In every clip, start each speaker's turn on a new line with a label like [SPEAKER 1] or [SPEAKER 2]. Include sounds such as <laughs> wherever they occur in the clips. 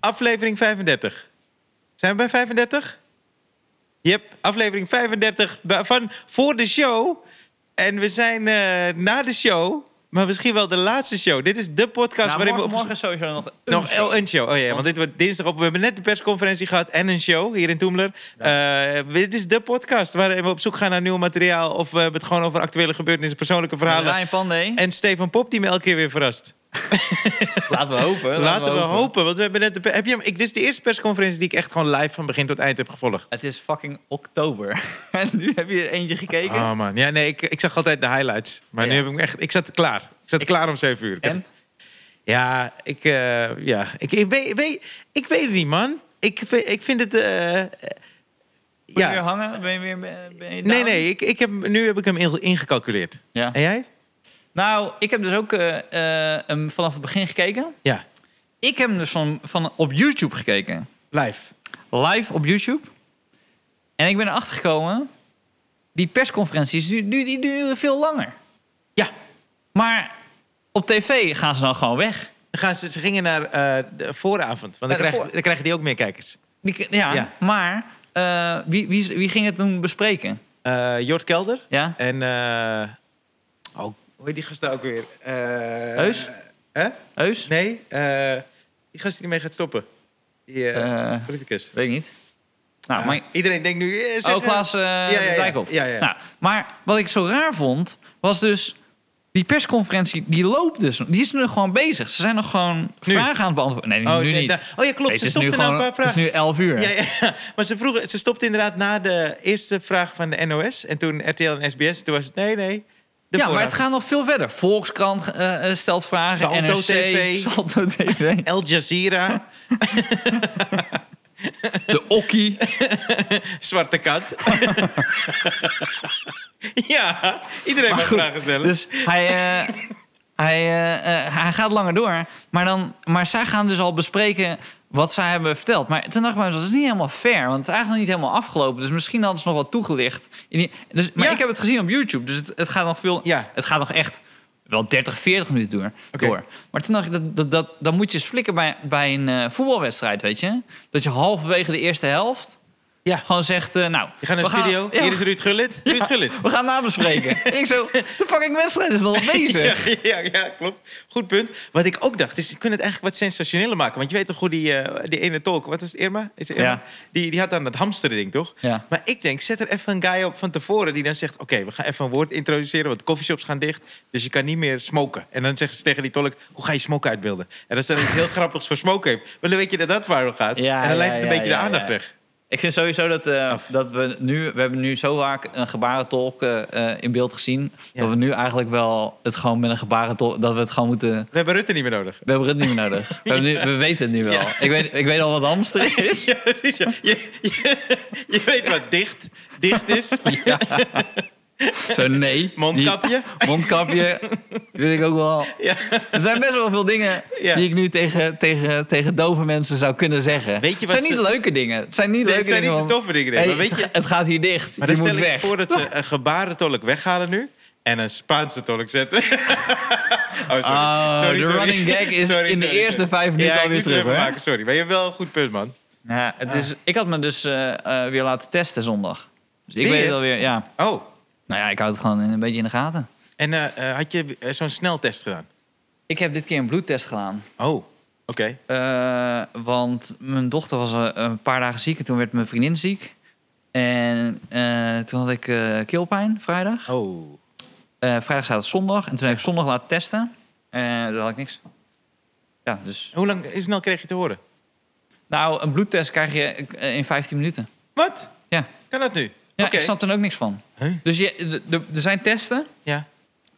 [SPEAKER 1] aflevering 35. Zijn we bij 35? Yep, aflevering 35 ba- van voor de show. En we zijn eh, na de show, maar misschien wel de laatste show. Dit is de podcast
[SPEAKER 2] Nou,
[SPEAKER 1] waarin
[SPEAKER 2] morgen,
[SPEAKER 1] we op
[SPEAKER 2] morgen sowieso nog een
[SPEAKER 1] nog
[SPEAKER 2] show.
[SPEAKER 1] oh, een show. Oh ja, want dit wordt dinsdag op. We hebben net de persconferentie gehad en een show hier in Toemler. Eh, dit is de podcast waarin we op zoek gaan naar nieuw materiaal. Of we hebben het gewoon over actuele gebeurtenissen, persoonlijke verhalen.
[SPEAKER 2] Ryan Pandey.
[SPEAKER 1] En Stefan Pop die me elke keer weer verrast.
[SPEAKER 2] Laten we hopen.
[SPEAKER 1] Laten we hopen, want we hebben net de. per- Heb je hem? Ik, dit is de eerste persconferentie die ik echt gewoon live van begin tot eind heb gevolgd.
[SPEAKER 2] Het is fucking oktober. <laughs> en nu heb je er eentje gekeken.
[SPEAKER 1] Oh man, ja nee, ik, ik zag altijd de highlights, maar nu
[SPEAKER 2] Ja.
[SPEAKER 1] heb ik hem echt. Ik zat klaar. Ik zat klaar om 7 uur. Ik
[SPEAKER 2] en?
[SPEAKER 1] Ja, ik, eh, ja. Ik, ik, weet, weet, ik weet het niet, man. Ik, vind- ik vind het. eh, eh,
[SPEAKER 2] Ben je weer hangen? Ben je weer ben
[SPEAKER 1] Nee,
[SPEAKER 2] je down?
[SPEAKER 1] nee, ik, ik heb, nu heb ik hem inge- ingecalculeerd.
[SPEAKER 2] Ja.
[SPEAKER 1] En jij?
[SPEAKER 2] Nou, ik heb dus ook eh, eh, hem vanaf het begin gekeken.
[SPEAKER 1] Ja,
[SPEAKER 2] Ik heb hem dus van, van, op YouTube gekeken.
[SPEAKER 1] live.
[SPEAKER 2] Live op YouTube. En ik ben erachter gekomen... Die persconferenties die, die, die duren veel langer.
[SPEAKER 1] Ja,
[SPEAKER 2] Maar op tv gaan ze dan gewoon weg.
[SPEAKER 1] dan gaan ze, ze gingen naar eh, de vooravond, want dan,
[SPEAKER 2] de
[SPEAKER 1] krijgen,
[SPEAKER 2] voor-
[SPEAKER 1] dan krijgen die ook meer kijkers.
[SPEAKER 2] Die, ja,
[SPEAKER 1] Ja.
[SPEAKER 2] maar eh, wie, wie, wie ging het toen bespreken?
[SPEAKER 1] Eh Jort Kelder
[SPEAKER 2] Ja?
[SPEAKER 1] en... eh oh, hoe heet die gast nou ook weer? Eh
[SPEAKER 2] Heus?
[SPEAKER 1] Hè?
[SPEAKER 2] Heus?
[SPEAKER 1] Nee, eh, die gast die ermee gaat stoppen. Die eh,
[SPEAKER 2] Eh,
[SPEAKER 1] politicus.
[SPEAKER 2] weet ik niet. Nou,
[SPEAKER 1] Ja,
[SPEAKER 2] maar...
[SPEAKER 1] Iedereen denkt nu... eh, zeg,
[SPEAKER 2] Oh, Klaas eh
[SPEAKER 1] ja, ja.
[SPEAKER 2] Dijkhoff.
[SPEAKER 1] Ja, ja.
[SPEAKER 2] Nou, maar wat ik zo raar vond, was dus... Die persconferentie, die loopt dus. Die is nu gewoon bezig. Ze zijn nog gewoon
[SPEAKER 1] Nu.
[SPEAKER 2] vragen aan het beantwoorden. Nee,
[SPEAKER 1] eh,
[SPEAKER 2] nu
[SPEAKER 1] nee,
[SPEAKER 2] niet.
[SPEAKER 1] nou, oh ja, klopt.
[SPEAKER 2] Nee,
[SPEAKER 1] ze
[SPEAKER 2] het is nu
[SPEAKER 1] stopten nou een
[SPEAKER 2] gewoon-
[SPEAKER 1] paar vragen.
[SPEAKER 2] Het is nu 11 uur.
[SPEAKER 1] Ja, ja. <laughs> Maar ze, vroegen, ze stopte inderdaad na de eerste vraag van de NOS. En toen RTL en SBS. Toen was het nee, nee. De
[SPEAKER 2] Ja, maar
[SPEAKER 1] voorraad.
[SPEAKER 2] het gaat nog veel verder. Volkskrant eh, eh, stelt vragen.
[SPEAKER 1] Salto
[SPEAKER 2] NRC,
[SPEAKER 1] TV.
[SPEAKER 2] Salto
[SPEAKER 1] <laughs>
[SPEAKER 2] TV.
[SPEAKER 1] Al
[SPEAKER 2] <laughs>
[SPEAKER 1] Jazeera,
[SPEAKER 2] De Okkie.
[SPEAKER 1] Zwarte
[SPEAKER 2] <laughs>
[SPEAKER 1] Kat. <laughs> ja, iedereen mag
[SPEAKER 2] Maar goed,
[SPEAKER 1] vragen stellen.
[SPEAKER 2] Dus hij,
[SPEAKER 1] <laughs>
[SPEAKER 2] eh, hij, eh, eh, hij gaat langer door. Maar, dan, maar zij gaan dus al bespreken wat zij hebben verteld. Maar toen dacht ik bij mezelf, dat is niet helemaal fair. Want het is eigenlijk niet helemaal afgelopen. Dus misschien hadden ze nog wat toegelicht. In die- Dus, maar
[SPEAKER 1] Ja.
[SPEAKER 2] ik heb het gezien op YouTube. Dus het, het gaat nog veel...
[SPEAKER 1] Ja.
[SPEAKER 2] Het gaat nog echt wel 30, 40 minuten door.
[SPEAKER 1] Oké.
[SPEAKER 2] door. Maar toen dacht ik, dat, dat, dat, dan moet je eens flikken bij, bij een eh, voetbalwedstrijd, weet je. Dat je halverwege de eerste helft
[SPEAKER 1] Ja.
[SPEAKER 2] gewoon zegt... eh, nou,
[SPEAKER 1] Je gaat naar de
[SPEAKER 2] we gaan-
[SPEAKER 1] studio.
[SPEAKER 2] Ja,
[SPEAKER 1] Hier is Ruud Gullit. Ruud Gullit.
[SPEAKER 2] we gaan
[SPEAKER 1] <laughs>
[SPEAKER 2] nabespreken. ik zo, de fucking wedstrijd is nog <laughs> bezig.
[SPEAKER 1] Ja, ja, ja, klopt. Goed punt. Wat ik ook dacht, is ze kunnen het eigenlijk wat sensationeler maken. Want je weet toch hoe die, eh, die ene tolk, wat was het, Irma? Is het Irma?
[SPEAKER 2] Ja.
[SPEAKER 1] Die, die had dan dat hamsteren ding, toch?
[SPEAKER 2] Ja.
[SPEAKER 1] Maar ik denk, zet er even een guy op van tevoren die dan zegt... oké, we gaan even een woord introduceren, want coffeeshops gaan dicht. Dus je kan niet meer smoken. En dan zeggen ze tegen die tolk, hoe ga je smoken uitbeelden? En dat ze dan iets heel <laughs> grappigs voor smoken heeft. Maar dan weet je dat dat waarom gaat.
[SPEAKER 2] Ja,
[SPEAKER 1] en dan
[SPEAKER 2] ja,
[SPEAKER 1] lijkt het een
[SPEAKER 2] ja,
[SPEAKER 1] beetje de
[SPEAKER 2] ja,
[SPEAKER 1] aandacht
[SPEAKER 2] ja.
[SPEAKER 1] weg.
[SPEAKER 2] Ik vind sowieso dat, eh,
[SPEAKER 1] Af.
[SPEAKER 2] dat we nu... We hebben nu zo vaak een gebarentolk eh, eh, in beeld gezien...
[SPEAKER 1] Ja.
[SPEAKER 2] dat we nu eigenlijk wel het gewoon met een gebarentolk... dat we het gewoon moeten...
[SPEAKER 1] We hebben Rutte niet meer nodig.
[SPEAKER 2] We hebben het niet meer nodig. We, hebben nu, we weten het nu wel.
[SPEAKER 1] Ja.
[SPEAKER 2] Ik, weet, ik weet al wat
[SPEAKER 1] <laughs>
[SPEAKER 2] hamster is.
[SPEAKER 1] Ja, precies. Ja. Je, je, je weet wat dicht, dicht
[SPEAKER 2] <laughs>
[SPEAKER 1] is.
[SPEAKER 2] Zo nee.
[SPEAKER 1] Mondkapje.
[SPEAKER 2] Die- mondkapje. Weet ik ook wel.
[SPEAKER 1] Ja.
[SPEAKER 2] Er zijn best wel veel dingen
[SPEAKER 1] Ja.
[SPEAKER 2] die ik nu tegen, tegen, tegen dove mensen zou kunnen zeggen.
[SPEAKER 1] Weet je wat
[SPEAKER 2] het zijn niet
[SPEAKER 1] ze-
[SPEAKER 2] leuke dingen. Het zijn niet
[SPEAKER 1] Nee,
[SPEAKER 2] leuke
[SPEAKER 1] het zijn
[SPEAKER 2] dingen.
[SPEAKER 1] niet de
[SPEAKER 2] want-
[SPEAKER 1] toffe dingen, nee,
[SPEAKER 2] Hey,
[SPEAKER 1] maar weet
[SPEAKER 2] het,
[SPEAKER 1] je-
[SPEAKER 2] het gaat hier dicht.
[SPEAKER 1] Maar
[SPEAKER 2] je
[SPEAKER 1] dan
[SPEAKER 2] moet
[SPEAKER 1] stel ik
[SPEAKER 2] weg.
[SPEAKER 1] voor dat ze een gebarentolk weghalen nu. En een Spaanse tolk zetten. <laughs> oh, sorry.
[SPEAKER 2] Oh, de running gag
[SPEAKER 1] <laughs>
[SPEAKER 2] is in de eerste vijf minuten
[SPEAKER 1] ja, ik
[SPEAKER 2] alweer
[SPEAKER 1] moest het
[SPEAKER 2] terug,
[SPEAKER 1] even
[SPEAKER 2] hoor.
[SPEAKER 1] maken, sorry. Maar je hebt wel een goed punt, man.
[SPEAKER 2] Ja, Nou, het
[SPEAKER 1] Ah.
[SPEAKER 2] is, ik had me dus eh, eh, weer laten testen zondag. Dus ik
[SPEAKER 1] Weer?
[SPEAKER 2] weet het alweer. Ja.
[SPEAKER 1] Oh,
[SPEAKER 2] Nou ja, ik houd het gewoon een beetje in de gaten.
[SPEAKER 1] en eh, eh, had je eh, zo'n sneltest gedaan?
[SPEAKER 2] Ik heb dit keer een bloedtest gedaan.
[SPEAKER 1] Oh, oké.
[SPEAKER 2] Eh, want mijn dochter was eh, een paar dagen ziek en toen werd mijn vriendin ziek. En eh, toen had ik eh, keelpijn vrijdag.
[SPEAKER 1] Oh.
[SPEAKER 2] Eh, vrijdag, zaterdag, zondag. En toen heb ik zondag laten testen. En toen had ik niks. Ja, dus...
[SPEAKER 1] Hoe lang hoe snel kreeg je te horen?
[SPEAKER 2] Nou, een bloedtest krijg je eh, in 15 minuten.
[SPEAKER 1] Wat?
[SPEAKER 2] Ja.
[SPEAKER 1] Kan dat nu?
[SPEAKER 2] Ja,
[SPEAKER 1] Oké.
[SPEAKER 2] ik snap er ook niks van.
[SPEAKER 1] Huh?
[SPEAKER 2] Dus je, de- de- er zijn testen.
[SPEAKER 1] Ja,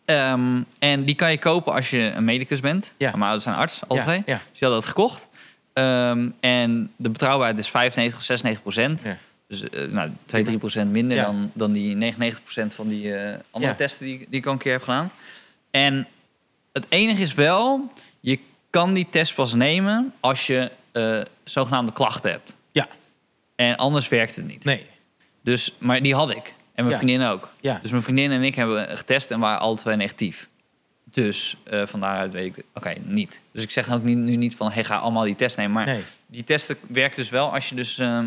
[SPEAKER 2] Ehm, en die kan je kopen als je een medicus bent.
[SPEAKER 1] Ja.
[SPEAKER 2] Maar Mijn ouders zijn arts, alle
[SPEAKER 1] Ja,
[SPEAKER 2] twee.
[SPEAKER 1] ja.
[SPEAKER 2] Dus die hadden dat gekocht. Ehm, en de betrouwbaarheid is 95, 96 procent.
[SPEAKER 1] Ja.
[SPEAKER 2] Dus eh, nou, 2, 3 procent minder
[SPEAKER 1] Ja.
[SPEAKER 2] dan, dan die 99 procent van die eh, andere
[SPEAKER 1] Ja.
[SPEAKER 2] testen die, die ik al een keer heb gedaan. En het enige is wel, je kan die test pas nemen als je eh, zogenaamde klachten hebt.
[SPEAKER 1] Ja.
[SPEAKER 2] En anders werkt het niet.
[SPEAKER 1] nee.
[SPEAKER 2] Dus, maar die had ik. En mijn
[SPEAKER 1] Ja.
[SPEAKER 2] vriendin ook.
[SPEAKER 1] Ja.
[SPEAKER 2] Dus mijn vriendin en ik hebben getest en waren alle twee negatief. Dus eh, van daaruit weet ik, oké, niet. Dus ik zeg ook niet, nu niet van, hey, ga allemaal die test nemen. Maar
[SPEAKER 1] Nee.
[SPEAKER 2] die testen werken dus wel als je dus ehm,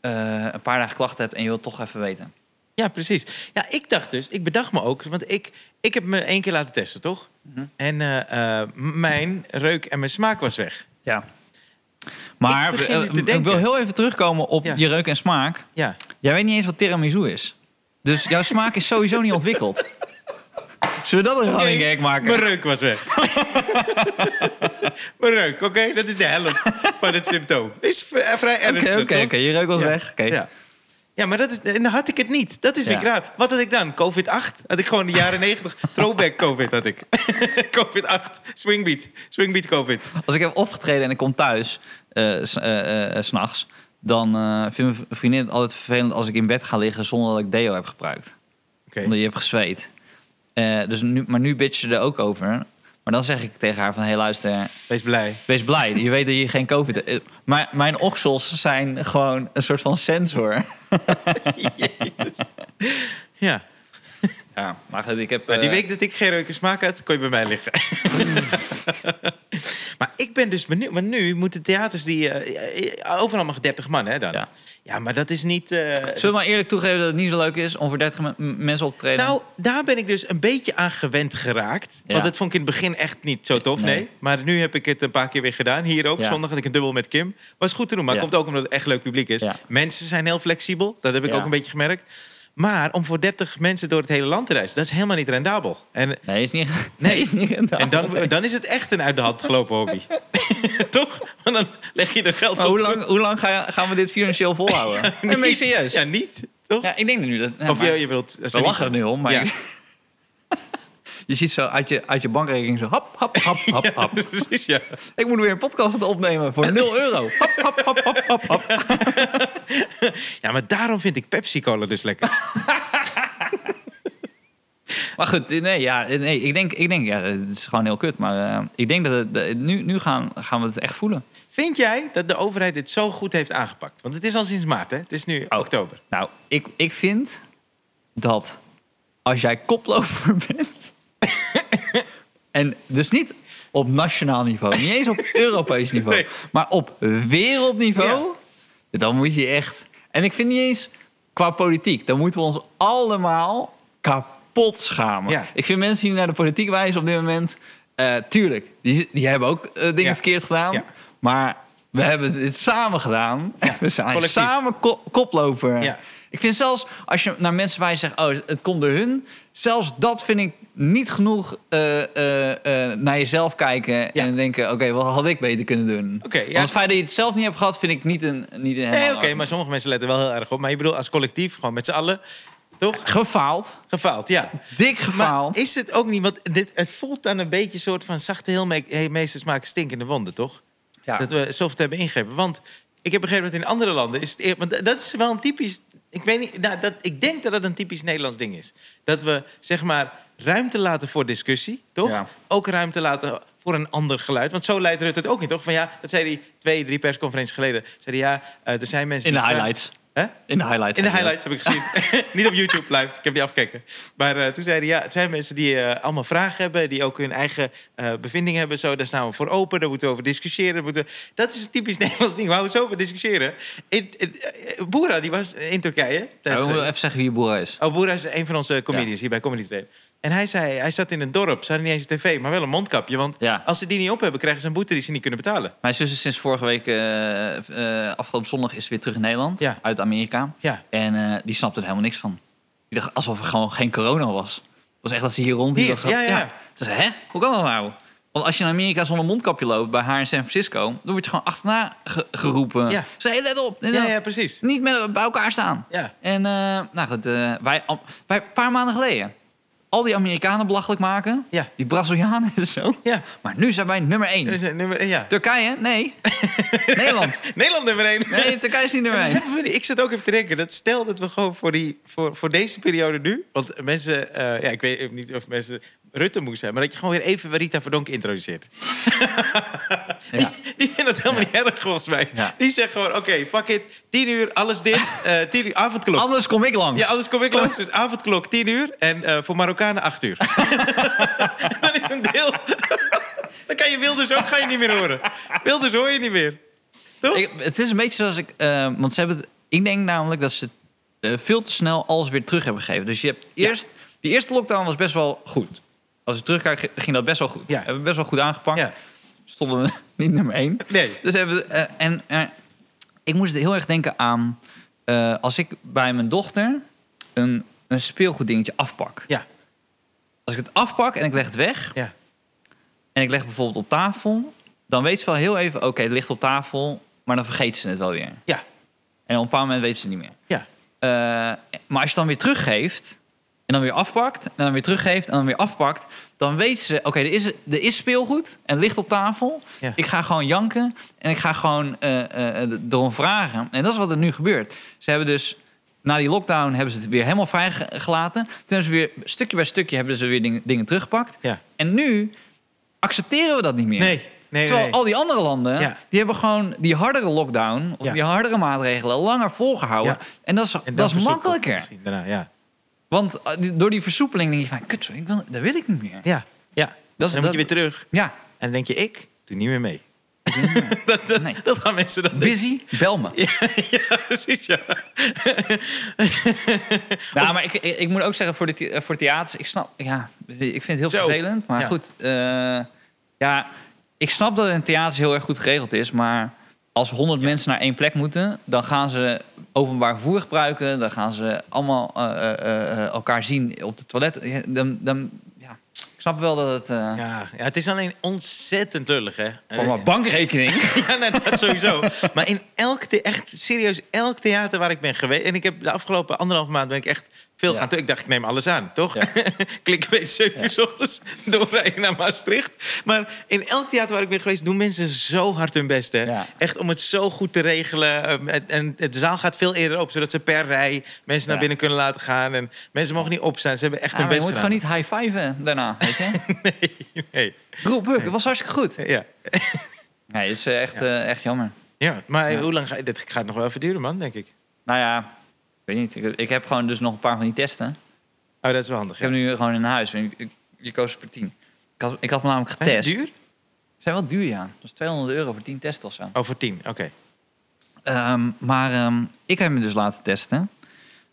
[SPEAKER 2] eh, een paar dagen klachten hebt en je wilt toch even weten.
[SPEAKER 1] Ja, precies. Ja, ik dacht dus, ik bedacht me ook, want ik, ik heb me één keer laten testen, toch?
[SPEAKER 2] Mhm.
[SPEAKER 1] En eh, eh, m- mijn reuk en mijn smaak was weg.
[SPEAKER 2] Ja. Maar
[SPEAKER 1] Ik
[SPEAKER 2] ik,
[SPEAKER 1] begin nu te
[SPEAKER 2] ik wil
[SPEAKER 1] denken.
[SPEAKER 2] heel even terugkomen op
[SPEAKER 1] Ja.
[SPEAKER 2] je reuk en smaak.
[SPEAKER 1] Ja.
[SPEAKER 2] Jij weet niet eens wat tiramisu is. Dus
[SPEAKER 1] <laughs>
[SPEAKER 2] jouw smaak is sowieso niet ontwikkeld. Zullen we dat een running
[SPEAKER 1] Oké,
[SPEAKER 2] gag maken?
[SPEAKER 1] Mijn reuk was weg. <laughs> mijn reuk, oké, dat is de helft van het symptoom. Is v- eh, vrij
[SPEAKER 2] Oké,
[SPEAKER 1] ernstig,
[SPEAKER 2] oké,
[SPEAKER 1] toch?
[SPEAKER 2] oké, je reuk was
[SPEAKER 1] Ja.
[SPEAKER 2] weg. Oké.
[SPEAKER 1] Ja. ja, maar dat is, en dan had ik het niet. Dat is weer
[SPEAKER 2] Ja.
[SPEAKER 1] raar. Wat had ik dan? COVID-8? Had ik gewoon de jaren
[SPEAKER 2] <laughs>
[SPEAKER 1] 90 throwback COVID had ik. <laughs> COVID-8, swingbeat, swingbeat COVID.
[SPEAKER 2] Als ik heb opgetreden en ik kom thuis, eh, s- eh, eh, eh, s s'nachts, dan eh, vindt mijn vriendin het altijd vervelend als ik in bed ga liggen zonder dat ik deo heb gebruikt.
[SPEAKER 1] Oké.
[SPEAKER 2] Omdat je hebt gezweet. Eh, dus nu, maar nu bitch je er ook over. Maar dan zeg ik tegen haar van, hé hey, luister,
[SPEAKER 1] Wees blij.
[SPEAKER 2] wees blij. Je weet dat je geen covid hebt. Eh, Maar mijn oksels zijn gewoon een soort van sensor.
[SPEAKER 1] Ja.
[SPEAKER 2] Ja, maar goed, ik heb...
[SPEAKER 1] Maar die
[SPEAKER 2] eh,
[SPEAKER 1] week dat ik geen reuken smaak had, kon je bij mij liggen. <laughs> maar ik ben dus benieuwd. Want nu moeten theaters die... eh, eh, overal mag 30 man, hè, dan? Ja,
[SPEAKER 2] Ja.
[SPEAKER 1] maar dat is niet... eh,
[SPEAKER 2] Zullen we maar eerlijk toegeven dat het niet zo leuk is om voor 30 men- m- mensen op te treden?
[SPEAKER 1] Nou, daar ben ik dus een beetje aan gewend geraakt.
[SPEAKER 2] Ja.
[SPEAKER 1] Want dat vond ik in het begin echt niet zo tof, nee.
[SPEAKER 2] Nee.
[SPEAKER 1] Maar nu heb ik het een paar keer weer gedaan. Hier ook,
[SPEAKER 2] Ja.
[SPEAKER 1] zondag had ik een dubbel met Kim. Was goed te doen, maar
[SPEAKER 2] Ja.
[SPEAKER 1] komt ook omdat het echt leuk publiek is.
[SPEAKER 2] Ja.
[SPEAKER 1] Mensen zijn heel flexibel, dat heb ik
[SPEAKER 2] Ja.
[SPEAKER 1] ook een beetje gemerkt. Maar om voor 30 mensen door het hele land te reizen, dat is helemaal niet rendabel. En,
[SPEAKER 2] Nee, is niet... <laughs> Nee, is niet
[SPEAKER 1] <laughs> en dan, dan is het echt een uit de hand gelopen hobby. <laughs> Toch? Want dan leg je er geld
[SPEAKER 2] Maar
[SPEAKER 1] op.
[SPEAKER 2] hoe lang, hoe lang ga je- gaan we dit financieel
[SPEAKER 1] <laughs>
[SPEAKER 2] volhouden?
[SPEAKER 1] toe.
[SPEAKER 2] Nee, ben ik serieus.
[SPEAKER 1] Ja,
[SPEAKER 2] Ja,
[SPEAKER 1] niet. Toch?
[SPEAKER 2] ik denk dat nu dat... ja,
[SPEAKER 1] of
[SPEAKER 2] maar
[SPEAKER 1] je, je wilt...
[SPEAKER 2] we lachen er nu om, maar...
[SPEAKER 1] Ja. <laughs>
[SPEAKER 2] je ziet zo uit je, uit je bankrekening zo hap, hap, hap, hap, hap.
[SPEAKER 1] Precies, ja.
[SPEAKER 2] <laughs> Ik moet weer een podcast opnemen voor 0 euro. Hap, hap, hap, hap, hap, hap.
[SPEAKER 1] Ja, maar daarom vind ik Pepsi-Cola dus lekker.
[SPEAKER 2] Maar goed, nee, ja, nee ik denk, ik denk ja, het is gewoon heel kut. Maar eh, ik denk dat het, de- nu, nu gaan, gaan we het echt voelen.
[SPEAKER 1] Vind jij dat de overheid dit zo goed heeft aangepakt? Want het is al sinds maart, hè? Het is nu
[SPEAKER 2] Oh.
[SPEAKER 1] oktober.
[SPEAKER 2] Nou, ik, ik vind dat als jij koploper <laughs> bent. en dus niet op nationaal niveau, niet
[SPEAKER 1] <laughs>
[SPEAKER 2] eens op Europees niveau,
[SPEAKER 1] Nee.
[SPEAKER 2] maar op wereldniveau. Dan moet je echt. En ik vind niet eens qua politiek, dan moeten we ons allemaal kapot schamen.
[SPEAKER 1] Ja.
[SPEAKER 2] Ik vind mensen die naar de politiek wijzen op dit moment. eh, tuurlijk, die, die hebben ook eh, dingen
[SPEAKER 1] Ja.
[SPEAKER 2] verkeerd gedaan.
[SPEAKER 1] Ja.
[SPEAKER 2] Maar we hebben dit samen gedaan. <laughs> we zijn
[SPEAKER 1] collectief.
[SPEAKER 2] samen ko- koploper.
[SPEAKER 1] Ja.
[SPEAKER 2] Ik vind zelfs als je naar mensen wijst en zegt, oh, het komt door hun. Zelfs dat vind ik niet genoeg eh, eh, eh, naar jezelf kijken en denken, oké, wat had ik beter kunnen doen?
[SPEAKER 1] Oké, ja.
[SPEAKER 2] Want het feit dat je het zelf niet hebt gehad, vind ik niet een niet een
[SPEAKER 1] Nee,
[SPEAKER 2] helemaal
[SPEAKER 1] oké, maar sommige mensen letten wel heel erg op. Maar je bedoelt als collectief, gewoon met z'n allen, toch?
[SPEAKER 2] gefaald,
[SPEAKER 1] Gefaald, ja.
[SPEAKER 2] dik
[SPEAKER 1] Maar
[SPEAKER 2] gefaald.
[SPEAKER 1] is het ook niet, want dit, het voelt dan een beetje een soort van zachte heel me- hey, meesters maken stinkende wonden, toch?
[SPEAKER 2] Ja.
[SPEAKER 1] Dat we soft hebben ingegrepen. Want ik heb begrepen dat in andere landen is het eer- want dat is wel een typisch, ik weet niet, nou, dat, ik denk dat dat een typisch Nederlands ding is. Dat we zeg maar ruimte laten voor discussie, toch?
[SPEAKER 2] Ja.
[SPEAKER 1] Ook ruimte laten voor een ander geluid. Want zo leidt Rutte het ook in, toch? Van ja, dat zei hij twee, drie persconferenties geleden. Zei hij ja, eh, er zijn mensen
[SPEAKER 2] in de
[SPEAKER 1] die vragen-
[SPEAKER 2] highlights.
[SPEAKER 1] Hè?
[SPEAKER 2] In de highlights.
[SPEAKER 1] In de highlights heb ik gezien. <laughs> niet op YouTube live, ik heb die afgekeken. Maar eh, toen zeiden ja, het zijn mensen die eh, allemaal vragen hebben, die ook hun eigen eh bevindingen hebben. Zo, daar staan we voor open, daar moeten we over discussiëren. daar Moeten... we- Dat is een typisch <laughs> Nederlands ding, we houden zo over discussiëren. In, in- eh, Boera, die was in Turkije.
[SPEAKER 2] Ja,
[SPEAKER 1] tijd
[SPEAKER 2] we moeten
[SPEAKER 1] geleden.
[SPEAKER 2] even zeggen wie je boer is.
[SPEAKER 1] Oh, Boera is een van onze comedians hier bij Comedy Train. En hij zei, hij zat in een dorp, ze hadden niet eens een tv, maar wel een mondkapje. Want
[SPEAKER 2] Ja.
[SPEAKER 1] als ze die niet op hebben, krijgen ze een boete die ze niet kunnen betalen.
[SPEAKER 2] Mijn zus is sinds vorige week, eh, eh, afgelopen zondag, is ze weer terug in Nederland.
[SPEAKER 1] Ja.
[SPEAKER 2] Uit Amerika.
[SPEAKER 1] Ja.
[SPEAKER 2] En eh, die snapte er helemaal niks van. Die dacht alsof er gewoon geen corona was. Het was echt dat ze hier rond
[SPEAKER 1] Hier, ja, ja.
[SPEAKER 2] Toen zei, hè? Hoe kan dat nou? Want als je in Amerika zonder mondkapje loopt, bij haar in San Francisco... dan word je gewoon achterna ge- geroepen.
[SPEAKER 1] Ja.
[SPEAKER 2] Ze hey, let op. let
[SPEAKER 1] Ja,
[SPEAKER 2] op.
[SPEAKER 1] ja, precies.
[SPEAKER 2] Niet met, bij elkaar staan.
[SPEAKER 1] Ja.
[SPEAKER 2] En eh, nou goed, eh, wij, am- wij een paar maanden geleden... al die Amerikanen belachelijk maken.
[SPEAKER 1] Ja.
[SPEAKER 2] Die Brazilianen <laughs> en zo.
[SPEAKER 1] Ja.
[SPEAKER 2] Maar nu zijn wij nummer één.
[SPEAKER 1] Dat is een nummer, ja.
[SPEAKER 2] Turkije?
[SPEAKER 1] <laughs>
[SPEAKER 2] Nee. Nederland.
[SPEAKER 1] Nederland nummer één.
[SPEAKER 2] Nee, Turkije is niet nummer één.
[SPEAKER 1] Ja, maar Ik zat ook even te denken. Dat stel dat we gewoon voor, die, voor, voor deze periode nu. Want mensen. eh, ja, ik weet niet of mensen Rutte moest zijn. Maar dat je gewoon weer even Rita Verdonk introduceert.
[SPEAKER 2] <laughs> Ja.
[SPEAKER 1] Die, die vindt dat helemaal niet erg volgens mij.
[SPEAKER 2] Ja.
[SPEAKER 1] Die zegt gewoon: oké, fuck it. 10 uur, alles dit.
[SPEAKER 2] <laughs>
[SPEAKER 1] eh 10 uur, avondklok.
[SPEAKER 2] Anders kom ik langs.
[SPEAKER 1] ja, anders kom ik langs. Dus avondklok 10 uur en eh, voor Marokkanen 8 uur. <laughs> Dan is een deel. Dan kan je Wilders ook ga je niet meer horen. Wilders hoor je niet meer. Toch?
[SPEAKER 2] Ik, het is een beetje zoals ik. eh, want ze hebben. het- Ik denk namelijk dat ze eh, veel te snel alles weer terug hebben gegeven. Dus je hebt eerst. Die eerste lockdown was best wel goed. Als ik terugkijk, g- ging dat best wel goed.
[SPEAKER 1] Ja.
[SPEAKER 2] Hebben we best wel goed aangepakt.
[SPEAKER 1] Ja.
[SPEAKER 2] Stonden we <laughs> niet nummer één.
[SPEAKER 1] Nee.
[SPEAKER 2] Dus hebben we, eh, en eh, ik moest heel erg denken aan. eh, als ik bij mijn dochter een, een speelgoeddingetje afpak.
[SPEAKER 1] Ja,
[SPEAKER 2] Als ik het afpak en ik leg het weg.
[SPEAKER 1] ja.
[SPEAKER 2] en ik leg het bijvoorbeeld op tafel, dan weet ze wel heel even, oké, het ligt op tafel, maar dan vergeet ze het wel weer.
[SPEAKER 1] Ja,
[SPEAKER 2] En op een bepaald moment weet ze het niet meer.
[SPEAKER 1] ja.
[SPEAKER 2] Eh, maar als je het dan weer teruggeeft, en dan weer afpakt, en dan weer teruggeeft, en dan weer afpakt, dan weet ze, oké, er, is, er is speelgoed en het ligt op tafel.
[SPEAKER 1] Ja.
[SPEAKER 2] Ik ga gewoon janken en ik ga gewoon eh, eh, erom vragen. En dat is wat er nu gebeurt. Ze hebben dus. Na die lockdown hebben ze het weer helemaal vrijgelaten. Toen hebben ze weer stukje bij stukje hebben ze weer dingen, dingen teruggepakt.
[SPEAKER 1] Ja.
[SPEAKER 2] En nu accepteren we dat niet meer.
[SPEAKER 1] Nee, nee,
[SPEAKER 2] Terwijl
[SPEAKER 1] nee.
[SPEAKER 2] al die andere landen,
[SPEAKER 1] Ja.
[SPEAKER 2] die hebben gewoon die hardere lockdown... of
[SPEAKER 1] Ja.
[SPEAKER 2] die hardere maatregelen langer volgehouden.
[SPEAKER 1] Ja.
[SPEAKER 2] En dat is,
[SPEAKER 1] En
[SPEAKER 2] dat is
[SPEAKER 1] verzoek op
[SPEAKER 2] makkelijker.
[SPEAKER 1] misschien Daarna, ja.
[SPEAKER 2] Want eh, die- door die versoepeling denk je van... kut, sorry, ik wil, dat wil ik niet meer.
[SPEAKER 1] Ja, ja.
[SPEAKER 2] Dat is-
[SPEAKER 1] dan
[SPEAKER 2] dat-
[SPEAKER 1] moet je weer terug.
[SPEAKER 2] Ja,
[SPEAKER 1] En dan denk je, ik doe niet meer mee. <laughs> dat, dat,
[SPEAKER 2] Nee.
[SPEAKER 1] dat gaan mensen dan <laughs> denken.
[SPEAKER 2] busy, bel me.
[SPEAKER 1] Ja, ja, precies, ja.
[SPEAKER 2] Nou, maar ik, ik, ik moet ook zeggen, voor de, the- eh, voor theaters... ik snap, ja, ik vind het heel
[SPEAKER 1] Zo.
[SPEAKER 2] vervelend. Maar
[SPEAKER 1] Ja.
[SPEAKER 2] goed, eh, ja, ik snap dat het in theaters heel erg goed geregeld is... maar als honderd mensen naar één plek moeten... dan gaan ze openbaar vervoer gebruiken... dan gaan ze allemaal eh, eh, eh, elkaar zien op de toilet. Ja, Dan, dan, ja, ik snap wel dat het... eh,
[SPEAKER 1] Ja, ja, het is alleen ontzettend lullig, hè?
[SPEAKER 2] Voor mijn bankrekening.
[SPEAKER 1] <laughs> Ja, nee, dat sowieso. Maar in elk, the- echt serieus, elk theater waar ik ben geweest... en ik heb de afgelopen anderhalf maand ben ik echt veel
[SPEAKER 2] Ja.
[SPEAKER 1] gaan... doen. Ik dacht, ik neem alles aan, toch?
[SPEAKER 2] Ja.
[SPEAKER 1] <laughs> Klik weet 7 uur s ochtends <laughs> doorrijden naar Maastricht. Maar in elk theater waar ik ben geweest... doen mensen zo hard hun best, hè?
[SPEAKER 2] Ja.
[SPEAKER 1] Echt om het zo goed te regelen. Um, het- En het- de zaal gaat veel eerder open... zodat ze per rij mensen naar
[SPEAKER 2] Ja.
[SPEAKER 1] binnen kunnen laten gaan. En mensen mogen niet opstaan. Ze hebben echt
[SPEAKER 2] Ja,
[SPEAKER 1] hun
[SPEAKER 2] maar je
[SPEAKER 1] best
[SPEAKER 2] moet gewoon
[SPEAKER 1] gedaan.
[SPEAKER 2] niet high-fiven <laughs> daarna, weet je?
[SPEAKER 1] <laughs> Nee, nee.
[SPEAKER 2] Roep, Buk, het was hartstikke goed.
[SPEAKER 1] Ja.
[SPEAKER 2] Nee, het is eh, echt, eh, echt jammer.
[SPEAKER 1] ja, maar
[SPEAKER 2] Ja.
[SPEAKER 1] hoe lang ga je... Dit gaat nog wel even duren, man, denk ik.
[SPEAKER 2] Nou ja, ik weet niet. Ik, ik heb gewoon dus nog een paar van die testen.
[SPEAKER 1] Oh, dat is wel handig.
[SPEAKER 2] Ik
[SPEAKER 1] Ja.
[SPEAKER 2] heb nu gewoon in huis. En ik- ik- Je koos per 10. Ik had, ik had me namelijk
[SPEAKER 1] Zijn ze
[SPEAKER 2] getest.
[SPEAKER 1] duur?
[SPEAKER 2] Ze zijn wel duur, ja. Dat is 200 euro voor 10 testen of zo.
[SPEAKER 1] Oh, voor tien, oké.
[SPEAKER 2] Ehm, maar ehm, ik heb me dus laten testen.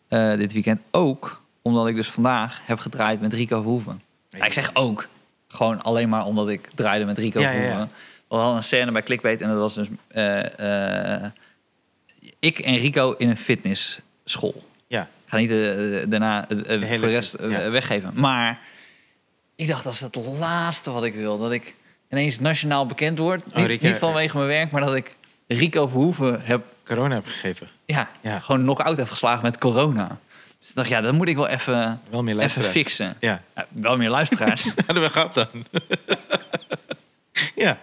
[SPEAKER 2] eh, dit weekend ook. Omdat ik dus vandaag heb gedraaid met Rico Verhoeven. Ja, ik zeg ook. Gewoon alleen maar omdat ik draaide met Rico
[SPEAKER 1] Ja, ja, ja.
[SPEAKER 2] Verhoeven. We hadden een scène bij Clickbait. En dat was dus... eh, eh, ik en Rico in een fitnessschool.
[SPEAKER 1] Ja,
[SPEAKER 2] Ik ga niet eh, eh, daarna eh, eh,
[SPEAKER 1] hele
[SPEAKER 2] voor de rest
[SPEAKER 1] zin, ja.
[SPEAKER 2] eh, weggeven. Maar ik dacht, dat is het laatste wat ik wil. Dat ik ineens nationaal bekend word. niet,
[SPEAKER 1] Oh, Rico,
[SPEAKER 2] niet vanwege mijn werk, maar dat ik Rico Verhoeven heb...
[SPEAKER 1] corona heb gegeven.
[SPEAKER 2] Ja,
[SPEAKER 1] Ja.
[SPEAKER 2] gewoon knock-out heb geslagen met corona. Dus ik dacht, ja, dat moet ik wel even,
[SPEAKER 1] Wel meer
[SPEAKER 2] even
[SPEAKER 1] luisteraars.
[SPEAKER 2] fixen.
[SPEAKER 1] Ja, <laughs>
[SPEAKER 2] Ja, wel meer luisteraars. <laughs> Hij
[SPEAKER 1] hadden we gehad dan. <laughs> ja.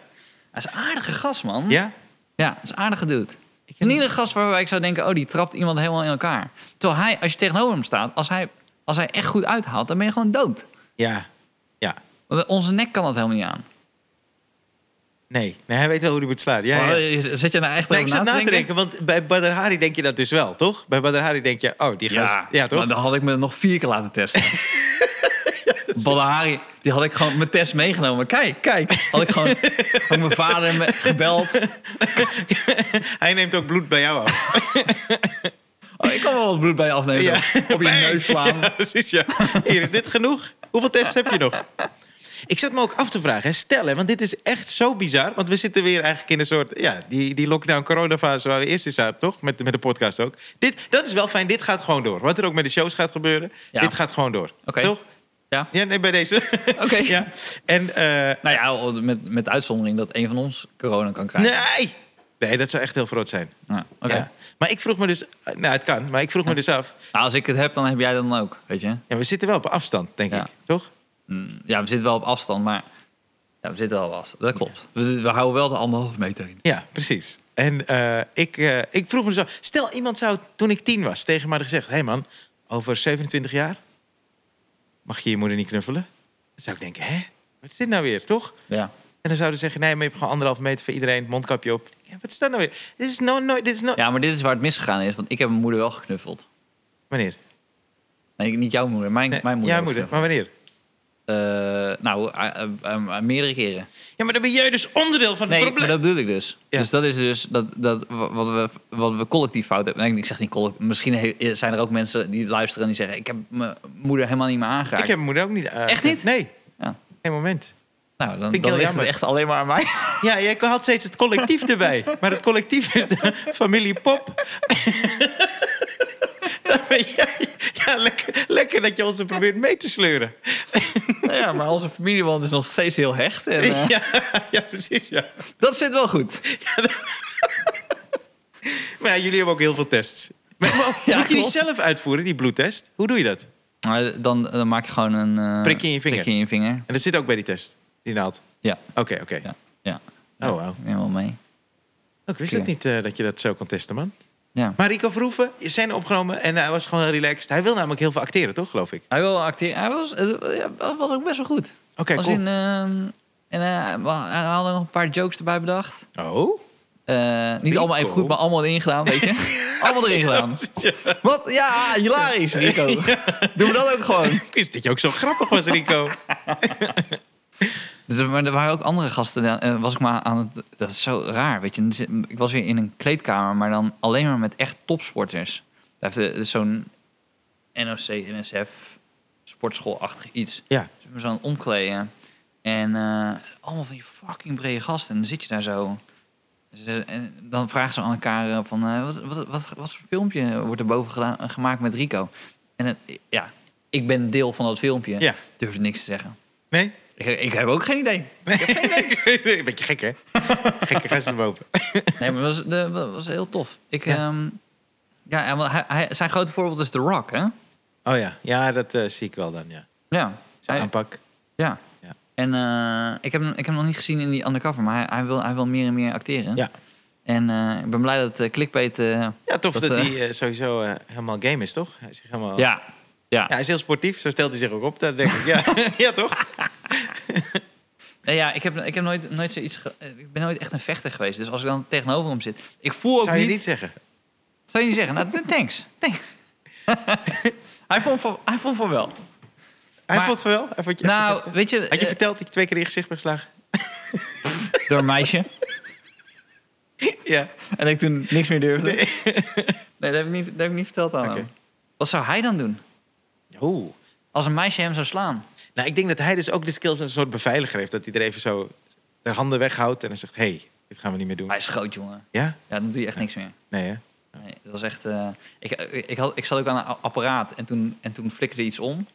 [SPEAKER 2] is een aardige gast, man.
[SPEAKER 1] Ja?
[SPEAKER 2] Ja, dat is een aardige dude.
[SPEAKER 1] Ik heb-
[SPEAKER 2] Niet een gast waarbij ik zou denken, oh, die trapt iemand helemaal in elkaar. Terwijl hij, als je tegenover hem staat, als hij, als hij echt goed uithaalt, dan ben je gewoon dood.
[SPEAKER 1] Ja. Ja.
[SPEAKER 2] Want onze nek kan dat helemaal niet aan.
[SPEAKER 1] Nee. nee, hij weet wel hoe hij moet slaan. Ja, ja.
[SPEAKER 2] Oh, Zet je nou echt
[SPEAKER 1] Nee, ik
[SPEAKER 2] over
[SPEAKER 1] zat
[SPEAKER 2] na
[SPEAKER 1] na
[SPEAKER 2] te
[SPEAKER 1] te denken, want bij Badr Hari denk je dat dus wel, toch? Bij Badr Hari denk je, oh, die gast... Ja, toch?
[SPEAKER 2] maar dan had ik me nog vier keer laten testen. Badahari, die had ik gewoon mijn test meegenomen. Kijk, kijk. Had ik gewoon had ik mijn vader me- gebeld.
[SPEAKER 1] <laughs> Hij neemt ook bloed bij jou af.
[SPEAKER 2] Oh, ik kan wel wat bloed bij je afnemen.
[SPEAKER 1] Ja.
[SPEAKER 2] Op je
[SPEAKER 1] Bang.
[SPEAKER 2] neus
[SPEAKER 1] <laughs>
[SPEAKER 2] slaan.
[SPEAKER 1] Ja, precies, ja. Hier, is dit genoeg? Hoeveel tests heb je nog? Ik zat me ook af te vragen, hè. stel hè, want dit is echt zo bizar. Want we zitten weer eigenlijk in een soort, ja, die, die lockdown-coronafase waar we eerst in zaten, toch? Met, met de podcast ook. Dit, dat is wel fijn, dit gaat gewoon door. Wat er ook met de shows gaat gebeuren,
[SPEAKER 2] Ja.
[SPEAKER 1] dit gaat gewoon door.
[SPEAKER 2] Oké.
[SPEAKER 1] Toch?
[SPEAKER 2] Ja.
[SPEAKER 1] Ja, nee, bij deze.
[SPEAKER 2] Oké.
[SPEAKER 1] <laughs> ja. En, eh,
[SPEAKER 2] Nou ja, met, met uitzondering dat een van ons corona kan krijgen.
[SPEAKER 1] nee! Nee, dat zou echt heel verrot zijn.
[SPEAKER 2] Nou, oké.
[SPEAKER 1] Ja. Maar ik vroeg me dus, nou het kan, maar ik vroeg me dus af.
[SPEAKER 2] Nou, als ik het heb, dan heb jij dat dan ook, weet je.
[SPEAKER 1] Ja, we zitten wel op afstand, denk
[SPEAKER 2] Ja.
[SPEAKER 1] ik, toch?
[SPEAKER 2] Mm, Ja, we zitten wel op afstand, maar... Ja, we zitten wel op afstand. Dat klopt. We, we houden wel de anderhalve meter in.
[SPEAKER 1] Ja, precies. En eh, ik, eh, ik vroeg me zo, stel iemand zou toen ik tien was tegen mij hadden gezegd: hé hey man, over 27 jaar mag je je moeder niet knuffelen? Dan zou ik denken: hè, wat is dit nou weer, toch?
[SPEAKER 2] Ja.
[SPEAKER 1] En dan zouden ze zeggen: nee, maar je hebt gewoon anderhalf meter voor iedereen, mondkapje op. Ja, wat is dat nou weer? Dit is nooit, nooit, dit is nooit.
[SPEAKER 2] Ja, maar dit is waar het misgegaan is. Want ik heb mijn moeder wel geknuffeld.
[SPEAKER 1] Wanneer?
[SPEAKER 2] Nee, niet jouw moeder. Mijn,
[SPEAKER 1] Nee,
[SPEAKER 2] mijn moeder.
[SPEAKER 1] Jouw
[SPEAKER 2] ook
[SPEAKER 1] moeder, maar
[SPEAKER 2] geknuffeld.
[SPEAKER 1] wanneer?
[SPEAKER 2] Eh, eh, nou, eh, eh, eh, meerdere keren.
[SPEAKER 1] Ja, maar dan ben jij dus onderdeel van het
[SPEAKER 2] Nee, maar
[SPEAKER 1] probleem.
[SPEAKER 2] dat bedoel ik dus.
[SPEAKER 1] Ja.
[SPEAKER 2] Dus dat is dus dat, dat wa- wat, we, wat we collectief fout hebben. Nee, ik zeg niet collectief. Misschien he- zijn er ook mensen die luisteren en die zeggen... ik heb mijn moeder helemaal niet meer aangeraakt.
[SPEAKER 1] Ik heb mijn moeder ook niet aangeraakt.
[SPEAKER 2] Echt niet?
[SPEAKER 1] Nee,
[SPEAKER 2] Ja.
[SPEAKER 1] geen moment.
[SPEAKER 2] Nou, dan,
[SPEAKER 1] Vind ik
[SPEAKER 2] dan
[SPEAKER 1] heel
[SPEAKER 2] ligt
[SPEAKER 1] jammer.
[SPEAKER 2] het echt alleen maar aan mij.
[SPEAKER 1] Ja, jij had steeds het collectief erbij. Maar het collectief is de familie Pop. Dat ben jij. Ja, lekker, lekker dat je ons er probeert mee te sleuren.
[SPEAKER 2] <laughs> ja, maar onze familieband is nog steeds heel hecht. En, eh,
[SPEAKER 1] Ja, ja precies. Ja.
[SPEAKER 2] Dat zit wel goed.
[SPEAKER 1] Maar ja, jullie hebben ook heel veel tests. Maar, maar
[SPEAKER 2] <laughs> Ja,
[SPEAKER 1] moet je die
[SPEAKER 2] klopt.
[SPEAKER 1] zelf uitvoeren, die bloedtest? Hoe doe je dat?
[SPEAKER 2] Maar dan, dan maak je gewoon een... eh,
[SPEAKER 1] Prikje in je vinger.
[SPEAKER 2] prikje in je vinger.
[SPEAKER 1] En dat zit ook bij die test, die naald.
[SPEAKER 2] Ja,
[SPEAKER 1] Oké, oké.
[SPEAKER 2] ja, ja.
[SPEAKER 1] Oh, wauw.
[SPEAKER 2] Helemaal mee.
[SPEAKER 1] Oh, ik wist
[SPEAKER 2] Oké.
[SPEAKER 1] dat niet eh, dat je dat zo kon testen, man.
[SPEAKER 2] Ja.
[SPEAKER 1] Maar Rico Verhoeven is zijn opgenomen en hij was gewoon heel relaxed. Hij wil namelijk heel veel acteren, toch, geloof ik?
[SPEAKER 2] Hij wil acteren. Hij was, eh, ja, was ook best wel goed.
[SPEAKER 1] Oké,
[SPEAKER 2] Als
[SPEAKER 1] cool.
[SPEAKER 2] in, ehm, en eh, we hij had nog een paar jokes erbij bedacht.
[SPEAKER 1] Oh? <laughs>
[SPEAKER 2] Eh, niet
[SPEAKER 1] Rico.
[SPEAKER 2] allemaal even goed, maar allemaal erin gedaan, weet
[SPEAKER 1] <laughs>
[SPEAKER 2] je? allemaal erin gedaan.
[SPEAKER 1] Ja.
[SPEAKER 2] Wat? Ja, hilarisch, Rico. Doen we dat ook gewoon.
[SPEAKER 1] Ik wist dat je ook zo grappig was, <laughs> Rico.
[SPEAKER 2] Dus, er- maar er waren ook andere gasten. daar, eh, was ik maar aan het... Dat is zo raar, weet je. Dan zit- Ik was weer in een kleedkamer, maar dan alleen maar met echt topsporters. Daar heeft eh, zo'n NOC, NSF, sportschoolachtig iets.
[SPEAKER 1] ja.
[SPEAKER 2] Dus ik me zo aan het omkleden. En eh, allemaal van die fucking brede gasten. En dan zit je daar zo. Ze- En dan vragen ze aan elkaar eh, van... eh, wat, wat, wat, wat voor filmpje wordt er boven gedaan, gemaakt met Rico? En het- ja, ik ben deel van dat filmpje.
[SPEAKER 1] Ja.
[SPEAKER 2] Durf niks te zeggen.
[SPEAKER 1] Nee?
[SPEAKER 2] Ik, ik heb ook geen idee.
[SPEAKER 1] <laughs> Een beetje gek, hè? Gekke gasten boven.
[SPEAKER 2] <laughs> Nee, maar het was, de, was heel tof. Ik, ja. ja, en want hij, hij- zijn grote voorbeeld is The Rock, hè?
[SPEAKER 1] <laughs> Oh ja, ja dat eh, zie ik wel dan, ja.
[SPEAKER 2] Ja.
[SPEAKER 1] Zijn
[SPEAKER 2] Hij-
[SPEAKER 1] aanpak.
[SPEAKER 2] ja.
[SPEAKER 1] Ja.
[SPEAKER 2] En eh, ik, heb, hem- ik heb hem nog niet gezien in die undercover, maar hij, hij, wil, hij wil meer en meer acteren.
[SPEAKER 1] Ja.
[SPEAKER 2] En eh, ik ben blij dat eh Clickbait... eh,
[SPEAKER 1] Ja, tof dat,
[SPEAKER 2] eh,
[SPEAKER 1] hij eh, sowieso eh, helemaal game is, toch? Hij is, zich helemaal...
[SPEAKER 2] Ja, ja.
[SPEAKER 1] Ja, hij is heel sportief, zo stelt hij zich ook op. Dat denk ik,
[SPEAKER 2] <laughs>
[SPEAKER 1] ja. ja, toch?
[SPEAKER 2] Nee, ja ik, heb, ik, heb nooit, nooit zoiets ge- eh, ik ben nooit echt een vechter geweest. Dus als ik dan tegenover hem zit... Ik voel ook
[SPEAKER 1] Zou je
[SPEAKER 2] niet...
[SPEAKER 1] niet zeggen.
[SPEAKER 2] Zou je niet zeggen? Nou, <laughs> thanks. thanks. hij, vond van, hij vond van wel.
[SPEAKER 1] Hij
[SPEAKER 2] Maar-
[SPEAKER 1] vond het wel? Hij vond je
[SPEAKER 2] Nou, weet je...
[SPEAKER 1] Had je
[SPEAKER 2] eh,
[SPEAKER 1] verteld dat je twee keer in je gezicht bent geslagen?
[SPEAKER 2] door een meisje.
[SPEAKER 1] Ja.
[SPEAKER 2] En dat ik toen niks meer durfde. Nee, <laughs> dat, heb ik niet, dat heb ik niet verteld aan
[SPEAKER 1] Oké.
[SPEAKER 2] hem. Wat zou hij dan doen?
[SPEAKER 1] Oeh.
[SPEAKER 2] Als een meisje hem zou slaan?
[SPEAKER 1] Nou, ik denk dat hij dus ook de skills als een soort beveiliger heeft. Dat hij er even zo de handen weghoudt en dan zegt... hey, dit gaan we niet meer doen.
[SPEAKER 2] Hij is groot, jongen.
[SPEAKER 1] Ja?
[SPEAKER 2] Ja, dan doe je echt niks meer.
[SPEAKER 1] Nee, hè?
[SPEAKER 2] Nee, dat was echt. eh, ik, ik, had, ik zat ook aan een a- apparaat en toen, en toen flikkerde iets om.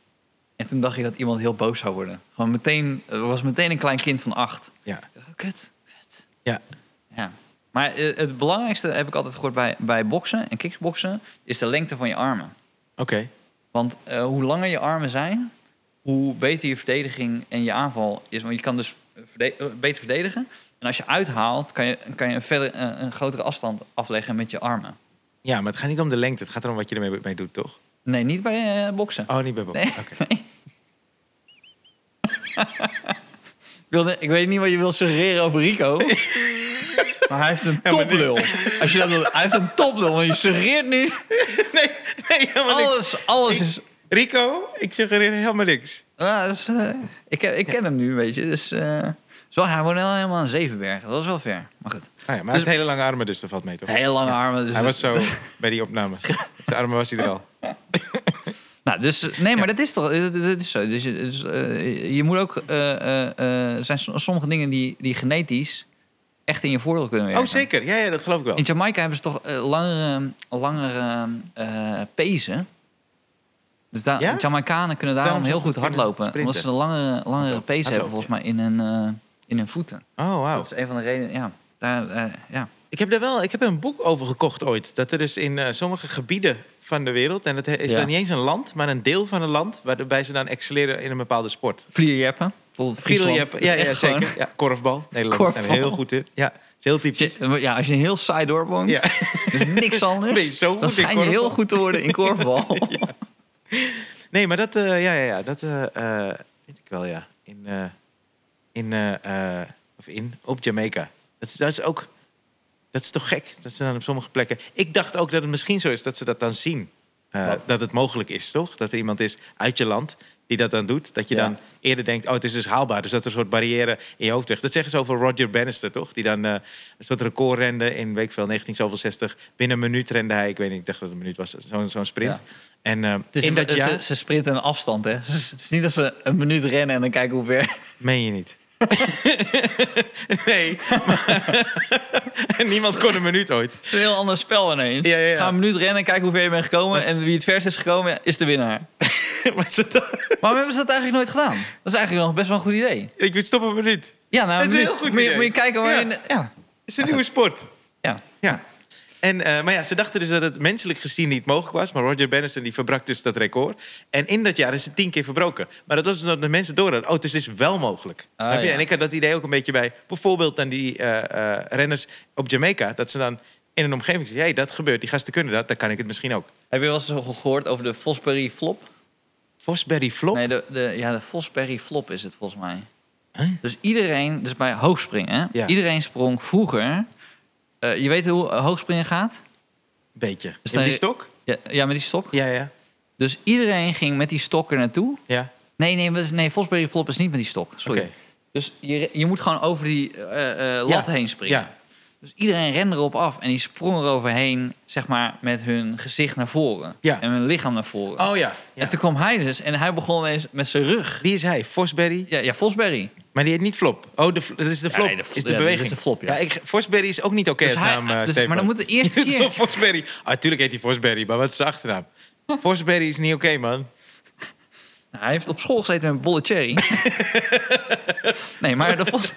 [SPEAKER 2] En toen dacht ik dat iemand heel boos zou worden. Gewoon meteen, er was meteen een klein kind van acht.
[SPEAKER 1] Ja.
[SPEAKER 2] Oh, kut, kut.
[SPEAKER 1] Ja.
[SPEAKER 2] Ja. Maar eh, het belangrijkste heb ik altijd gehoord bij, bij boksen en kickboksen... is de lengte van je armen.
[SPEAKER 1] Oké.
[SPEAKER 2] Want eh, hoe langer je armen zijn, hoe beter je verdediging en je aanval is. Want je kan dus verde- eh, beter verdedigen. En als je uithaalt, kan je, kan je een, verder, eh, een, een grotere afstand afleggen met je armen.
[SPEAKER 1] Ja, maar het gaat niet om de lengte. Het gaat erom wat je ermee mee doet, toch?
[SPEAKER 2] Nee, niet bij eh, boksen.
[SPEAKER 1] Oh, niet bij Bob.
[SPEAKER 2] Nee.
[SPEAKER 1] Oké. <laughs>
[SPEAKER 2] nee. ik, wilde, ik weet niet wat je wil suggereren over
[SPEAKER 1] <laughs>
[SPEAKER 2] Rico. Maar hij heeft een
[SPEAKER 1] Ja, maar nu-
[SPEAKER 2] toplul. Als je dat wil, hij heeft een toplul. Want je suggereert nu.
[SPEAKER 1] Nee, nee, helemaal niks.
[SPEAKER 2] Alles, alles is.
[SPEAKER 1] Rico, ik suggereer helemaal niks.
[SPEAKER 2] Ja, dat is, eh, ik, ik ken hem nu, weet je. Dus, eh, zo, hij woont wel helemaal in Zevenbergen. Dat is wel ver. Maar goed.
[SPEAKER 1] Ah ja, maar hij
[SPEAKER 2] Dus-
[SPEAKER 1] heeft hele lange armen, dus dat valt mee, toch?
[SPEAKER 2] Heel lange armen. Dus,
[SPEAKER 1] Hij was zo <laughs> bij die opname. Zijn armen was hij er
[SPEAKER 2] <laughs>
[SPEAKER 1] al.
[SPEAKER 2] nou, dus, eh, nee, maar dat is toch. Dat, dat is zo. Dus, je- dus, eh, je moet ook. eh, eh, eh, er zijn so- sommige dingen die, die genetisch echt in je voordeel kunnen werken.
[SPEAKER 1] Oh, zeker. Ja, ja, dat geloof ik wel.
[SPEAKER 2] In Jamaica hebben ze toch eh, langere, langere eh, pezen. Dus daar,
[SPEAKER 1] Ja?
[SPEAKER 2] Jamaicanen kunnen
[SPEAKER 1] Dus daarom
[SPEAKER 2] daarom heel
[SPEAKER 1] zo goed
[SPEAKER 2] goed
[SPEAKER 1] kunnen
[SPEAKER 2] hardlopen.
[SPEAKER 1] sprinten.
[SPEAKER 2] Omdat ze een langere, langere
[SPEAKER 1] Zo,
[SPEAKER 2] pezen hebben, volgens
[SPEAKER 1] hardlopen,
[SPEAKER 2] mij, in hun, eh, in hun voeten.
[SPEAKER 1] Oh, wauw.
[SPEAKER 2] Dat is een van de redenen, ja. Daar, eh, ja.
[SPEAKER 1] Ik heb daar wel ik heb er een boek over gekocht ooit. Dat er dus in eh, sommige gebieden van de wereld... en dat he- is
[SPEAKER 2] Ja.
[SPEAKER 1] dan niet eens een land, maar een deel van een land... waarbij ze dan excelleren in een bepaalde sport.
[SPEAKER 2] Vlierjeppen, bijvoorbeeld Friesland.
[SPEAKER 1] Vlierenjeppen,
[SPEAKER 2] is
[SPEAKER 1] ja, ja
[SPEAKER 2] echt gewoon-
[SPEAKER 1] zeker. Ja, korfbal. Nederlanders zijn er heel
[SPEAKER 2] Korfbal.
[SPEAKER 1] goed in. Ja, het is heel typisch.
[SPEAKER 2] Als <laughs> je- Ja, als je in een heel saai dorp woont,
[SPEAKER 1] Ja.
[SPEAKER 2] <laughs> dus niks anders,
[SPEAKER 1] Ben je zo goed
[SPEAKER 2] dan
[SPEAKER 1] in
[SPEAKER 2] schijn je heel
[SPEAKER 1] korfbal.
[SPEAKER 2] goed te worden in
[SPEAKER 1] <laughs>
[SPEAKER 2] korfbal.
[SPEAKER 1] Nee, maar dat, eh, ja, ja, ja, dat eh, eh, weet ik wel, ja. In, eh, in, eh, eh, of in, op Jamaica. Dat is, dat is ook, dat is toch gek, dat ze dan op sommige plekken... Ik dacht ook dat het misschien zo is dat ze dat dan zien. Eh,
[SPEAKER 2] Wat?
[SPEAKER 1] dat het mogelijk is, toch? Dat er iemand is uit je land die dat dan doet. Dat je
[SPEAKER 3] Ja.
[SPEAKER 1] dan eerder denkt, oh, het is dus haalbaar. Dus dat er een soort barrière in je hoofd weg. Dat zeggen ze over Roger Bannister, toch? Die dan eh, een soort record rende in week veel 1960. Binnen een minuut rende hij, ik weet niet, ik dacht dat het een minuut was, zo'n zo'n sprint. En eh,
[SPEAKER 2] Het is
[SPEAKER 1] in dat
[SPEAKER 2] een-
[SPEAKER 1] jaar,
[SPEAKER 2] ze, ze sprinten een afstand, hè? <laughs> Dus het is niet dat ze een minuut rennen en dan kijken hoe ver.
[SPEAKER 1] meen je niet. <laughs> nee. <laughs> maar- niemand kon een minuut ooit. <laughs>
[SPEAKER 2] Het is een heel ander spel ineens.
[SPEAKER 1] Ja, ja, ja.
[SPEAKER 2] Ga een minuut rennen, kijken hoe ver je bent gekomen.
[SPEAKER 1] Dat is-
[SPEAKER 2] En wie het verst is gekomen, is de winnaar.
[SPEAKER 1] maar ze-
[SPEAKER 2] Waarom hebben ze dat eigenlijk nooit gedaan? Dat is eigenlijk nog best wel een goed idee.
[SPEAKER 1] ik wil stoppen een minuut. Het
[SPEAKER 2] Ja, nou,
[SPEAKER 1] Dat is een
[SPEAKER 2] moet-
[SPEAKER 1] heel goed
[SPEAKER 2] moet, je-
[SPEAKER 1] idee.
[SPEAKER 2] Moet je kijken waar
[SPEAKER 1] Ja.
[SPEAKER 2] je... Ja,
[SPEAKER 1] is een nieuwe sport.
[SPEAKER 2] ja.
[SPEAKER 1] Ja. En, eh, maar ja, ze dachten dus dat het menselijk gezien niet mogelijk was. Maar Roger Bannister die verbrak dus dat record. En in dat jaar is het tien keer verbroken. Maar dat was dus omdat de mensen door hadden. Oh, dus het is wel mogelijk.
[SPEAKER 2] Ah,
[SPEAKER 1] Snap je?
[SPEAKER 2] ja.
[SPEAKER 1] En ik had dat idee ook een beetje bij bijvoorbeeld dan die eh, eh, renners op Jamaica. Dat ze dan in een omgeving zeggen, hey, dat gebeurt. Die gasten kunnen dat, dan kan ik het misschien ook.
[SPEAKER 2] Heb je wel eens gehoord over de Fosbury flop?
[SPEAKER 1] Fosberry Flop?
[SPEAKER 2] Nee, de, de, ja, de Fosbury flop is het volgens mij.
[SPEAKER 1] Huh?
[SPEAKER 2] Dus iedereen, dus bij hoogspringen, hè?
[SPEAKER 1] Ja.
[SPEAKER 2] iedereen sprong vroeger. eh, je weet hoe eh, hoogspringen gaat?
[SPEAKER 1] Beetje. in
[SPEAKER 2] Dus dan-
[SPEAKER 1] die stok?
[SPEAKER 2] Ja, ja, met die stok.
[SPEAKER 1] Ja, ja.
[SPEAKER 2] Dus iedereen ging met die stok er naartoe.
[SPEAKER 1] ja.
[SPEAKER 2] Nee, nee, was- nee, Fosbury flop is niet met die stok. Sorry.
[SPEAKER 1] Oké.
[SPEAKER 2] Dus je, je moet gewoon over die eh, eh, lat
[SPEAKER 1] Ja.
[SPEAKER 2] heen springen.
[SPEAKER 1] Ja.
[SPEAKER 2] Dus iedereen rende erop af en die sprong eroverheen, zeg maar, met hun gezicht naar voren.
[SPEAKER 1] Ja.
[SPEAKER 2] En hun lichaam naar voren.
[SPEAKER 1] Oh ja. ja.
[SPEAKER 2] En toen kwam hij dus en hij begon ineens met zijn rug.
[SPEAKER 1] Wie is hij? Fosberry?
[SPEAKER 2] Ja, ja Fosberry.
[SPEAKER 1] Maar die heet niet Flop. Oh, de, fl- dat is de
[SPEAKER 2] Ja,
[SPEAKER 1] Flop.
[SPEAKER 2] nee, de fl-
[SPEAKER 1] is de
[SPEAKER 2] ja, dat
[SPEAKER 1] beweging.
[SPEAKER 2] is de flop, ja.
[SPEAKER 1] ik, Forsberry is ook niet oké
[SPEAKER 2] Dus
[SPEAKER 1] als
[SPEAKER 2] hij-
[SPEAKER 1] naam, eh,
[SPEAKER 2] dus-
[SPEAKER 1] Stefan.
[SPEAKER 2] maar dan moet de
[SPEAKER 1] <laughs>
[SPEAKER 2] eerste
[SPEAKER 1] Dit is
[SPEAKER 2] keer-
[SPEAKER 1] Zo Forsberry. Ah, tuurlijk heet hij Forsberry, maar wat is zijn achternaam? Forsberry is niet oké, man.
[SPEAKER 2] Nou, hij heeft op school gezeten met een bolle
[SPEAKER 1] <laughs>
[SPEAKER 2] cherry. nee, maar de Fos...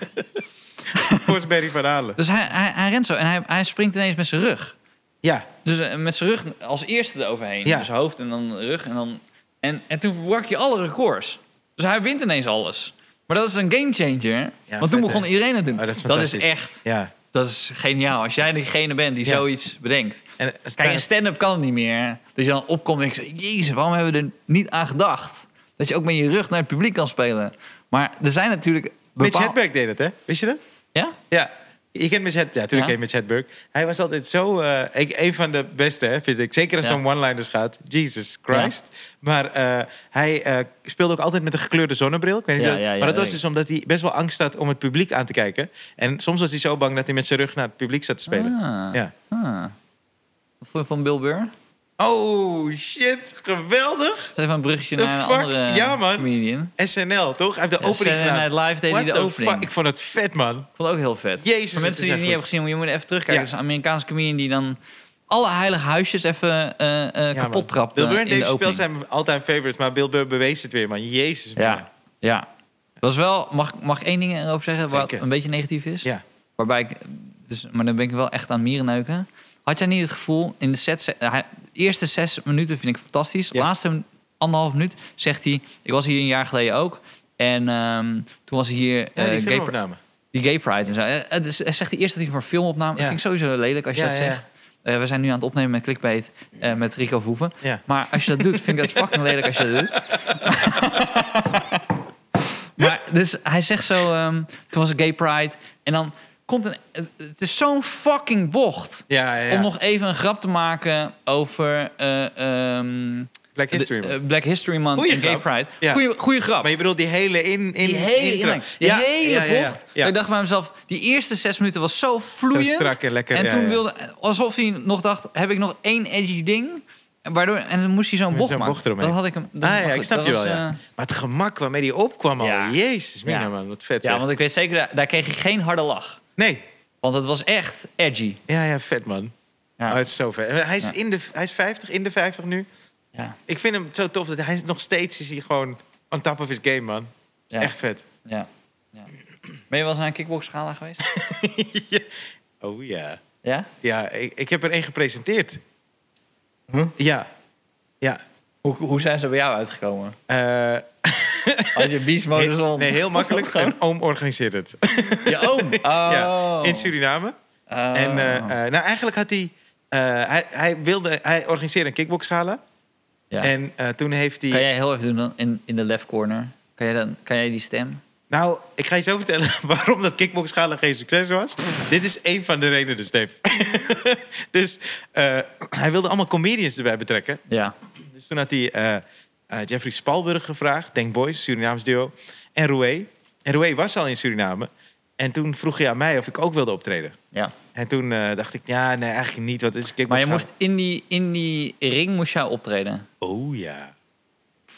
[SPEAKER 1] Forsberry van Halen.
[SPEAKER 2] Dus hij, hij, hij rent zo en hij, hij springt ineens met zijn rug.
[SPEAKER 1] Ja, Ah,
[SPEAKER 2] Dus eh, met zijn rug als eerste eroverheen.
[SPEAKER 1] Ja.
[SPEAKER 2] Dus hoofd en dan rug. En, dan, en, en toen verbrak je alle records. Dus hij wint ineens alles. Maar dat is een gamechanger. want toen
[SPEAKER 1] vet,
[SPEAKER 2] begon
[SPEAKER 1] hè?
[SPEAKER 2] iedereen het doen.
[SPEAKER 1] Oh, dat is
[SPEAKER 2] dat is
[SPEAKER 1] fantastisch.
[SPEAKER 2] echt
[SPEAKER 1] ja.
[SPEAKER 2] dat is geniaal. Als jij degene bent die
[SPEAKER 1] Ja.
[SPEAKER 2] zoiets bedenkt.
[SPEAKER 1] En, eh,
[SPEAKER 2] Kijk, in stand-up kan het niet meer. Dat je dan opkomt en ik zeg, jezus, waarom hebben we er niet aan gedacht? Dat je ook met je rug naar het publiek kan spelen. Maar er zijn natuurlijk
[SPEAKER 1] Mitch
[SPEAKER 2] bepaalde...
[SPEAKER 1] Hedberg deed dat, hè? Wist je dat?
[SPEAKER 2] Ja?
[SPEAKER 1] Ja. Je kent Mitch Hedberg. Ja, natuurlijk ken
[SPEAKER 2] Ja.
[SPEAKER 1] je Mitch Hedberg. Hij was altijd zo... eh, ik, een van de beste, hè, vind ik. Zeker als
[SPEAKER 2] Ja.
[SPEAKER 1] het om one-liners gaat. Jesus Christ. Maar eh, hij eh, speelde ook altijd met een gekleurde zonnebril. Ik weet niet
[SPEAKER 2] Ja,
[SPEAKER 1] of-
[SPEAKER 2] ja, ja,
[SPEAKER 1] maar dat was
[SPEAKER 2] weet
[SPEAKER 1] dus omdat hij best wel angst had om het publiek aan te kijken. En soms was hij zo bang dat hij met zijn rug naar het publiek zat te spelen.
[SPEAKER 2] Ah.
[SPEAKER 1] Ja.
[SPEAKER 2] Ah. Wat vond je van Bill Burr?
[SPEAKER 1] Oh, shit. Geweldig.
[SPEAKER 2] Zet even een bruggetje
[SPEAKER 1] The
[SPEAKER 2] naar een
[SPEAKER 1] fuck?
[SPEAKER 2] andere
[SPEAKER 1] Ja, man.
[SPEAKER 2] comedian.
[SPEAKER 1] SNL, toch? Hij heeft de
[SPEAKER 2] Ja,
[SPEAKER 1] opening
[SPEAKER 2] Saturday
[SPEAKER 1] gedaan.
[SPEAKER 2] Night Live deed hij
[SPEAKER 1] What
[SPEAKER 2] de
[SPEAKER 1] the
[SPEAKER 2] opening.
[SPEAKER 1] fuck? Ik vond het vet, man.
[SPEAKER 2] Vond ik ook heel vet.
[SPEAKER 1] Jezus,
[SPEAKER 2] Voor
[SPEAKER 1] het is
[SPEAKER 2] mensen die het
[SPEAKER 1] echt
[SPEAKER 2] niet hebben gezien, moet je moet even terugkijken.
[SPEAKER 1] Ja.
[SPEAKER 2] Dat is een Amerikaanse comedian die dan alle heilige huisjes even eh, eh,
[SPEAKER 1] Ja, man.
[SPEAKER 2] kapot trapt
[SPEAKER 1] Bill
[SPEAKER 2] eh,
[SPEAKER 1] Burr
[SPEAKER 2] in
[SPEAKER 1] en
[SPEAKER 2] de
[SPEAKER 1] Dave Chappelle
[SPEAKER 2] opening.
[SPEAKER 1] zijn mijn all-time favorites. Maar Bill Burr bewees het weer, man. Jezus, man.
[SPEAKER 2] Ja, ja. Dat is wel, mag, ik- mag ik één ding erover zeggen wat
[SPEAKER 1] Zeker.
[SPEAKER 2] een beetje negatief is?
[SPEAKER 1] Ja.
[SPEAKER 2] Waarbij ik, dus, maar dan ben ik wel echt aan mierenneuken. Had jij niet het gevoel, in de set, se- hij- de eerste zes minuten vind ik fantastisch.
[SPEAKER 1] Ja.
[SPEAKER 2] Laatste anderhalf minuut zegt hij, ik was hier een jaar geleden ook. En ehm, toen was hij hier eh,
[SPEAKER 1] Ja, die
[SPEAKER 2] gay, pri-
[SPEAKER 1] filmopname.
[SPEAKER 2] die gay pride en zo. Eh, eh, dus Hij zegt hij eerst dat hij voor een film opnam.
[SPEAKER 1] Ja.
[SPEAKER 2] Dat vind ik sowieso lelijk als je
[SPEAKER 1] Ja,
[SPEAKER 2] dat
[SPEAKER 1] ja, ja.
[SPEAKER 2] zegt. Eh, we zijn nu aan het opnemen met Clickbait, eh, met Rico Verhoeven.
[SPEAKER 1] Ja.
[SPEAKER 2] Maar als je dat doet, vind ik dat fucking lelijk als je dat doet. <laughs> maar dus hij zegt zo, ehm, toen was het gay pride. En dan komt een... Het is zo'n fucking bocht.
[SPEAKER 1] Ja, ja, ja.
[SPEAKER 2] Om nog even een grap te maken over... eh, ehm,
[SPEAKER 1] Black History
[SPEAKER 2] de-
[SPEAKER 1] Month.
[SPEAKER 2] eh, Black History Month
[SPEAKER 1] Goeie
[SPEAKER 2] en Gay
[SPEAKER 1] grap.
[SPEAKER 2] Pride.
[SPEAKER 1] Ja.
[SPEAKER 2] Goeie, goeie grap.
[SPEAKER 1] Maar je bedoelt die hele in... in
[SPEAKER 2] Die hele
[SPEAKER 1] intro.
[SPEAKER 2] ingang, die hele bocht.
[SPEAKER 1] Ja,
[SPEAKER 2] Ik dacht bij mezelf, die eerste zes minuten was zo vloeiend.
[SPEAKER 1] Zo strak en lekker,
[SPEAKER 2] En
[SPEAKER 1] ja,
[SPEAKER 2] toen
[SPEAKER 1] ja.
[SPEAKER 2] wilde, alsof hij nog dacht, heb ik nog één edgy ding? En Waardoor, en dan moest hij zo'n
[SPEAKER 1] Met
[SPEAKER 2] bocht
[SPEAKER 1] zo'n
[SPEAKER 2] maken.
[SPEAKER 1] bocht eromheen.
[SPEAKER 2] dat had ik hem. dat-
[SPEAKER 1] Ah,
[SPEAKER 2] maar
[SPEAKER 1] ja,
[SPEAKER 2] goed,
[SPEAKER 1] ik snap
[SPEAKER 2] dat
[SPEAKER 1] je wel,
[SPEAKER 2] was,
[SPEAKER 1] ja.
[SPEAKER 2] eh,
[SPEAKER 1] Maar het gemak waarmee die opkwam al.
[SPEAKER 2] Ja.
[SPEAKER 1] Jezus, mina,
[SPEAKER 2] Ja.
[SPEAKER 1] man. Wat vet,
[SPEAKER 2] ja,
[SPEAKER 1] zeg.
[SPEAKER 2] want ik weet zeker, daar, daar kreeg ik geen harde lach.
[SPEAKER 1] Nee.
[SPEAKER 2] Want het was echt edgy.
[SPEAKER 1] Ja, ja, vet, man.
[SPEAKER 2] Ja.
[SPEAKER 1] Oh, het is zo vet. En Hij is,
[SPEAKER 2] Ja.
[SPEAKER 1] in de, hij is 50, in de 50 nu.
[SPEAKER 2] Ja,
[SPEAKER 1] Ik vind hem zo tof. dat Hij is nog steeds is hij gewoon on top of his game, man.
[SPEAKER 2] ja,
[SPEAKER 1] Echt vet.
[SPEAKER 2] Ja, ja. Ben je wel eens naar een kickboxgala geweest?
[SPEAKER 1] Ja. Oh ja.
[SPEAKER 2] ja?
[SPEAKER 1] Ja, ik, ik heb er één gepresenteerd.
[SPEAKER 2] Huh?
[SPEAKER 1] Ja. Ja.
[SPEAKER 2] Hoe, hoe zijn ze bij jou uitgekomen? Oh,
[SPEAKER 1] Eh,
[SPEAKER 2] Had <laughs> je beast
[SPEAKER 1] he-
[SPEAKER 2] modus on?
[SPEAKER 1] nee,
[SPEAKER 2] <laughs>
[SPEAKER 1] heel makkelijk.
[SPEAKER 2] gewoon-
[SPEAKER 1] Een oom organiseert het.
[SPEAKER 2] Je <laughs> oom? Oh.
[SPEAKER 1] Ja, in Suriname.
[SPEAKER 2] Oh.
[SPEAKER 1] En eh, eh, nou, eigenlijk had hij, eh, hij... Hij wilde... Hij organiseerde een kickboxgala.
[SPEAKER 2] Ja.
[SPEAKER 1] En eh, toen heeft hij...
[SPEAKER 2] Kan jij heel even doen dan in, in de left corner? Kan jij, dan, kan jij die stem?
[SPEAKER 1] Nou, ik ga je zo vertellen <laughs> waarom dat kickboxgala geen succes was. Dit is één van de redenen, <laughs> Dus, Steve. dus eh, hij wilde allemaal comedians erbij betrekken.
[SPEAKER 2] Ja.
[SPEAKER 1] Dus toen had hij eh, eh, Jeffrey Spalburg gevraagd. Denk Boys, Surinaams duo. En Roué. En Roué was al in Suriname. En toen vroeg hij aan mij of ik ook wilde optreden.
[SPEAKER 2] Ja.
[SPEAKER 1] En toen eh, dacht ik, ja, nee, eigenlijk niet. Want het is
[SPEAKER 2] Maar je
[SPEAKER 1] kickboxhand.
[SPEAKER 2] moest in die, in die ring moest jij optreden.
[SPEAKER 1] Oh ja.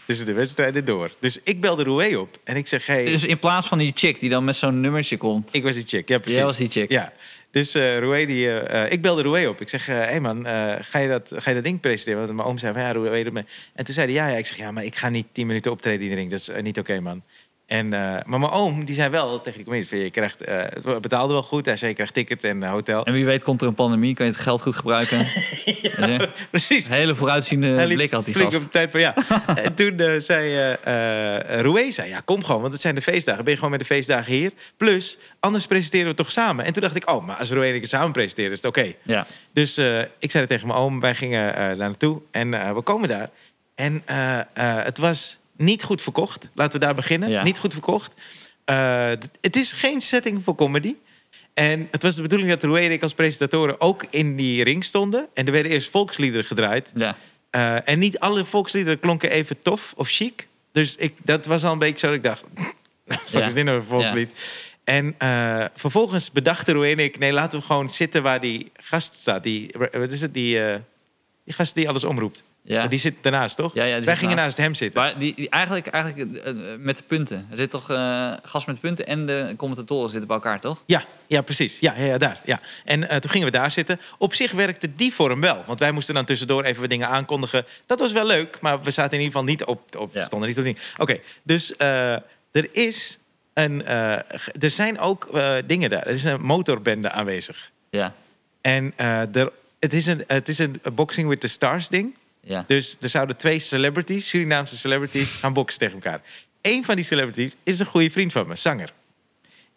[SPEAKER 1] Tussen de wedstrijden door. Dus ik belde Roué op. En ik zeg, hey,
[SPEAKER 2] Dus in plaats van die chick die dan met zo'n nummertje komt.
[SPEAKER 1] Ik was die chick, ja precies.
[SPEAKER 2] Jij was die chick.
[SPEAKER 1] Ja. Dus eh Roué die, eh, eh, ik belde Roué op. Ik zeg, hé hey man, eh, ga, je dat, ga je dat ding presenteren? Want mijn oom zei van, ja Roué, doet mee. En toen zei hij, ja, ja. Ik zeg, ja, maar ik ga niet tien minuten optreden in de ring. Dat is eh, niet oké, man. En, eh, maar mijn oom, die zei wel tegen die comedians, van, je krijgt, eh, het betaalde wel goed. Hij zei, je krijgt ticket en eh, hotel. <laughs>
[SPEAKER 2] En wie weet komt er een pandemie, kan je het geld goed gebruiken. Dus, eh,
[SPEAKER 1] Precies.
[SPEAKER 2] een hele vooruitziende
[SPEAKER 1] liep
[SPEAKER 2] blik had die
[SPEAKER 1] flink
[SPEAKER 2] gast.
[SPEAKER 1] op de tijd van
[SPEAKER 2] <laughs>
[SPEAKER 1] ja. en toen eh, zei eh eh, Roué, zei, ja kom gewoon, want het zijn de feestdagen. Ben je gewoon met de feestdagen hier? Plus, anders presenteren we toch samen. En toen dacht ik, oh, maar als Roué en ik het samen presenteren, is het oké.
[SPEAKER 2] Ja.
[SPEAKER 1] Dus eh, ik zei het tegen mijn oom, wij gingen eh, daar naartoe en eh, we komen daar. En eh, eh, het was niet goed verkocht. Laten we daar beginnen.
[SPEAKER 2] Ja.
[SPEAKER 1] Niet goed verkocht. Eh, d- het is geen setting voor comedy. En het was de bedoeling dat Roué en ik als presentatoren ook in die ring stonden. En er werden eerst volksliederen gedraaid.
[SPEAKER 2] ja.
[SPEAKER 1] Eh, en niet alle volksliederen klonken even tof of chic. Dus ik, dat was al een beetje zo dat ik dacht... <laughs> wat
[SPEAKER 2] Ja.
[SPEAKER 1] is dit nou voor volkslied? En eh, vervolgens bedachten Roe en ik... nee, laten we gewoon zitten waar die gast staat. Die, wat is het? Die, eh, die gast die alles omroept.
[SPEAKER 2] Ja.
[SPEAKER 1] Die zit daarnaast, toch?
[SPEAKER 2] Ja, ja, die
[SPEAKER 1] Wij
[SPEAKER 2] zit
[SPEAKER 1] gingen naast.
[SPEAKER 2] naast.
[SPEAKER 1] hem zitten.
[SPEAKER 2] Maar die, die eigenlijk, eigenlijk eh, eh, met de punten. Er zit toch eh, gast met punten en de commentatoren zitten bij elkaar, toch?
[SPEAKER 1] Ja, ja, precies. Ja, ja, ja, daar. Ja. En eh, toen gingen we daar zitten. Op zich werkte die vorm wel. Want wij moesten dan tussendoor even wat dingen aankondigen. Dat was wel leuk, maar we zaten in ieder geval niet op. op
[SPEAKER 2] Ja.
[SPEAKER 1] stonden niet op die. Oké, dus eh, er is een. eh, ge- er zijn ook eh, dingen daar. Er is een motorbende aanwezig.
[SPEAKER 2] Ja.
[SPEAKER 1] En eh, er, het is een, het is een Boxing with the Stars ding.
[SPEAKER 2] Ja.
[SPEAKER 1] Dus er zouden twee celebrities, Surinaamse celebrities, gaan boksen tegen elkaar. Eén van die celebrities is een goede vriend van me, zanger.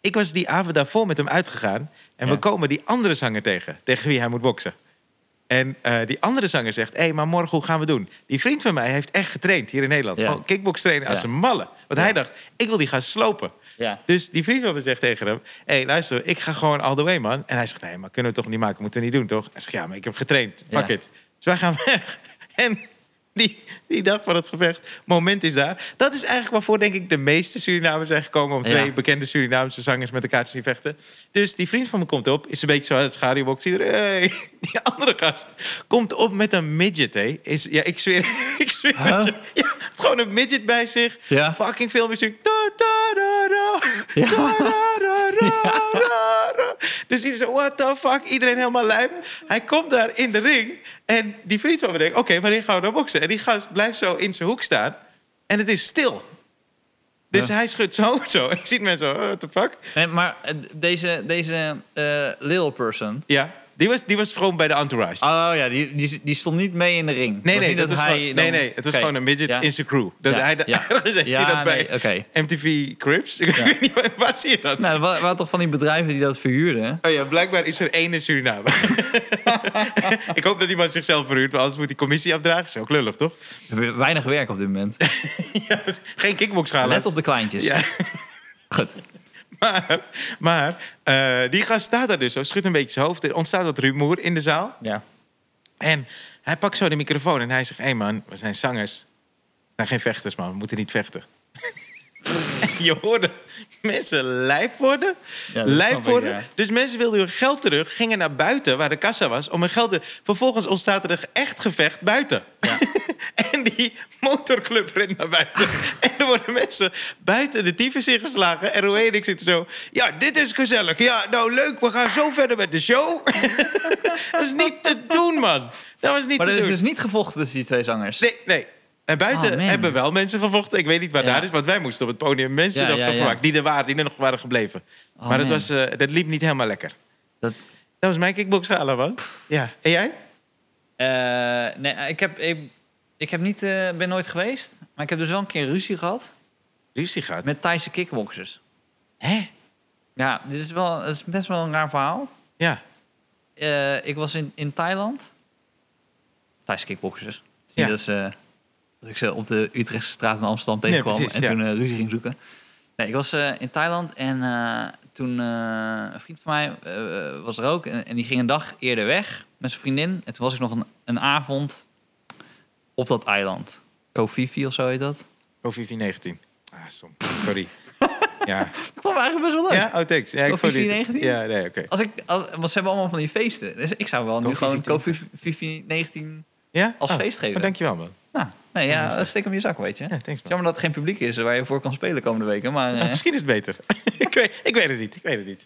[SPEAKER 1] Ik was die avond daarvoor met hem uitgegaan. En
[SPEAKER 2] Ja.
[SPEAKER 1] we komen die andere zanger tegen, tegen wie hij moet boksen. En eh, die andere zanger zegt, hé, hey, maar morgen hoe gaan we doen? Die vriend van mij heeft echt getraind hier in Nederland.
[SPEAKER 2] Ja.
[SPEAKER 1] Gewoon kickbox trainen als
[SPEAKER 2] Ja.
[SPEAKER 1] een malle. Want hij dacht, ik wil die gaan slopen.
[SPEAKER 2] Ja.
[SPEAKER 1] Dus die vriend van me zegt tegen hem... hé, hey, luister, ik ga gewoon all the way, man. En hij zegt, nee, maar kunnen we toch niet maken? Moeten we niet doen, toch? Hij zegt, ja, maar ik heb getraind. Fuck
[SPEAKER 2] Ja.
[SPEAKER 1] it. Dus wij gaan weg. <laughs> En die, die dag van het gevecht, moment is daar. Dat is eigenlijk waarvoor, denk ik, de meeste Surinamers zijn gekomen... om
[SPEAKER 2] Ja.
[SPEAKER 1] twee bekende Surinaamse zangers met elkaar te zien vechten. Dus die vriend van me komt op, is een beetje zo uit het schaduwbox. Die, er- hey. <laughs> die andere gast komt op met een midget, hè. Is, ja, ik zweer, <laughs> ik zweer
[SPEAKER 2] Huh?
[SPEAKER 1] het je. Ja, gewoon een midget bij zich.
[SPEAKER 2] Ja.
[SPEAKER 1] Fucking veel muziek. Da, da, da, da.
[SPEAKER 2] Ja.
[SPEAKER 1] Da, da,
[SPEAKER 2] <laughs>
[SPEAKER 1] da, da, da, da. Dus iedereen zo, what the fuck? Iedereen helemaal lijp. Hij komt daar in de ring. En die vriend van me denkt, oké, wanneer gaan we nou boksen? En die gast blijft zo in zijn hoek staan. En het is stil. Dus hij schudt zijn hoofd zo. <laughs> Ik zie mensen zo, what the fuck?
[SPEAKER 2] Nee, maar eh, deze, deze eh, little person.
[SPEAKER 1] Ja, die was, die was gewoon bij de entourage.
[SPEAKER 2] Oh ja, die, die, die stond niet mee in de ring. Het
[SPEAKER 1] Nee,
[SPEAKER 2] was
[SPEAKER 1] nee,
[SPEAKER 2] niet
[SPEAKER 1] dat is
[SPEAKER 2] hij
[SPEAKER 1] gewoon,
[SPEAKER 2] dan-
[SPEAKER 1] nee, nee, het was
[SPEAKER 2] Oké,
[SPEAKER 1] gewoon een midget
[SPEAKER 2] ja.
[SPEAKER 1] in zijn crew. <laughs> Dat
[SPEAKER 2] Ja,
[SPEAKER 1] hij de,
[SPEAKER 2] ja.
[SPEAKER 1] ergens heeft
[SPEAKER 2] Ja,
[SPEAKER 1] hij dat bij
[SPEAKER 2] nee, oké.
[SPEAKER 1] MTV Cribs. <laughs> Ik weet niet, waar, waar zie je dat?
[SPEAKER 2] Nou, er wa- waren toch van die bedrijven die dat verhuurden?
[SPEAKER 1] Oh ja, blijkbaar is er één in
[SPEAKER 2] <laughs>
[SPEAKER 1] Suriname. ik hoop dat iemand zichzelf verhuurt, want anders moet die commissie afdragen. Dat is ook lullig,
[SPEAKER 2] <laughs>
[SPEAKER 1] toch?
[SPEAKER 2] We hebben Weinig werk op dit moment.
[SPEAKER 1] ja, dus <laughs> geen kickboxschalen.
[SPEAKER 2] Let op de kleintjes.
[SPEAKER 1] Ja. <laughs>
[SPEAKER 2] Goed.
[SPEAKER 1] Maar, maar eh, die gast staat daar dus zo, schudt een beetje zijn hoofd. Er ontstaat wat rumoer in de zaal.
[SPEAKER 2] Ja.
[SPEAKER 1] En hij pakt zo de microfoon en hij zegt... Hé man, we zijn zangers. We zijn geen vechters, man. We moeten niet vechten. <laughs> en je hoorde mensen lijp worden.
[SPEAKER 2] dat
[SPEAKER 1] lijp
[SPEAKER 2] snap ik,
[SPEAKER 1] worden.
[SPEAKER 2] ja.
[SPEAKER 1] Dus mensen wilden hun geld terug, gingen naar buiten waar de kassa was... om hun geld te... Vervolgens ontstaat er een echt gevecht buiten. <laughs> en die motorclub rent naar
[SPEAKER 2] <laughs>
[SPEAKER 1] buiten. en er worden mensen buiten de tyfus ingeslagen. En Roe en ik zitten zo... Ja, dit is gezellig. Ja, nou leuk. We gaan zo verder met de show. dat is niet te doen, man. Dat was niet
[SPEAKER 2] Maar
[SPEAKER 1] te
[SPEAKER 2] er
[SPEAKER 1] doen.
[SPEAKER 2] is dus niet gevochten tussen die twee zangers.
[SPEAKER 1] Nee, nee. En buiten
[SPEAKER 2] Oh, man.
[SPEAKER 1] hebben wel mensen gevochten. Ik weet niet waar
[SPEAKER 2] Ja.
[SPEAKER 1] daar is, want wij moesten op het podium mensen
[SPEAKER 2] Ja,
[SPEAKER 1] nog
[SPEAKER 2] ja,
[SPEAKER 1] gaan
[SPEAKER 2] ja.
[SPEAKER 1] verwachten, Die er waren, die er nog waren gebleven.
[SPEAKER 2] Oh,
[SPEAKER 1] maar dat,
[SPEAKER 2] man.
[SPEAKER 1] was, eh, dat liep niet helemaal lekker.
[SPEAKER 2] Dat,
[SPEAKER 1] Dat was mijn kickboxhalen, man. Ja. En jij?
[SPEAKER 2] eh, nee ik, heb, ik, ik heb niet, eh, ben nooit geweest. Maar ik heb dus wel een keer ruzie gehad
[SPEAKER 1] Lucy gaat.
[SPEAKER 2] met Thaise kickboxers.
[SPEAKER 1] Hè?
[SPEAKER 2] Ja, dit is, wel, het is best wel een raar verhaal.
[SPEAKER 1] Ja.
[SPEAKER 2] Eh, ik was in, in Thailand. Thaise kickboxers. Het is
[SPEAKER 1] Ja.
[SPEAKER 2] niet dat, ze, dat ik ze op de Utrechtse straat in Amsterdam
[SPEAKER 1] Nee,
[SPEAKER 2] tegenkwam
[SPEAKER 1] precies,
[SPEAKER 2] en
[SPEAKER 1] ja.
[SPEAKER 2] toen eh, ruzie ging zoeken. Nee, ik was eh, in Thailand en eh, toen eh, een vriend van mij eh, was er ook. En, en die ging een dag eerder weg met zijn vriendin. En toen was ik nog een, een avond op dat eiland. Kofifi of zo heet dat.
[SPEAKER 1] Kofifi 19. Ah, som.
[SPEAKER 2] <laughs>
[SPEAKER 1] Sorry. ja.
[SPEAKER 2] Ik vond hem eigenlijk best wel leuk.
[SPEAKER 1] ja, oh, thanks. Ja, ik
[SPEAKER 2] Kofi
[SPEAKER 1] vond die-
[SPEAKER 2] 419?
[SPEAKER 1] Ja, nee, oké.
[SPEAKER 2] Als ik, als, want ze hebben allemaal van die feesten. Dus ik zou wel nu
[SPEAKER 1] Kofifi
[SPEAKER 2] gewoon
[SPEAKER 1] 10.
[SPEAKER 2] Kofifi 19
[SPEAKER 1] Ja?
[SPEAKER 2] als
[SPEAKER 1] Oh,
[SPEAKER 2] feest geven.
[SPEAKER 1] oh, dankjewel, man.
[SPEAKER 2] Nou, nee,
[SPEAKER 1] dat is
[SPEAKER 2] ja,
[SPEAKER 1] echt-
[SPEAKER 2] steek hem in je zak, weet je.
[SPEAKER 1] Ja, thanks, man. Ah,
[SPEAKER 2] Jammer dat het geen publiek is waar je voor kan spelen komende weken.
[SPEAKER 1] <laughs>
[SPEAKER 2] Maar, eh,
[SPEAKER 1] Misschien is het beter. ik, weet, ik weet het niet. Ik weet het niet.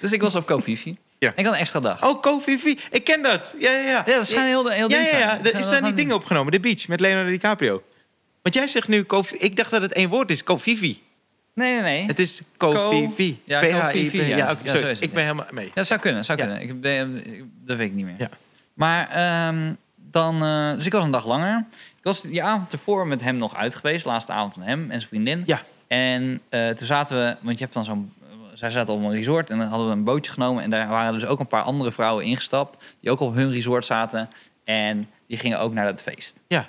[SPEAKER 2] dus ik was op Kofifi.
[SPEAKER 1] Ja.
[SPEAKER 2] Ik had een extra dag.
[SPEAKER 1] Oh, Kofifi. Ik ken dat. Ja, ja, ja.
[SPEAKER 2] Ja, dat schijnt heel, heel
[SPEAKER 1] Ja,
[SPEAKER 2] ding
[SPEAKER 1] ja,
[SPEAKER 2] zijn.
[SPEAKER 1] ja.
[SPEAKER 2] Dat
[SPEAKER 1] Er
[SPEAKER 2] zijn
[SPEAKER 1] is
[SPEAKER 2] wel
[SPEAKER 1] daar
[SPEAKER 2] gewoon-
[SPEAKER 1] niet ding opgenomen. The Beach met Leonardo DiCaprio. Want jij zegt nu Kofi... Ik dacht dat het één woord is. Kofifi.
[SPEAKER 2] Nee, nee, nee.
[SPEAKER 1] Het is Kofifi.
[SPEAKER 2] Ko- ja,
[SPEAKER 1] P-H-I-P.
[SPEAKER 2] Kofifi, ja.
[SPEAKER 1] Ja, oké,
[SPEAKER 2] Ja,
[SPEAKER 1] sorry.
[SPEAKER 2] zo is het,
[SPEAKER 1] Ik ben helemaal mee.
[SPEAKER 2] Ja, dat zou kunnen, zou
[SPEAKER 1] Ja.
[SPEAKER 2] kunnen. Ik, ben- ik- dat weet ik niet meer.
[SPEAKER 1] Ja.
[SPEAKER 2] Maar ehm, dan... eh, dus ik was een dag langer. Ik was die avond ervoor met hem nog uit geweest. Laatste avond van hem en zijn vriendin.
[SPEAKER 1] Ja.
[SPEAKER 2] En eh, toen zaten we... Want je hebt dan zo'n... Zij zaten op een resort en dan hadden we een bootje genomen. En daar waren dus ook een paar andere vrouwen ingestapt. Die ook op hun resort zaten. En die gingen ook naar dat feest.
[SPEAKER 1] Ja.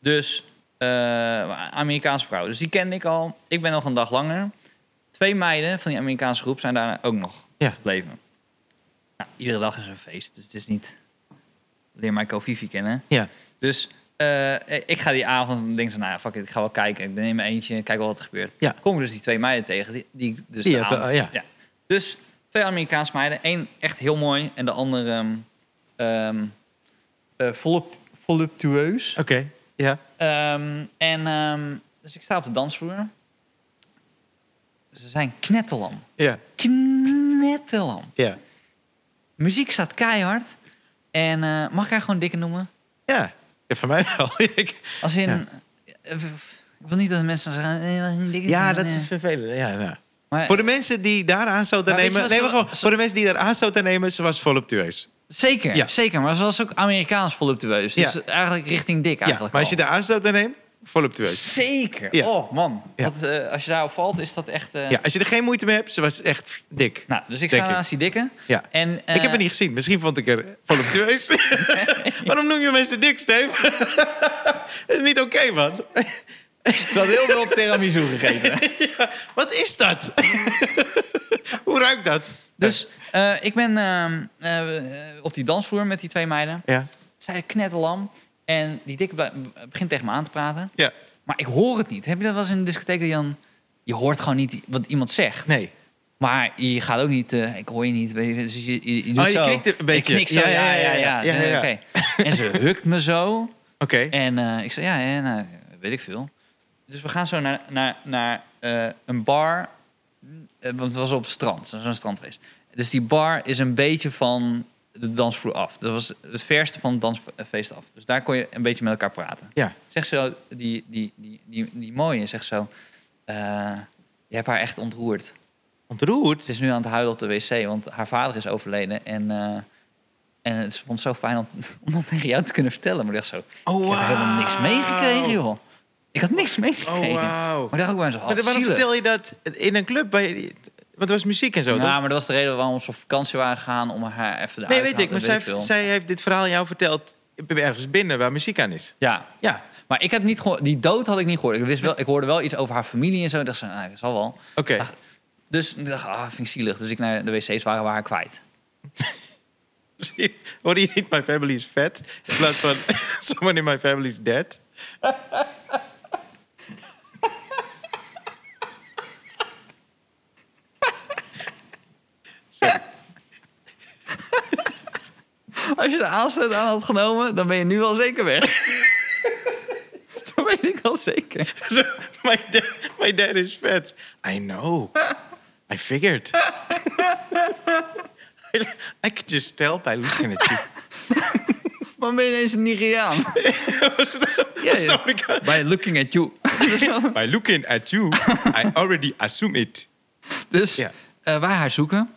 [SPEAKER 2] Dus eh, Amerikaanse vrouwen. Dus die kende ik al. Ik ben nog een dag langer. Twee meiden van die Amerikaanse groep zijn daar ook nog
[SPEAKER 1] Ja.
[SPEAKER 2] gebleven. Nou, iedere dag is een feest, dus het is niet leer mij Kofifi kennen.
[SPEAKER 1] Ja.
[SPEAKER 2] Dus eh, ik ga die avond en denk zo, nou ja, fuck it, ik ga wel kijken. Ik neem mijn eentje, kijk wel wat er gebeurt.
[SPEAKER 1] Ja.
[SPEAKER 2] Kom ik dus die twee meiden tegen. Die, die ik dus
[SPEAKER 1] Die
[SPEAKER 2] de
[SPEAKER 1] had, eh,
[SPEAKER 2] avond-
[SPEAKER 1] ja.
[SPEAKER 2] Dus twee Amerikaanse meiden. Eén echt heel mooi en de andere ehm ehm, eh, volupt- voluptueus.
[SPEAKER 1] Oké. Ja.
[SPEAKER 2] Ehm, en ehm, dus ik sta op de dansvloer. Ze zijn knetterlam.
[SPEAKER 1] Ja.
[SPEAKER 2] Knetterlam.
[SPEAKER 1] Ja.
[SPEAKER 2] Muziek staat keihard. En eh, mag ik haar gewoon dikke noemen?
[SPEAKER 1] Ja. Ja, Van mij wel. <laughs> Ik-
[SPEAKER 2] Als in...
[SPEAKER 1] Ja.
[SPEAKER 2] eh, f- Ik wil niet dat de mensen zeggen... eh, wat een dikke
[SPEAKER 1] ja,
[SPEAKER 2] noemen,
[SPEAKER 1] dat
[SPEAKER 2] eh.
[SPEAKER 1] is vervelend. Ja, nou.
[SPEAKER 2] Maar
[SPEAKER 1] Voor de mensen die daar aan zouden
[SPEAKER 2] Maar weet je
[SPEAKER 1] nemen...
[SPEAKER 2] wat
[SPEAKER 1] Nee,
[SPEAKER 2] ze-
[SPEAKER 1] maar gewoon,
[SPEAKER 2] ze-
[SPEAKER 1] voor de mensen die daar aan zouden nemen, ze was voluptueus.
[SPEAKER 2] zeker,
[SPEAKER 1] Ja.
[SPEAKER 2] zeker. Maar ze was ook Amerikaans voluptueus. Dus
[SPEAKER 1] Ja.
[SPEAKER 2] eigenlijk richting dik
[SPEAKER 1] Ja, maar
[SPEAKER 2] eigenlijk
[SPEAKER 1] als
[SPEAKER 2] al.
[SPEAKER 1] je daar aan zouden nemen, voluptueus.
[SPEAKER 2] Zeker.
[SPEAKER 1] Ja.
[SPEAKER 2] Oh, man.
[SPEAKER 1] Ja.
[SPEAKER 2] Dat, eh, als je daarop valt, is dat echt... eh,
[SPEAKER 1] Ja, als je er geen moeite mee hebt, ze was echt dik.
[SPEAKER 2] Nou, dus ik
[SPEAKER 1] Denk
[SPEAKER 2] sta
[SPEAKER 1] ik.
[SPEAKER 2] naast die dikke.
[SPEAKER 1] Ja.
[SPEAKER 2] En,
[SPEAKER 1] ik heb
[SPEAKER 2] eh,
[SPEAKER 1] het niet gezien. Misschien vond ik er
[SPEAKER 2] <laughs>
[SPEAKER 1] voluptueus. Waarom noem je mensen dik, Steve? dat <laughs> is niet oké, man.
[SPEAKER 2] Ze had heel veel tiramisu
[SPEAKER 1] <laughs>
[SPEAKER 2] gegeten.
[SPEAKER 1] Wat is dat? <laughs> Hoe ruikt dat?
[SPEAKER 2] Dus eh, ik ben ehm, eh, op die dansvloer met die twee meiden.
[SPEAKER 1] Ja.
[SPEAKER 2] Zij knetterlam. En die dikke blij- begint tegen me aan te praten.
[SPEAKER 1] Ja.
[SPEAKER 2] Maar ik hoor het niet. Heb je dat wel eens in een discotheek dat je dan... Je hoort gewoon niet wat iemand zegt.
[SPEAKER 1] Nee.
[SPEAKER 2] Maar je gaat ook niet... eh, ik hoor je niet. weet je, Dus je, je, doet
[SPEAKER 1] Oh, je
[SPEAKER 2] zo.
[SPEAKER 1] knikt een beetje.
[SPEAKER 2] Ik knik zo, ja, ja, ja. ja,
[SPEAKER 1] ja, ja, ja.
[SPEAKER 2] Oké.
[SPEAKER 1] <laughs>
[SPEAKER 2] En ze hukt me zo.
[SPEAKER 1] Oké.
[SPEAKER 2] En eh, ik zei, ja, ja nou, weet ik veel. Dus we gaan zo naar, naar, naar eh, een bar. Eh, want het was op het strand, zo'n strandfeest. Dus die bar is een beetje van de dansvloer af. Dat was het verste van het dansfeest af. Dus daar kon je een beetje met elkaar praten.
[SPEAKER 1] Ja.
[SPEAKER 2] Zeg zo, die, die, die, die, die mooie, zegt zo... eh, je hebt haar echt ontroerd.
[SPEAKER 1] Ontroerd.
[SPEAKER 2] Ze is nu aan het huilen op de wc, want haar vader is overleden. En, eh en ze vond het zo fijn om, <laughs> om dat tegen jou te kunnen vertellen. Maar ik dacht zo,
[SPEAKER 1] Oh,
[SPEAKER 2] ik heb helemaal niks
[SPEAKER 1] wauw.
[SPEAKER 2] meegekregen, joh. Ik had niks meegekregen.
[SPEAKER 1] Oh, wauw.
[SPEAKER 2] Maar ik dacht ook bij mezelf,
[SPEAKER 1] Maar
[SPEAKER 2] oh,
[SPEAKER 1] waarom
[SPEAKER 2] zielig.
[SPEAKER 1] vertel je dat in een club? Bij, want er was muziek en zo,
[SPEAKER 2] Nou,
[SPEAKER 1] toch?
[SPEAKER 2] maar dat was de reden waarom ze op vakantie waren gegaan om haar even
[SPEAKER 1] Nee,
[SPEAKER 2] de uitlaat
[SPEAKER 1] weet ik.
[SPEAKER 2] en
[SPEAKER 1] Maar zij,
[SPEAKER 2] veel.
[SPEAKER 1] zij heeft dit verhaal aan jou verteld ergens binnen waar muziek aan is.
[SPEAKER 2] Ja,
[SPEAKER 1] Ja.
[SPEAKER 2] maar ik heb niet gehoord, die dood had ik niet gehoord. Ik, wist wel, ik hoorde wel iets over haar familie en zo. Ik dacht zo, nou, dat zal wel.
[SPEAKER 1] Oké. <laughs>
[SPEAKER 2] Ach, Dus ik dacht, ah, vind ik zielig. Dus ik naar de wc's waren, waren haar kwijt.
[SPEAKER 1] Hoorde je niet, my family is fat? In plaats van, <laughs> someone in my family is dead.
[SPEAKER 2] Als je de aanstoot aan had genomen, dan ben je nu al zeker <laughs> weg. dan ben ik al zeker.
[SPEAKER 1] Zo, my, dad, my dad is fat. I know. I figured. <laughs> I, could just tell by looking at <laughs> you.
[SPEAKER 2] Maar ben je ineens een Nigeriaan?
[SPEAKER 1] Was dat-
[SPEAKER 2] Ja,
[SPEAKER 1] was
[SPEAKER 2] ja.
[SPEAKER 1] dat Amerikaans?
[SPEAKER 2] By looking at you.
[SPEAKER 1] By looking at you, I already assume it.
[SPEAKER 2] dus
[SPEAKER 1] Ja.
[SPEAKER 2] eh, wij haar zoeken.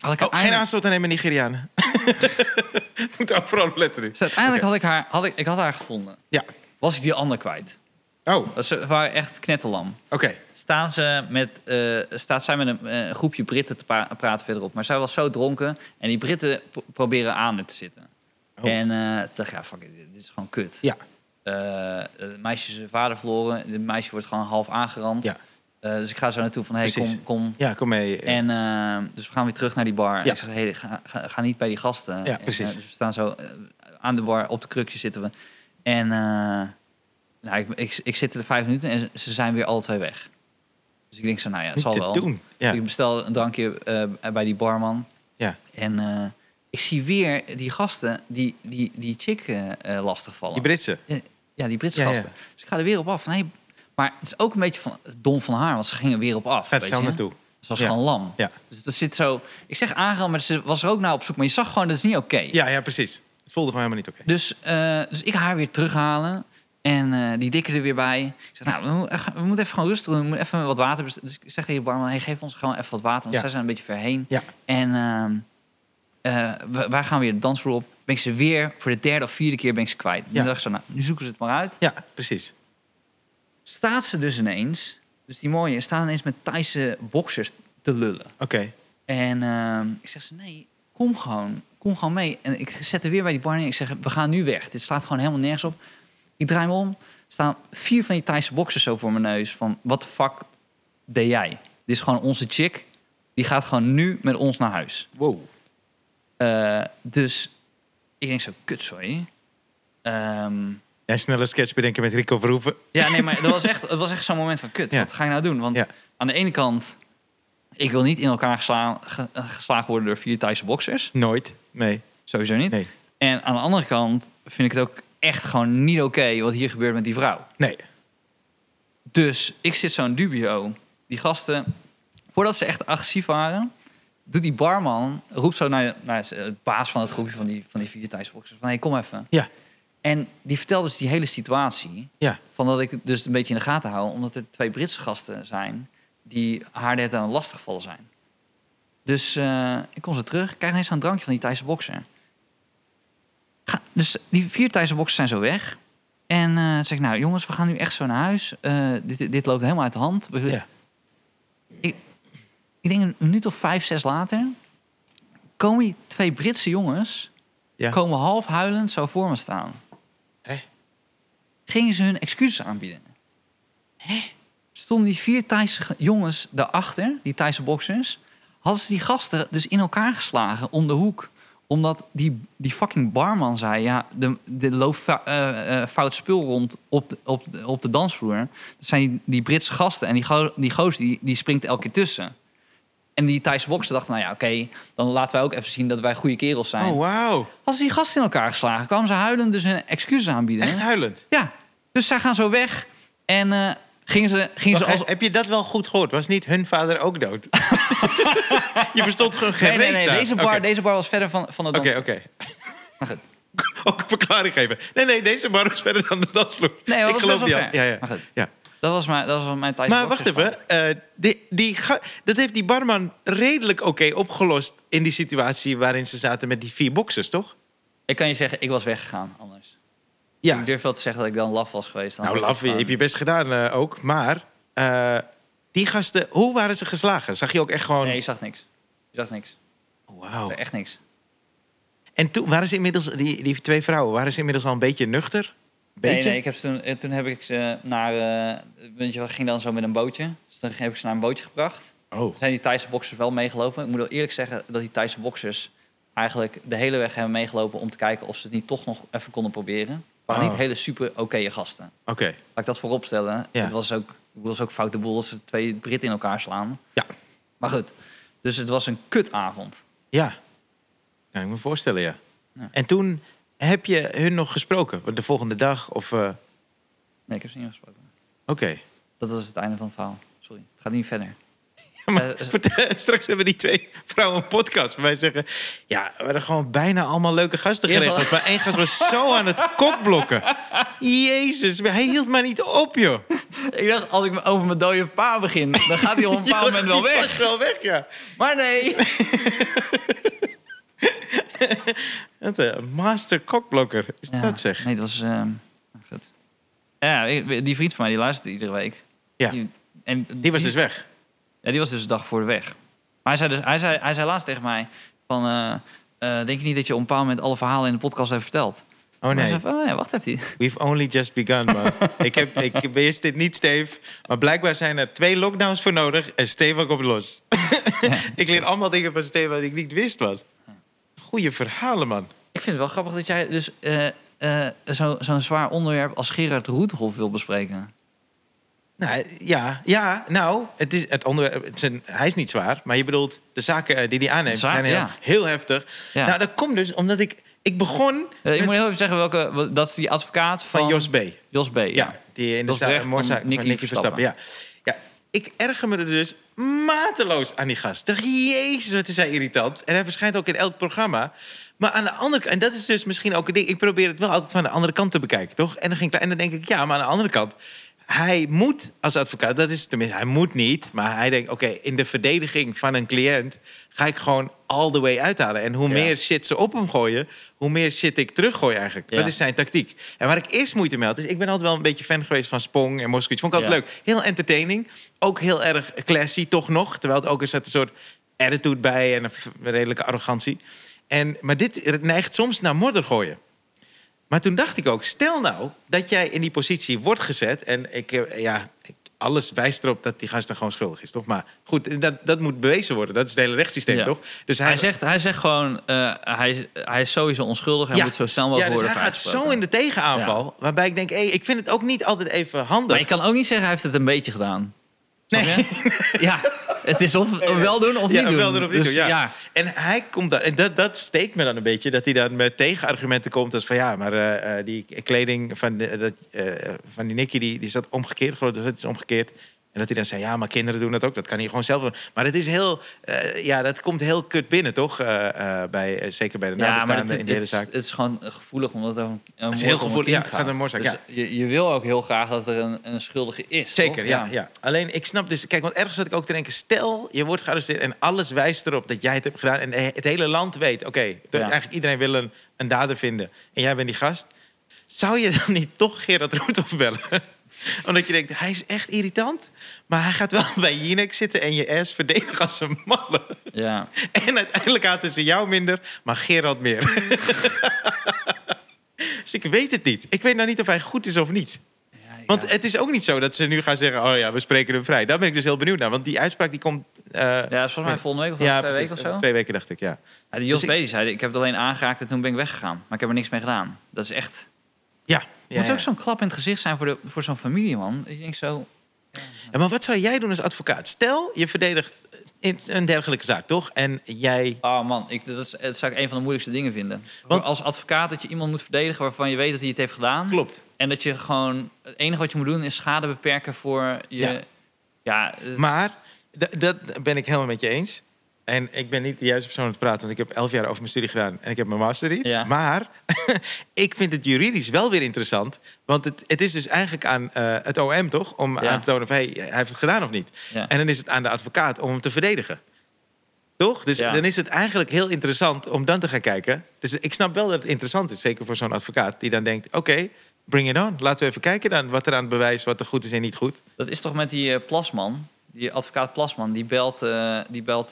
[SPEAKER 2] Had ik
[SPEAKER 1] Oh,
[SPEAKER 2] haar
[SPEAKER 1] geen
[SPEAKER 2] eindelijk-
[SPEAKER 1] aanstoot aan nemen Nigerianen. <laughs> Moet overal letten in.
[SPEAKER 2] dus uiteindelijk had ik haar, had ik, ik had haar gevonden.
[SPEAKER 1] Ja.
[SPEAKER 2] Was ik die ander kwijt?
[SPEAKER 1] Oh, oké.
[SPEAKER 2] Ze waren echt knetterlam. Staan ze met, eh, staat zij met een, eh, een groepje Britten te pra- praten verderop. Maar zij was zo dronken en die Britten pro- proberen aan het te zitten.
[SPEAKER 1] Oh.
[SPEAKER 2] En eh, toen dacht ik, ja, fuck it, dit is gewoon kut.
[SPEAKER 1] Ja.
[SPEAKER 2] Eh, het meisje is zijn vader verloren. Het meisje wordt gewoon half aangerand.
[SPEAKER 1] Ja.
[SPEAKER 2] Eh, dus ik ga zo naartoe van, hey,
[SPEAKER 1] Precies.
[SPEAKER 2] kom, kom.
[SPEAKER 1] Ja, kom mee.
[SPEAKER 2] En eh, dus we gaan weer terug naar die bar.
[SPEAKER 1] Ja.
[SPEAKER 2] En ik zeg, hey, ga, ga, ga niet bij die gasten. En, eh,
[SPEAKER 1] precies.
[SPEAKER 2] dus we staan zo eh, aan de bar, op de krukje zitten we. En eh, Nou, ik, ik, ik zit er vijf minuten en ze- ze zijn weer alle twee weg. Dus ik denk zo, nou ja, het
[SPEAKER 1] Niet
[SPEAKER 2] zal
[SPEAKER 1] te
[SPEAKER 2] wel.
[SPEAKER 1] doen. Ja.
[SPEAKER 2] Ik bestel een drankje eh, bij die barman.
[SPEAKER 1] Ja.
[SPEAKER 2] En eh, ik zie weer die gasten die die, die chick eh eh, lastigvallen.
[SPEAKER 1] Die Britse.
[SPEAKER 2] ja, die Britse
[SPEAKER 1] Ja, ja.
[SPEAKER 2] gasten. Dus ik ga er weer op af. Nee, maar het is ook een beetje van dom van haar, want ze gingen weer op af.
[SPEAKER 1] Gaat
[SPEAKER 2] weet
[SPEAKER 1] snel
[SPEAKER 2] je.
[SPEAKER 1] naartoe.
[SPEAKER 2] Ze was
[SPEAKER 1] Ja.
[SPEAKER 2] gewoon lam.
[SPEAKER 1] Ja.
[SPEAKER 2] Dus dat zit zo... Ik zeg aangehaald, maar ze was er ook naar op zoek. Maar je zag gewoon, dat is niet oké.
[SPEAKER 1] Ja, ja, precies. Het voelde gewoon helemaal niet oké.
[SPEAKER 2] Dus, eh, dus ik haar weer terughalen. En eh, die dikke er weer bij. Ik zeg, nou, we, mo- we moeten even gewoon rustig doen. We moeten even wat water bestellen. Dus ik zeg tegen die barman, hey, geef ons gewoon even wat water. Want
[SPEAKER 1] Ja.
[SPEAKER 2] zij zijn een beetje ver heen.
[SPEAKER 1] Ja.
[SPEAKER 2] En ehm, eh, we- wij gaan weer de dansvloer op. Ben ik ze weer, voor de derde of vierde keer ben ik ze kwijt. En
[SPEAKER 1] Ja.
[SPEAKER 2] Dan dacht ik zo, nou, nu zoeken ze het maar uit.
[SPEAKER 1] Ja, precies.
[SPEAKER 2] Staat ze dus ineens, dus die mooie, staat ineens met Thaise boxers te lullen.
[SPEAKER 1] Oké.
[SPEAKER 2] En ehm, ik zeg ze, nee, kom gewoon. Kom gewoon mee. En ik zet er weer bij die bar neer. Ik zeg, we gaan nu weg. Dit slaat gewoon helemaal nergens op. Ik draai me om. Er staan vier van die Thaise boxers zo voor mijn neus. Van, wat de fuck deed jij? Dit is gewoon onze chick. Die gaat gewoon nu met ons naar huis.
[SPEAKER 1] Wow.
[SPEAKER 2] Eh, dus ik denk zo, kut, sorry. Ehm,
[SPEAKER 1] Ja, snelle sketch bedenken met Rico Verhoeven.
[SPEAKER 2] ja, nee, maar dat was echt, het was echt zo'n moment van kut.
[SPEAKER 1] Ja.
[SPEAKER 2] Wat ga ik nou doen? Want
[SPEAKER 1] Ja.
[SPEAKER 2] aan de ene kant, ik wil niet in elkaar geslaan- ge- geslagen worden door vier Thaise boxers.
[SPEAKER 1] Nooit. Nee.
[SPEAKER 2] Sowieso niet.
[SPEAKER 1] Nee.
[SPEAKER 2] En aan de andere kant vind ik het ook echt gewoon niet oké wat hier gebeurt met die vrouw.
[SPEAKER 1] Nee.
[SPEAKER 2] Dus ik zit zo'n dubio. Die gasten, voordat ze echt agressief waren, doet die barman, roept zo naar, naar de baas van het groepje van die, van die vier Thaise boxers. Van, hey, kom even.
[SPEAKER 1] Ja.
[SPEAKER 2] En die vertelt dus die hele situatie.
[SPEAKER 1] Ja.
[SPEAKER 2] Van dat ik het dus een beetje in de gaten hou, omdat er twee Britse gasten zijn die haar net aan lastig vallen zijn. Dus eh, ik kom ze terug, ik krijg ineens zo'n drankje van die Thaise bokser. Ga, dus die vier Thaise boxers zijn zo weg. En eh zeg ik, nou jongens, we gaan nu echt zo naar huis. Eh, dit, dit, dit loopt helemaal uit de hand. We-
[SPEAKER 1] Ja.
[SPEAKER 2] ik, ik denk een minuut of vijf, zes later... komen die twee Britse jongens...
[SPEAKER 1] Ja.
[SPEAKER 2] komen half huilend zo voor me staan
[SPEAKER 1] Hé?
[SPEAKER 2] gingen ze hun excuses aanbieden. Hé? Stonden die vier Thaise ge- jongens daarachter, die Thaise boxers... hadden ze die gasten dus in elkaar geslagen om de hoek. Omdat die, die fucking barman zei... ja, de- er loopt fa- eh, eh, fout spul rond op de, op, de, op de dansvloer. Dat zijn die, die Britse gasten en die, go die goos die, die springt elke keer tussen. En die Thaise boxers dachten, nou ja, oké... dan laten wij ook even zien dat wij goede kerels zijn.
[SPEAKER 1] Oh, wauw.
[SPEAKER 2] Als die gasten in elkaar geslagen kwamen ze huilend dus hun excuses aanbieden.
[SPEAKER 1] Echt huilend.
[SPEAKER 2] Ja, dus zij gaan zo weg en eh, gingen ze, gingen ze
[SPEAKER 1] Wacht,
[SPEAKER 2] als...
[SPEAKER 1] Heb je dat wel goed gehoord? Was niet hun vader ook
[SPEAKER 2] <laughs>
[SPEAKER 1] dood? je verstond gewoon geen
[SPEAKER 2] Nee, nee,
[SPEAKER 1] reet
[SPEAKER 2] nee,
[SPEAKER 1] daar.
[SPEAKER 2] deze bar,
[SPEAKER 1] Oké.
[SPEAKER 2] deze bar was verder van, van de
[SPEAKER 1] Oké,
[SPEAKER 2] dans.
[SPEAKER 1] oké. <laughs>
[SPEAKER 2] Maar goed.
[SPEAKER 1] Ook een verklaring geven. Nee, nee, deze bar is verder dan de dansvloer.
[SPEAKER 2] Nee, maar
[SPEAKER 1] ik
[SPEAKER 2] dat
[SPEAKER 1] geloof
[SPEAKER 2] was
[SPEAKER 1] die
[SPEAKER 2] wel
[SPEAKER 1] al.
[SPEAKER 2] ver.
[SPEAKER 1] Ja, ja.
[SPEAKER 2] Maar goed.
[SPEAKER 1] ja.
[SPEAKER 2] Dat was mijn, dat was mijn tijd.
[SPEAKER 1] Maar wacht even. eh, die, die ga- dat heeft die barman redelijk oké opgelost... in die situatie waarin ze zaten met die vier boxers, toch?
[SPEAKER 2] Ik kan je zeggen, ik was weggegaan anders.
[SPEAKER 1] Ja.
[SPEAKER 2] Ik durf wel te zeggen dat ik dan laf was geweest. Dan
[SPEAKER 1] Nou,
[SPEAKER 2] had ik
[SPEAKER 1] laf, je
[SPEAKER 2] gewoon-
[SPEAKER 1] hebt je best gedaan eh, ook. Maar eh, die gasten, hoe waren ze geslagen? Zag je ook echt gewoon... Oh.
[SPEAKER 2] Nee, je zag niks. Je zag niks.
[SPEAKER 1] Wauw.
[SPEAKER 2] Echt niks.
[SPEAKER 1] En toen waren ze inmiddels... Die, die twee vrouwen, waren ze inmiddels al een beetje nuchter? Beetje?
[SPEAKER 2] Nee, nee, ik heb ze toen, eh, toen heb ik ze naar... eh weet je wel, ik ging dan zo met een bootje. Dus dan heb ik ze naar een bootje gebracht.
[SPEAKER 1] Oh.
[SPEAKER 2] zijn die Thaise boxers wel meegelopen. Ik moet wel eerlijk zeggen dat die Thaise boxers eigenlijk de hele weg hebben meegelopen om te kijken of ze het niet toch nog even konden proberen. Het waren
[SPEAKER 1] Oh.
[SPEAKER 2] niet hele super oké gasten.
[SPEAKER 1] Oké.
[SPEAKER 2] Laat ik dat voorop stellen.
[SPEAKER 1] Ja.
[SPEAKER 2] Het was ook, ik bedoel, het is ook foute boel dat ze twee Britten in elkaar slaan.
[SPEAKER 1] Ja.
[SPEAKER 2] Maar goed, dus het was een kutavond.
[SPEAKER 1] Ja. Kan ik me voorstellen, ja.
[SPEAKER 2] Ja.
[SPEAKER 1] En toen heb je hun nog gesproken? De volgende dag of... eh, Oké.
[SPEAKER 2] Nee, ik heb ze niet gesproken. Dat was het einde van het verhaal. Sorry, het gaat niet verder.
[SPEAKER 1] <laughs> Maar
[SPEAKER 2] Eh,
[SPEAKER 1] vertel- straks hebben die twee vrouwen een podcast. Wij zeggen, ja, we hadden gewoon bijna allemaal leuke gasten
[SPEAKER 2] Eerst
[SPEAKER 1] geregeld.
[SPEAKER 2] al-
[SPEAKER 1] Maar één gast was zo aan het kokblokken. Jezus, hij hield maar niet op, joh.
[SPEAKER 2] Ik dacht, als ik over mijn dode pa begin, dan gaat hij op een <laughs> bepaald
[SPEAKER 1] Ja,
[SPEAKER 2] moment wel
[SPEAKER 1] die
[SPEAKER 2] weg.
[SPEAKER 1] was wel weg, ja.
[SPEAKER 2] Maar nee.
[SPEAKER 1] Wat een master kokblokker is
[SPEAKER 2] Ja,
[SPEAKER 1] dat zeg.
[SPEAKER 2] Nee, het was... ehm, goed. Ja, ik- die vriend van mij die luisterde iedere week.
[SPEAKER 1] Ja.
[SPEAKER 2] Die, en
[SPEAKER 1] Die was dus weg.
[SPEAKER 2] Ja, die was dus de dag voor de weg. Maar hij zei, dus, hij zei, hij zei laatst tegen mij van... eh, eh, denk je niet dat je op een bepaald moment alle verhalen in de podcast hebt verteld?
[SPEAKER 1] Oh
[SPEAKER 2] Maar hij <laughs>
[SPEAKER 1] nee,
[SPEAKER 2] zei van, oh ja, wacht even.
[SPEAKER 1] we've only just begun,
[SPEAKER 2] <laughs>
[SPEAKER 1] man. ik, heb, ik wist dit niet, Steve. Maar blijkbaar zijn er twee lockdowns voor nodig en Stefan komt los. <laughs> ik leer allemaal dingen van Stefan die ik niet wist, man. Goeie verhalen, man.
[SPEAKER 2] Ik vind het wel grappig dat jij dus eh, eh, zo- zo'n zwaar onderwerp als Gerard Roethoff wil bespreken?
[SPEAKER 1] Nou, ja, ja, nou, het is het onderwerp, het zijn, hij is niet zwaar, maar je bedoelt de zaken eh, die hij aanneemt
[SPEAKER 2] Zwaar,
[SPEAKER 1] zijn heel,
[SPEAKER 2] ja.
[SPEAKER 1] heel heftig.
[SPEAKER 2] Ja.
[SPEAKER 1] Nou, dat komt dus omdat ik, ik begon
[SPEAKER 2] Eh, ik moet heel even zeggen welke. wat- Dat is die advocaat van,
[SPEAKER 1] van Jos B.
[SPEAKER 2] Jos B.
[SPEAKER 1] Ja, die in de
[SPEAKER 2] Dat is
[SPEAKER 1] za-
[SPEAKER 2] Brecht van
[SPEAKER 1] moordzaak van
[SPEAKER 2] Nicky
[SPEAKER 1] Nicky Verstappen.
[SPEAKER 2] Verstappen.
[SPEAKER 1] Ja. ja, ik erger me er dus mateloos aan die gast. Dacht, jezus, wat is hij irritant. En hij verschijnt ook in elk programma. Maar aan de andere kant, en dat is dus misschien ook een ding... ik probeer het wel altijd van de andere kant te bekijken, toch? En dan, ging ik, en dan denk ik, ja, maar aan de andere kant... Hij moet als advocaat, dat is tenminste, hij moet niet, maar hij denkt: oké, in de verdediging van een cliënt ga ik gewoon all the way uithalen. En hoe
[SPEAKER 2] Ja.
[SPEAKER 1] meer shit ze op hem gooien, hoe meer shit ik teruggooi eigenlijk.
[SPEAKER 2] Ja.
[SPEAKER 1] Dat is zijn tactiek. En waar ik eerst moeite mee had, is ik ben altijd wel een beetje fan geweest van Spong en Moskowitz. Vond ik altijd
[SPEAKER 2] Ja.
[SPEAKER 1] leuk. Heel entertaining. Ook heel erg classy, toch nog. Terwijl het ook er zat een soort attitude bij en een v- redelijke arrogantie. En, maar dit neigt soms naar modder gooien. Maar toen dacht ik ook, stel nou dat jij in die positie wordt gezet. En ik, eh, ja, ik- alles wijst erop dat die gast dan gewoon schuldig is, toch? Maar goed, dat, dat moet bewezen worden. Dat is het hele rechtssysteem,
[SPEAKER 2] Ja.
[SPEAKER 1] toch? Dus
[SPEAKER 2] Hij zegt, hij zegt gewoon, eh, hij, hij is sowieso onschuldig. Hij moet zo snel
[SPEAKER 1] ja,
[SPEAKER 2] mogelijk
[SPEAKER 1] dus
[SPEAKER 2] worden
[SPEAKER 1] hij gaat zo
[SPEAKER 2] vrijgesproken.
[SPEAKER 1] in de tegenaanval. Waarbij ik denk, hey, ik vind het ook niet altijd even
[SPEAKER 2] Maar
[SPEAKER 1] handig.
[SPEAKER 2] je kan ook niet zeggen, hij heeft het een beetje gedaan. Snap
[SPEAKER 1] Nee.
[SPEAKER 2] je? ja, het is of wel doen of
[SPEAKER 1] <laughs> Ja,
[SPEAKER 2] niet doen.
[SPEAKER 1] wel erop niet
[SPEAKER 2] Dus
[SPEAKER 1] doen, ja. En hij komt dan, en dat, dat steekt me dan een beetje, dat hij dan met tegenargumenten komt. Als van ja, maar eh, eh, die kleding van, de- dat, eh, van die Nicky, die, die zat omgekeerd, geloof ik, dat is omgekeerd. En dat hij dan zei, ja, maar kinderen doen dat ook, dat kan hij gewoon zelf doen. Maar het is heel, eh, ja, dat komt heel kut binnen, toch? Eh, eh, bij, eh, zeker bij de
[SPEAKER 2] Ja, maar
[SPEAKER 1] nabestaanden in
[SPEAKER 2] het, het
[SPEAKER 1] de hele
[SPEAKER 2] is-
[SPEAKER 1] zaak.
[SPEAKER 2] het is gewoon gevoelig omdat het over een- een
[SPEAKER 1] is
[SPEAKER 2] moord
[SPEAKER 1] heel
[SPEAKER 2] om een
[SPEAKER 1] gevoelig,
[SPEAKER 2] kind
[SPEAKER 1] ja, het gaat om een moordzaak,
[SPEAKER 2] Dus
[SPEAKER 1] ja.
[SPEAKER 2] je, je wil ook heel graag dat er een, een schuldige is,
[SPEAKER 1] Zeker,
[SPEAKER 2] toch?
[SPEAKER 1] ja, ja. Alleen ik snap dus, kijk, want ergens zat ik ook te denken: stel je wordt gearresteerd en alles wijst erop dat jij het hebt gedaan. En het hele land weet, oké, toch,
[SPEAKER 2] Ja.
[SPEAKER 1] eigenlijk iedereen wil een, een dader vinden. En jij bent die gast. Zou je dan niet toch Gerard Roethoff bellen? <laughs> Omdat je denkt, hij is echt irritant. Maar hij gaat wel <laughs> bij Jinek zitten en je ass verdedigen als een malle. <laughs>
[SPEAKER 2] Ja.
[SPEAKER 1] En uiteindelijk haten ze jou minder, maar Gerard meer. <laughs> dus ik weet het niet. Ik weet nou niet of hij goed is of niet.
[SPEAKER 2] Ja, ja.
[SPEAKER 1] Want het is ook niet zo dat ze nu gaan zeggen: oh ja, we spreken hem vrij. Daar ben ik dus heel benieuwd naar. Want die uitspraak die komt. eh,
[SPEAKER 2] ja, dat is volgens mij volgende week of
[SPEAKER 1] ja,
[SPEAKER 2] over twee
[SPEAKER 1] precies.
[SPEAKER 2] weken of zo.
[SPEAKER 1] Twee weken dacht ik, ja.
[SPEAKER 2] Ja, de Jos
[SPEAKER 1] Dus
[SPEAKER 2] B. die zei, ik heb het alleen aangeraakt en toen ben ik weggegaan. Maar ik heb er niks mee gedaan. Dat is echt...
[SPEAKER 1] Ja,
[SPEAKER 2] Het
[SPEAKER 1] ja,
[SPEAKER 2] moet
[SPEAKER 1] ja.
[SPEAKER 2] ook zo'n klap in het gezicht zijn voor, de, voor zo'n familie, man. Ik denk zo...
[SPEAKER 1] Ja, maar wat zou jij doen als advocaat? Stel, je verdedigt in een dergelijke zaak, toch? En jij.
[SPEAKER 2] Oh man, ik, dat, is, dat zou ik een van de moeilijkste dingen vinden.
[SPEAKER 1] Want-
[SPEAKER 2] Want als advocaat dat je iemand moet verdedigen waarvan je weet dat hij het heeft gedaan.
[SPEAKER 1] Klopt.
[SPEAKER 2] En dat je gewoon... Het enige wat je moet doen is schade beperken voor je...
[SPEAKER 1] Ja.
[SPEAKER 2] Ja, eh,
[SPEAKER 1] Maar d- dat ben ik helemaal met je eens. En ik ben niet de juiste persoon om te praten, want ik heb elf jaar over mijn studie gedaan en ik heb mijn master niet.
[SPEAKER 2] Ja.
[SPEAKER 1] Maar <laughs> ik vind het juridisch wel weer interessant. Want het, het is dus eigenlijk aan eh, het OM, toch? Om
[SPEAKER 2] Ja.
[SPEAKER 1] aan te tonen of hij, hij heeft het gedaan of niet.
[SPEAKER 2] Ja.
[SPEAKER 1] En dan is het aan de advocaat om hem te verdedigen. Toch? Dus
[SPEAKER 2] Ja.
[SPEAKER 1] dan is het eigenlijk heel interessant om dan te gaan kijken. Dus ik snap wel dat het interessant is, zeker voor zo'n advocaat, die dan denkt: oké, bring it on. Laten we even kijken dan wat er aan het bewijs, wat er goed is en niet goed.
[SPEAKER 2] Dat is toch met die eh, Plasman, die advocaat Plasman, die belt, eh, die belt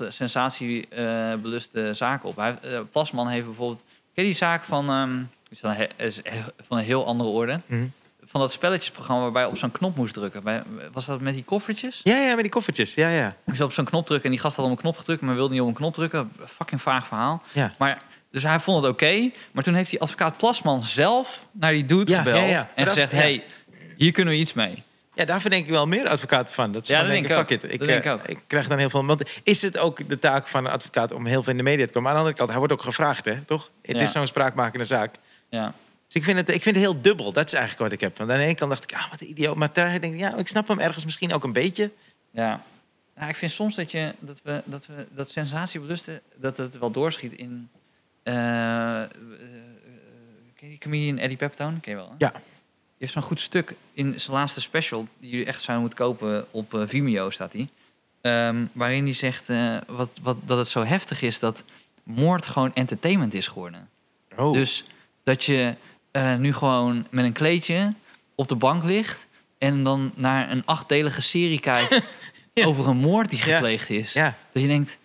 [SPEAKER 2] sensatiebeluste zaken op. Hij, eh, Plasman heeft bijvoorbeeld, ken je die zaak van, ehm, is dan he- is he- van een heel andere orde?
[SPEAKER 1] Mhm.
[SPEAKER 2] Van dat spelletjesprogramma waarbij je op zo'n knop moest drukken. Bij- Was dat met die koffertjes?
[SPEAKER 1] Ja, ja, met die koffertjes. Ja, ja.
[SPEAKER 2] Moest je op zo'n knop drukken en die gast had op een knop gedrukt, maar wilde niet op een knop drukken. Fucking vaag verhaal.
[SPEAKER 1] ja.
[SPEAKER 2] Maar, dus hij vond het oké, maar toen heeft die advocaat Plasman zelf naar die dude
[SPEAKER 1] Ja,
[SPEAKER 2] gebeld
[SPEAKER 1] ja, ja.
[SPEAKER 2] en
[SPEAKER 1] Dat-
[SPEAKER 2] gezegd,
[SPEAKER 1] ja.
[SPEAKER 2] hey, hier kunnen we iets mee.
[SPEAKER 1] Ja, daar verdenk ik wel meer advocaten van. Dat ze
[SPEAKER 2] Ja,
[SPEAKER 1] gewoon
[SPEAKER 2] dat
[SPEAKER 1] denken,
[SPEAKER 2] denk ik
[SPEAKER 1] fuck
[SPEAKER 2] ook.
[SPEAKER 1] it. Ik,
[SPEAKER 2] Dat denk
[SPEAKER 1] eh,
[SPEAKER 2] ik ook.
[SPEAKER 1] ik krijg dan heel veel... Want is het ook de taak van een advocaat om heel veel in de media te komen? Aan de andere kant, hij wordt ook gevraagd, hè, toch? Het
[SPEAKER 2] Ja.
[SPEAKER 1] is zo'n spraakmakende zaak.
[SPEAKER 2] Ja.
[SPEAKER 1] Dus ik vind, het, ik vind het heel dubbel. Dat is eigenlijk wat ik heb. Want aan de ene kant dacht ik, ah, wat een idioot. Maar daar denk ik, ja, ik snap hem ergens misschien ook een beetje.
[SPEAKER 2] Ja. Nou, ik vind soms dat, je, dat, we, dat, we, dat sensatiebelusten, dat het wel doorschiet in... eh eh, ken je die comedian Eddie Peptone? Ken je wel, hè?
[SPEAKER 1] Ja.
[SPEAKER 2] Die heeft zo'n goed stuk in zijn laatste special... die jullie echt zouden moeten kopen op eh, Vimeo, staat die. Ehm, waarin hij zegt eh, wat, wat, dat het zo heftig is dat moord gewoon entertainment is geworden.
[SPEAKER 1] Oh.
[SPEAKER 2] Dus dat je eh, nu gewoon met een kleedje op de bank ligt en dan naar een achtdelige serie kijkt
[SPEAKER 1] <laughs> Ja.
[SPEAKER 2] over een moord die
[SPEAKER 1] Ja.
[SPEAKER 2] gepleegd is.
[SPEAKER 1] ja,
[SPEAKER 2] Dat je denkt,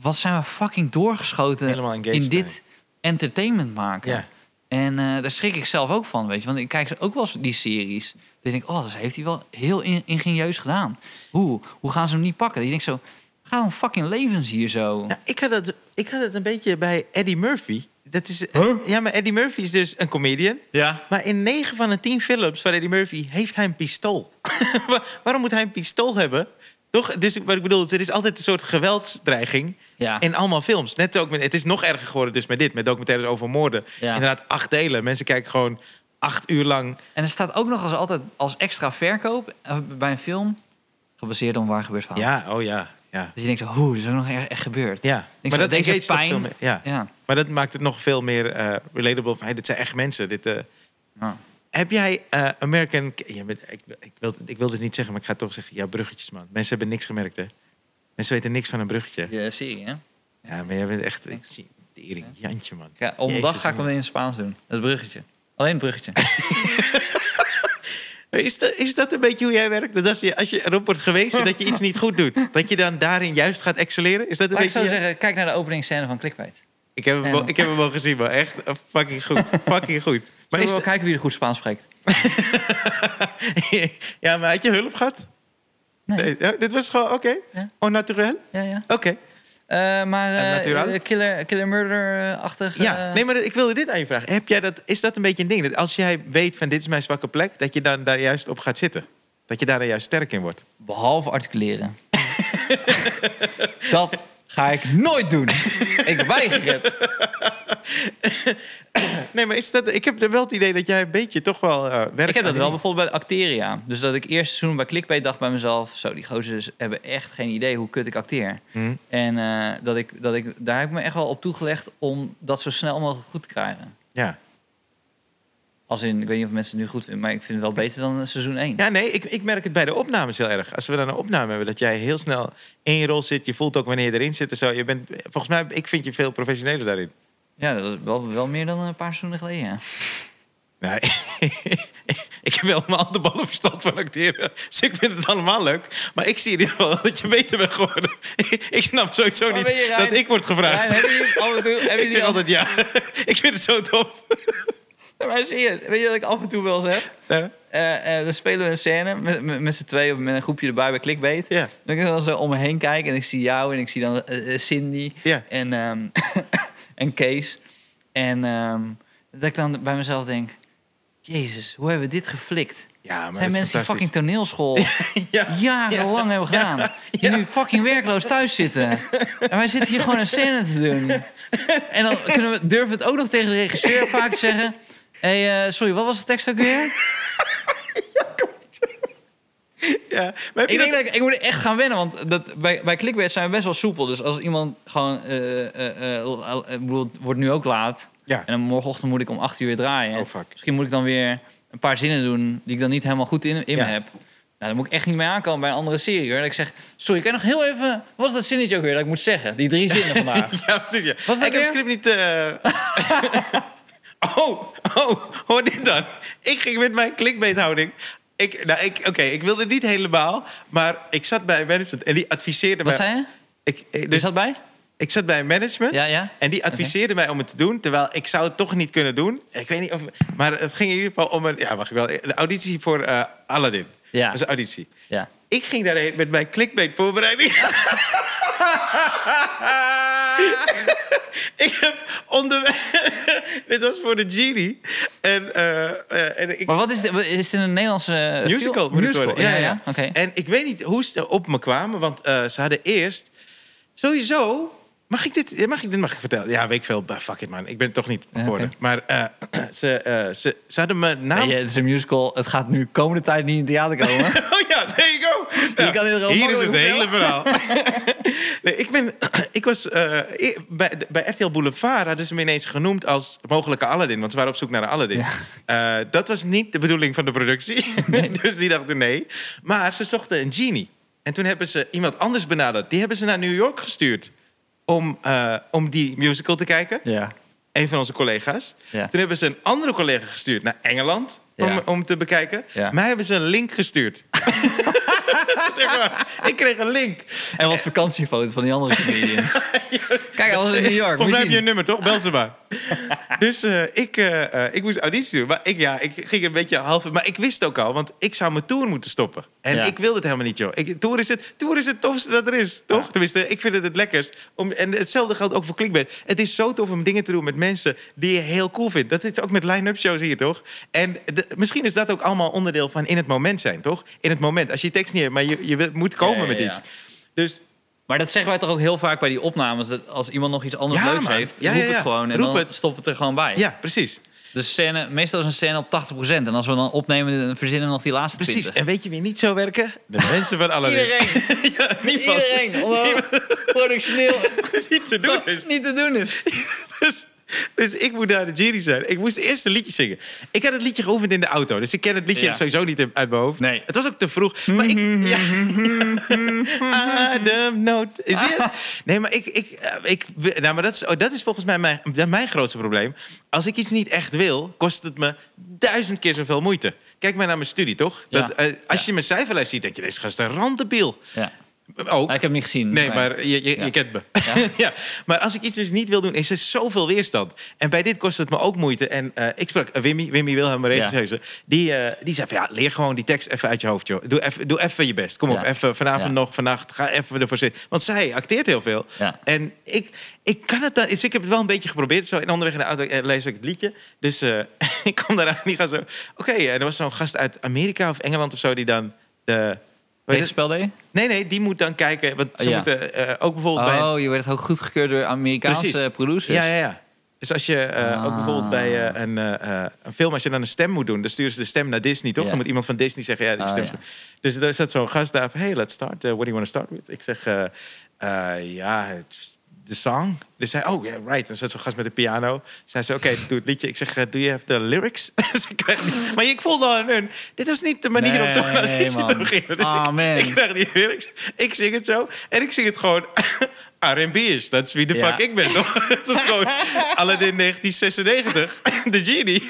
[SPEAKER 2] wat zijn we fucking doorgeschoten
[SPEAKER 1] helemaal engaged.
[SPEAKER 2] in
[SPEAKER 1] zijn.
[SPEAKER 2] dit entertainment maken.
[SPEAKER 1] Ja.
[SPEAKER 2] En eh, daar schrik ik zelf ook van, weet je. Want ik kijk ook wel eens die series. Dan denk ik, oh, dat heeft hij wel heel in- ingenieus gedaan. Hoe? Hoe gaan ze hem niet pakken? Je denkt zo, ga dan fucking levens hier zo.
[SPEAKER 1] Nou, ik, had het, ik had het een beetje bij Eddie Murphy. dat is,
[SPEAKER 2] Huh?
[SPEAKER 1] Ja, maar Eddie Murphy is dus een comedian.
[SPEAKER 2] Ja.
[SPEAKER 1] Maar in 9 van de 10 films van Eddie Murphy heeft hij een pistool. <laughs> Wa- Waarom moet hij een pistool hebben? Toch? Dus wat ik bedoel, er is altijd een soort geweldsdreiging
[SPEAKER 2] Ja.
[SPEAKER 1] in allemaal films. Net ook met, het is nog erger geworden dus met dit, met documentaires over moorden.
[SPEAKER 2] Ja.
[SPEAKER 1] Inderdaad, acht delen. Mensen kijken gewoon acht uur lang.
[SPEAKER 2] En er staat ook nog als altijd als extra verkoop eh, bij een film gebaseerd op een waar gebeurd verhaal.
[SPEAKER 1] Ja, oh ja, ja.
[SPEAKER 2] Dus je denkt zo, hoe, dit is ook nog echt, echt gebeurd.
[SPEAKER 1] ja.
[SPEAKER 2] Ik denk zo, deze
[SPEAKER 1] engage toch
[SPEAKER 2] pijn-
[SPEAKER 1] veel meer. Ja.
[SPEAKER 2] Ja.
[SPEAKER 1] Maar dat maakt het nog veel meer eh, relatable. Van, hey, dit zijn echt mensen. Dit, eh,
[SPEAKER 2] Ja.
[SPEAKER 1] Heb jij eh, American... Ja, maar ik, ik, wil, ik wil dit niet zeggen, maar ik ga het toch zeggen. Ja, bruggetjes, man. Mensen hebben niks gemerkt, hè. Mensen weten niks van een bruggetje.
[SPEAKER 2] Je serie, hè?
[SPEAKER 1] Ja, maar jij bent echt...
[SPEAKER 2] Thanks.
[SPEAKER 1] Tering, Jantje, man.
[SPEAKER 2] Ja, om een dag
[SPEAKER 1] Jezus,
[SPEAKER 2] ga ik hem
[SPEAKER 1] man.
[SPEAKER 2] in het Spaans doen. Het bruggetje. Alleen het bruggetje.
[SPEAKER 1] Is dat, is dat een beetje hoe jij werkt? Dat als je, als je erop wordt gewezen dat je iets niet goed
[SPEAKER 2] <laughs>
[SPEAKER 1] doet... dat je dan daarin juist gaat excelleren? Is dat een
[SPEAKER 2] Maar ik
[SPEAKER 1] beetje...
[SPEAKER 2] zou
[SPEAKER 1] je-
[SPEAKER 2] zeggen, kijk naar de openingsscène van Clickbait.
[SPEAKER 1] ik, heb hem,
[SPEAKER 2] Ja,
[SPEAKER 1] wel-
[SPEAKER 2] man.
[SPEAKER 1] ik heb hem al gezien, man. Echt eh, fucking
[SPEAKER 2] <laughs>
[SPEAKER 1] goed. Fucking goed. Maar
[SPEAKER 2] Maar
[SPEAKER 1] is dat-
[SPEAKER 2] we wel kijken wie er goed Spaans spreekt.
[SPEAKER 1] <laughs> ja, maar had je hulp gehad?
[SPEAKER 2] Nee.
[SPEAKER 1] Nee, ja, dit was gewoon oké.
[SPEAKER 2] Ja.
[SPEAKER 1] Onnatuurlijk.
[SPEAKER 2] Ja, ja.
[SPEAKER 1] Oké.
[SPEAKER 2] Eh, maar
[SPEAKER 1] En
[SPEAKER 2] eh,
[SPEAKER 1] Natural?
[SPEAKER 2] eh, killer, killer murder-achtig. eh,
[SPEAKER 1] Ja, nee, maar ik wilde dit aan je vragen. Heb jij dat, is dat een beetje een ding? Dat als jij weet van dit is mijn zwakke plek, dat je dan daar juist op gaat zitten? Dat je daar dan juist sterk in wordt? <laughs>
[SPEAKER 2] Behalve articuleren. dat ga ik nooit
[SPEAKER 1] <laughs>
[SPEAKER 2] doen. ik weiger het.
[SPEAKER 1] Nee, maar is dat, ik heb wel het idee dat jij een beetje toch wel eh werkt.
[SPEAKER 2] Ik heb dat
[SPEAKER 1] aan
[SPEAKER 2] wel
[SPEAKER 1] die-
[SPEAKER 2] bijvoorbeeld bij Acteria. Dus dat ik eerst seizoen bij Clickbait dacht bij mezelf... zo, die gozers hebben echt geen idee hoe kut ik acteer.
[SPEAKER 1] Hm.
[SPEAKER 2] En eh, dat ik, dat ik, daar heb ik me echt wel op toegelegd om dat zo snel mogelijk goed te krijgen.
[SPEAKER 1] Ja.
[SPEAKER 2] Als in, ik weet niet of mensen het nu goed vinden, maar ik vind het wel beter dan seizoen 1.
[SPEAKER 1] ja, nee, ik, ik merk het bij de opnames heel erg. Als we dan een opname hebben, dat jij heel snel in je rol zit. Je voelt ook wanneer je erin zit en zo. Je bent, eh, volgens mij, ik vind je veel professioneler daarin.
[SPEAKER 2] Ja, dat was wel, wel meer dan een paar seizoenen geleden. ja.
[SPEAKER 1] Nee. <laughs> ik heb wel mijn handenballen verstand van acteren. Dus ik vind het allemaal leuk. Maar ik zie in ieder geval dat je beter bent geworden. <laughs> ik snap sowieso
[SPEAKER 2] Maar
[SPEAKER 1] niet
[SPEAKER 2] ben je Rijn?
[SPEAKER 1] dat <laughs> ik word gevraagd.
[SPEAKER 2] Ja, hebben jullie af en toe... Hebben
[SPEAKER 1] ik
[SPEAKER 2] jullie
[SPEAKER 1] zeg
[SPEAKER 2] af-
[SPEAKER 1] altijd ja. <laughs> ik vind het zo tof.
[SPEAKER 2] Ja, Maar serieus, weet je dat ik af en toe wel eens heb?
[SPEAKER 1] Ja.
[SPEAKER 2] Eh, eh, dan spelen we een scène met, met, met z'n tweeën of met een groepje erbij bij Clickbait.
[SPEAKER 1] Ja.
[SPEAKER 2] Dan kan ik dan zo om me heen kijken en ik zie jou en ik zie dan eh, eh, Cindy
[SPEAKER 1] Ja.
[SPEAKER 2] en, ehm, <coughs> en Kees. En ehm, dat ik dan bij mezelf denk, jezus, hoe hebben we dit geflikt?
[SPEAKER 1] Ja, maar dat
[SPEAKER 2] Zijn
[SPEAKER 1] is
[SPEAKER 2] mensen die
[SPEAKER 1] fantastisch.
[SPEAKER 2] fucking toneelschool
[SPEAKER 1] <laughs> Ja.
[SPEAKER 2] jarenlang hebben gedaan. Die nu fucking werkloos thuis
[SPEAKER 1] <laughs>
[SPEAKER 2] zitten. En wij zitten hier gewoon een scène te doen. En dan kunnen we, durven we het ook nog tegen de regisseur vaak te zeggen. Hé, hey, eh, sorry, wat was de tekst ook weer?
[SPEAKER 1] Ja. Maar heb je dat-
[SPEAKER 2] Ik denk dat ik, ik moet echt gaan wennen, want dat, bij, bij clickbait zijn we best wel soepel. Dus als iemand gewoon, eh, eh, eh, ik bedoel, het wordt nu ook laat.
[SPEAKER 1] Ja.
[SPEAKER 2] En dan morgenochtend moet ik om acht uur weer draaien.
[SPEAKER 1] Oh, fuck.
[SPEAKER 2] Misschien moet ik dan weer een paar zinnen doen die ik dan niet helemaal goed in, in
[SPEAKER 1] Ja.
[SPEAKER 2] me heb. Nou, dan moet ik echt niet mee aankomen bij een andere serie hoor. Dat ik zeg, sorry, kan je nog heel even... Wat was dat zinnetje ook weer dat ik moet zeggen? Die drie
[SPEAKER 1] <laughs>
[SPEAKER 2] zinnen vandaag.
[SPEAKER 1] Ja, precies. Ja.
[SPEAKER 2] Was dat
[SPEAKER 1] ik heb het
[SPEAKER 2] weer?
[SPEAKER 1] script niet. eh, <laughs> oh, oh, hoor dit dan. Ik ging met mijn clickbaithouding. Ik, nou, ik, Oké, ik wilde het niet helemaal, maar ik zat bij management en die adviseerde
[SPEAKER 2] Wat
[SPEAKER 1] mij.
[SPEAKER 2] zei je?
[SPEAKER 1] Ik, ik-
[SPEAKER 2] Is
[SPEAKER 1] dus
[SPEAKER 2] dat bij?
[SPEAKER 1] ik zat bij management
[SPEAKER 2] Ja, ja.
[SPEAKER 1] en die adviseerde mij om het te doen, terwijl ik zou het toch niet kunnen doen. Ik weet niet of, maar het ging in ieder geval om een, ja, mag ik wel, de auditie voor eh, Aladdin.
[SPEAKER 2] Ja.
[SPEAKER 1] Dat was een auditie.
[SPEAKER 2] Ja.
[SPEAKER 1] Ik ging daarheen met mijn clickbait
[SPEAKER 2] <laughs>
[SPEAKER 1] voorbereiding. ik heb onderweg. <laughs> Dit was voor de Genie. En, eh, eh, en ik.
[SPEAKER 2] Maar wat is dit? Is dit een Nederlandse... eh,
[SPEAKER 1] Musical,
[SPEAKER 2] film?
[SPEAKER 1] moet het
[SPEAKER 2] musical.
[SPEAKER 1] worden.
[SPEAKER 2] Ja, ja. Oké.
[SPEAKER 1] En ik weet niet hoe ze op me kwamen, want eh, ze hadden eerst. Sowieso. Mag ik dit, mag ik dit mag ik vertellen? Ja, weet ik veel. Bah, Fuck it, man. Ik ben het toch niet
[SPEAKER 2] oké.
[SPEAKER 1] geworden. Maar eh, <clears throat> ze, eh, ze, ze hadden me naam.
[SPEAKER 2] Weet je, het is een musical. Het gaat nu komende tijd niet in het theater
[SPEAKER 1] <laughs>
[SPEAKER 2] komen.
[SPEAKER 1] Oh ja, there you go. Nou,
[SPEAKER 2] kan dit gewoon
[SPEAKER 1] hier is het
[SPEAKER 2] makkelijk
[SPEAKER 1] hele verhaal. <laughs> nee, ik, ben, <clears throat> ik was eh, i- bij, bij RTL Boulevard hadden ze me ineens genoemd als mogelijke Aladdin, want ze waren op zoek naar een Aladdin. Eh, dat was niet de bedoeling van de productie, <laughs> dus die dachten nee. Maar ze zochten een genie. En toen hebben ze iemand anders benaderd. Die hebben ze naar New York gestuurd om, eh, om die musical te kijken
[SPEAKER 2] Ja.
[SPEAKER 1] een van onze collega's.
[SPEAKER 2] Ja.
[SPEAKER 1] Toen hebben ze een andere collega gestuurd naar Engeland om,
[SPEAKER 2] Ja.
[SPEAKER 1] om te bekijken.
[SPEAKER 2] Ja.
[SPEAKER 1] Mij hebben ze een link gestuurd. <laughs> zeg maar, ik kreeg een link. <laughs>
[SPEAKER 2] En wat vakantiefoto's van die andere comedians. Kijk, hij was in New York.
[SPEAKER 1] Volgens mij heb
[SPEAKER 2] Moet
[SPEAKER 1] je
[SPEAKER 2] je
[SPEAKER 1] een nummer, toch? Bel ze maar. <laughs> dus eh, ik, eh, eh, ik moest auditie doen. Maar ik, ja, ik ging een beetje half... Maar ik wist ook al, want ik zou mijn tour moeten stoppen. En
[SPEAKER 2] Ja.
[SPEAKER 1] ik wilde het helemaal niet, joh. Ik, tour, is het, tour is het tofste dat er is, toch? Tenminste, ik vind het het lekkerst. Om, en hetzelfde geldt ook voor Clickbait. Het is zo tof om dingen te doen met mensen die je heel cool vindt. Dat is ook met line-up shows hier, toch? En de- misschien is dat ook allemaal onderdeel van in het moment zijn, toch? In het moment. Als je tekst niet hebt, maar je, je wil- moet komen
[SPEAKER 2] Ja, ja,
[SPEAKER 1] met
[SPEAKER 2] ja.
[SPEAKER 1] iets. Dus
[SPEAKER 2] Maar dat zeggen wij toch ook heel vaak bij die opnames. Dat als iemand nog iets anders
[SPEAKER 1] Ja,
[SPEAKER 2] leuks
[SPEAKER 1] man.
[SPEAKER 2] heeft,
[SPEAKER 1] Ja, ja,
[SPEAKER 2] roep
[SPEAKER 1] ja.
[SPEAKER 2] het gewoon en
[SPEAKER 1] Roep
[SPEAKER 2] dan
[SPEAKER 1] het.
[SPEAKER 2] stoppen we het er gewoon bij.
[SPEAKER 1] ja, precies.
[SPEAKER 2] De scène, meestal is een scène op 80%. En als we dan opnemen, dan verzinnen we nog die laatste
[SPEAKER 1] Precies.
[SPEAKER 2] 20.
[SPEAKER 1] En weet je wie niet zo werken? De mensen van Aladdin.
[SPEAKER 2] Iedereen,
[SPEAKER 1] <laughs> ja, niemand.
[SPEAKER 2] iedereen, omdat productioneel
[SPEAKER 1] Niet <laughs> te doen is.
[SPEAKER 2] niet te doen is.
[SPEAKER 1] Dus, dus ik moet daar de jury zijn. Ik moest eerst een liedje zingen. Ik had het liedje geoefend in de auto. Dus ik ken het liedje
[SPEAKER 2] Ja.
[SPEAKER 1] sowieso niet uit mijn hoofd.
[SPEAKER 2] Nee.
[SPEAKER 1] Het was ook te vroeg. Maar ik... Ja. Ademnood. Is dit? het? Nee, maar ik... ik, eh, ik nou, maar dat is, oh, dat is volgens mij mijn, dat mijn grootste probleem. Als ik iets niet echt wil, kost het me duizend keer zoveel moeite. Kijk maar naar mijn studie, toch?
[SPEAKER 2] Ja.
[SPEAKER 1] Dat, eh, als je mijn cijferlijst ziet, denk je... Deze gast is een randdebiel.
[SPEAKER 2] Ja.
[SPEAKER 1] Ook.
[SPEAKER 2] Maar ik heb hem niet gezien.
[SPEAKER 1] Nee, maar je, je,
[SPEAKER 2] Ja.
[SPEAKER 1] je kent me.
[SPEAKER 2] Ja?
[SPEAKER 1] <laughs> Ja? Maar als ik iets dus niet wil doen, is er zoveel weerstand. En bij dit kost het me ook moeite. En eh, ik sprak eh, Wimmy, Wimmy Wilhelm, mijn
[SPEAKER 2] Ja.
[SPEAKER 1] regisseuse. Die, eh, die zei van, ja, leer gewoon die tekst even uit je hoofd, joh. Doe even, doe even je best. Kom op,
[SPEAKER 2] Ja.
[SPEAKER 1] even vanavond
[SPEAKER 2] Ja.
[SPEAKER 1] nog, vannacht. Ga even ervoor zitten. Want zij acteert heel veel.
[SPEAKER 2] Ja.
[SPEAKER 1] En ik, ik kan het dan... Dus ik heb het wel een beetje geprobeerd. Zo in onderweg in de auto eh, lees ik het liedje. Dus eh, <laughs> ik kom daaraan en die gaat zo... Oké, en er was zo'n gast uit Amerika of Engeland of zo... die dan de... hoe heet het?
[SPEAKER 2] Tegenspel deed je?
[SPEAKER 1] Nee, nee, die moet dan kijken. Want ze
[SPEAKER 2] Ja.
[SPEAKER 1] moeten eh, ook bijvoorbeeld bij...
[SPEAKER 2] Oh, je werd ook goedgekeurd door Amerikaanse
[SPEAKER 1] Precies.
[SPEAKER 2] producers.
[SPEAKER 1] Ja, ja, ja. Dus als je eh,
[SPEAKER 2] Ah.
[SPEAKER 1] ook bijvoorbeeld bij eh, een, eh, eh, een film, als je dan een stem moet doen, dan sturen ze de stem naar Disney, toch?
[SPEAKER 2] Ja.
[SPEAKER 1] Dan moet iemand van Disney zeggen, ja, die
[SPEAKER 2] Ah,
[SPEAKER 1] stem is
[SPEAKER 2] ja.
[SPEAKER 1] goed. Dus daar zat zo'n gast daar van, hey, let's start. Eh, what do you want to start with? Ik zeg, eh, eh, ja, het- de song. Dus hij, oh, yeah, right. Dan zat zo'n gast met de piano. Zei ze, oké, doe het liedje. Ik zeg, eh, do you have the lyrics? <laughs> Dus ik kreeg die- maar ik voelde al aan hun, dit was niet de manier om zo naar
[SPEAKER 2] Nee,
[SPEAKER 1] iets te
[SPEAKER 2] man.
[SPEAKER 1] beginnen. Dus <laughs>
[SPEAKER 2] Ah,
[SPEAKER 1] ik-
[SPEAKER 2] man.
[SPEAKER 1] ik krijg die lyrics. Ik zing het zo. En ik zing het gewoon <laughs> R&B is. Dat is wie de
[SPEAKER 2] Ja.
[SPEAKER 1] fuck ik ben, toch? <laughs> Het is gewoon Aladdin 1996. <laughs> De genie.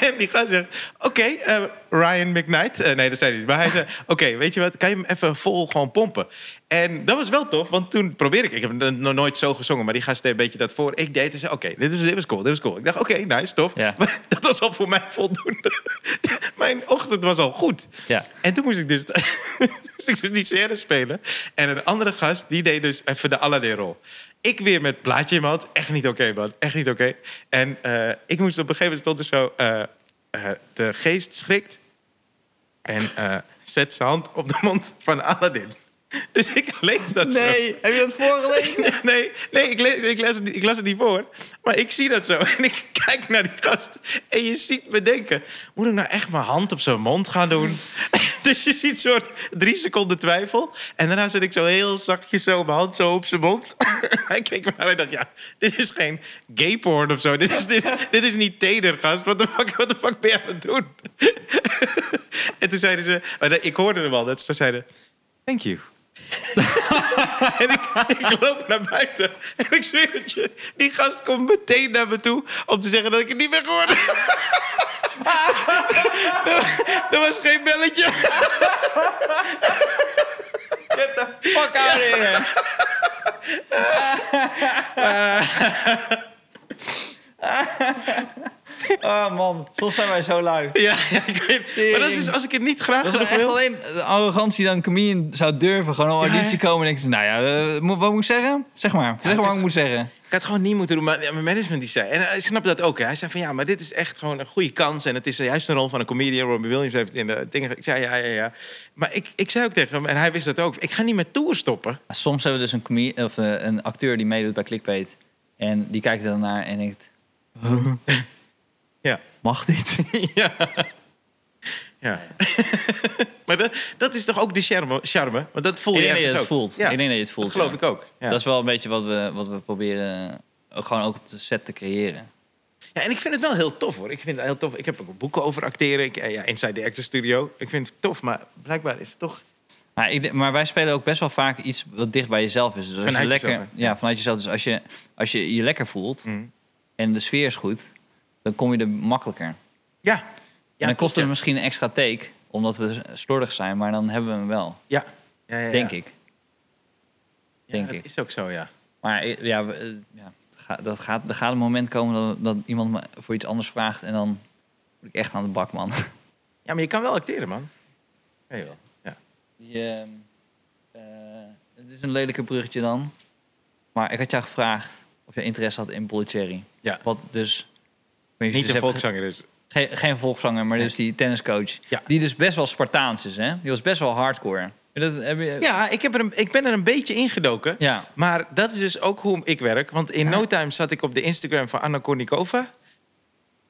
[SPEAKER 1] en die gaat zeggen... Oké, eh, Ryan McKnight. Eh, nee, dat zei hij niet. Maar hij zei... Oké, weet je wat? Kan je hem even vol gewoon pompen? En dat was wel tof, want toen probeerde ik... Ik heb het nog nooit zo gezongen, maar die gast deed een beetje dat voor. Ik deed en zei... Oké, dit, is, dit was cool, dit was cool. Ik dacht, oké, nice, tof.
[SPEAKER 2] Ja.
[SPEAKER 1] <laughs> Maar dat was al voor mij voldoende. <laughs> Mijn ochtend was al goed.
[SPEAKER 2] Ja.
[SPEAKER 1] En toen moest ik dus, <laughs> moest ik dus die serre spelen. En een andere gast, die deed dus even de Aladdin-rol. Ik weer met plaatje in mijn hand. Echt niet oké, man. Echt niet oké. En eh, ik moest op een gegeven moment stond er zo... eh, eh, de geest schrikt en eh, zet zijn hand op de mond van Aladdin. <laughs> Dus ik lees dat zo.
[SPEAKER 2] Nee, heb je dat
[SPEAKER 1] <laughs>
[SPEAKER 2] voorgelezen?
[SPEAKER 1] Nee, nee, nee, ik, le- ik, las het, niet- ik las het niet voor. Maar ik zie dat zo. <laughs> En ik kijk naar die gast. En je ziet me denken: moet ik nou echt mijn hand op zijn mond gaan doen? <laughs> dus je ziet soort drie seconden twijfel. En daarna zet ik zo heel zachtjes zo mijn hand zo op zijn mond. <laughs> hij keek me aan en dacht: ja, dit is geen gay porn of zo. Dit is, dit, dit is niet teder, gast. Wat de fuck, what the fuck ben je aan het doen? <laughs> en toen zeiden ze: maar ik hoorde hem al, dat ze zeiden: thank you. En ik, ik loop naar buiten. En ik zweer het je, die gast komt meteen naar me toe om te zeggen dat ik het niet ben geworden. er, er was geen belletje.
[SPEAKER 2] Get the fuck out of here. <laughs> oh man, soms zijn wij zo lui.
[SPEAKER 1] Ja, ja, ik weet. Maar dat is dus als ik het niet graag
[SPEAKER 2] Dat is
[SPEAKER 1] genoeg
[SPEAKER 2] echt
[SPEAKER 1] wil.
[SPEAKER 2] alleen de arrogantie dan comedian zou durven. Gewoon op
[SPEAKER 1] Ja,
[SPEAKER 2] auditie
[SPEAKER 1] hè?
[SPEAKER 2] komen en denken ze, nou ja, eh, mo- wat moet ik zeggen? Zeg maar, zeg maar wat ik moet zeggen.
[SPEAKER 1] Ik had het gewoon niet moeten doen, maar mijn management die zei... En ik snap dat ook. Hè. Hij zei van ja, maar dit is echt gewoon een goede kans. En het is juist een rol van een comedian. Robin Williams heeft in de dingen... ge- Ik zei ja, ja, ja. Maar ik, ik zei ook tegen hem, en hij wist dat ook... Ik ga niet met tour stoppen.
[SPEAKER 2] Soms hebben we dus een, comie- of, eh, een acteur die meedoet bij Clickbait. En die kijkt er dan naar en denkt,
[SPEAKER 1] Ja.
[SPEAKER 2] mag <laughs> dit?
[SPEAKER 1] <laughs> ja. ja. <laughs> maar dat, dat is toch ook de charme? charme? Want dat voel
[SPEAKER 2] Ik
[SPEAKER 1] je
[SPEAKER 2] denk
[SPEAKER 1] ergens
[SPEAKER 2] dat je het
[SPEAKER 1] ook.
[SPEAKER 2] voelt.
[SPEAKER 1] Ja,
[SPEAKER 2] Ik denk dat je het voelt.
[SPEAKER 1] dat geloof
[SPEAKER 2] ja.
[SPEAKER 1] ik ook. Ja.
[SPEAKER 2] Dat is wel een beetje wat we, wat we proberen eh, gewoon ook op de set te creëren.
[SPEAKER 1] Ja, en ik vind het wel heel tof hoor. Ik vind het heel tof. Ik heb ook boeken over acteren. Ik, eh, ja, Inside the Actors Studio. Ik vind het tof, maar blijkbaar is het toch...
[SPEAKER 2] Maar, ik, maar wij spelen ook best wel vaak iets wat dicht bij jezelf is. Dus als
[SPEAKER 1] Vanuit
[SPEAKER 2] je lekker,
[SPEAKER 1] jezelf, Mhm.
[SPEAKER 2] ja, vanuit jezelf. Dus als je, als je je lekker voelt en de sfeer is goed, dan kom je er makkelijker.
[SPEAKER 1] Ja.
[SPEAKER 2] en
[SPEAKER 1] ja
[SPEAKER 2] dan kost het
[SPEAKER 1] ja.
[SPEAKER 2] misschien een extra take, omdat we slordig zijn, maar dan hebben we hem wel,
[SPEAKER 1] Ja. Ja, ja, ja.
[SPEAKER 2] denk ik.
[SPEAKER 1] Ja,
[SPEAKER 2] Denk
[SPEAKER 1] dat
[SPEAKER 2] ik.
[SPEAKER 1] is ook zo, ja.
[SPEAKER 2] Maar eh, ja, we, eh, ja, ga- dat gaat, er gaat een moment komen dat, dat iemand me voor iets anders vraagt. En dan moet ik echt aan de bak, man. <laughs>
[SPEAKER 1] Ja, maar je kan wel acteren, man. Kan je wel. Ja.
[SPEAKER 2] Die, ehm, eh, het is een lelijke bruggetje dan. Maar ik had jou gevraagd of je interesse had in Bollicherry.
[SPEAKER 1] Ja.
[SPEAKER 2] Wat dus... wat
[SPEAKER 1] Niet
[SPEAKER 2] je dus
[SPEAKER 1] een
[SPEAKER 2] hebt ge-
[SPEAKER 1] volkszanger dus.
[SPEAKER 2] Ge- geen volkszanger, maar dus die tenniscoach.
[SPEAKER 1] Ja.
[SPEAKER 2] Die dus best wel Spartaans is, hè? Die was best wel hardcore. Dat heb je...
[SPEAKER 1] Ja, ik, heb er een, ik ben er een beetje ingedoken.
[SPEAKER 2] Ja.
[SPEAKER 1] Maar dat is dus ook hoe ik werk. Want in no time zat ik op de Instagram van Anna Kournikova.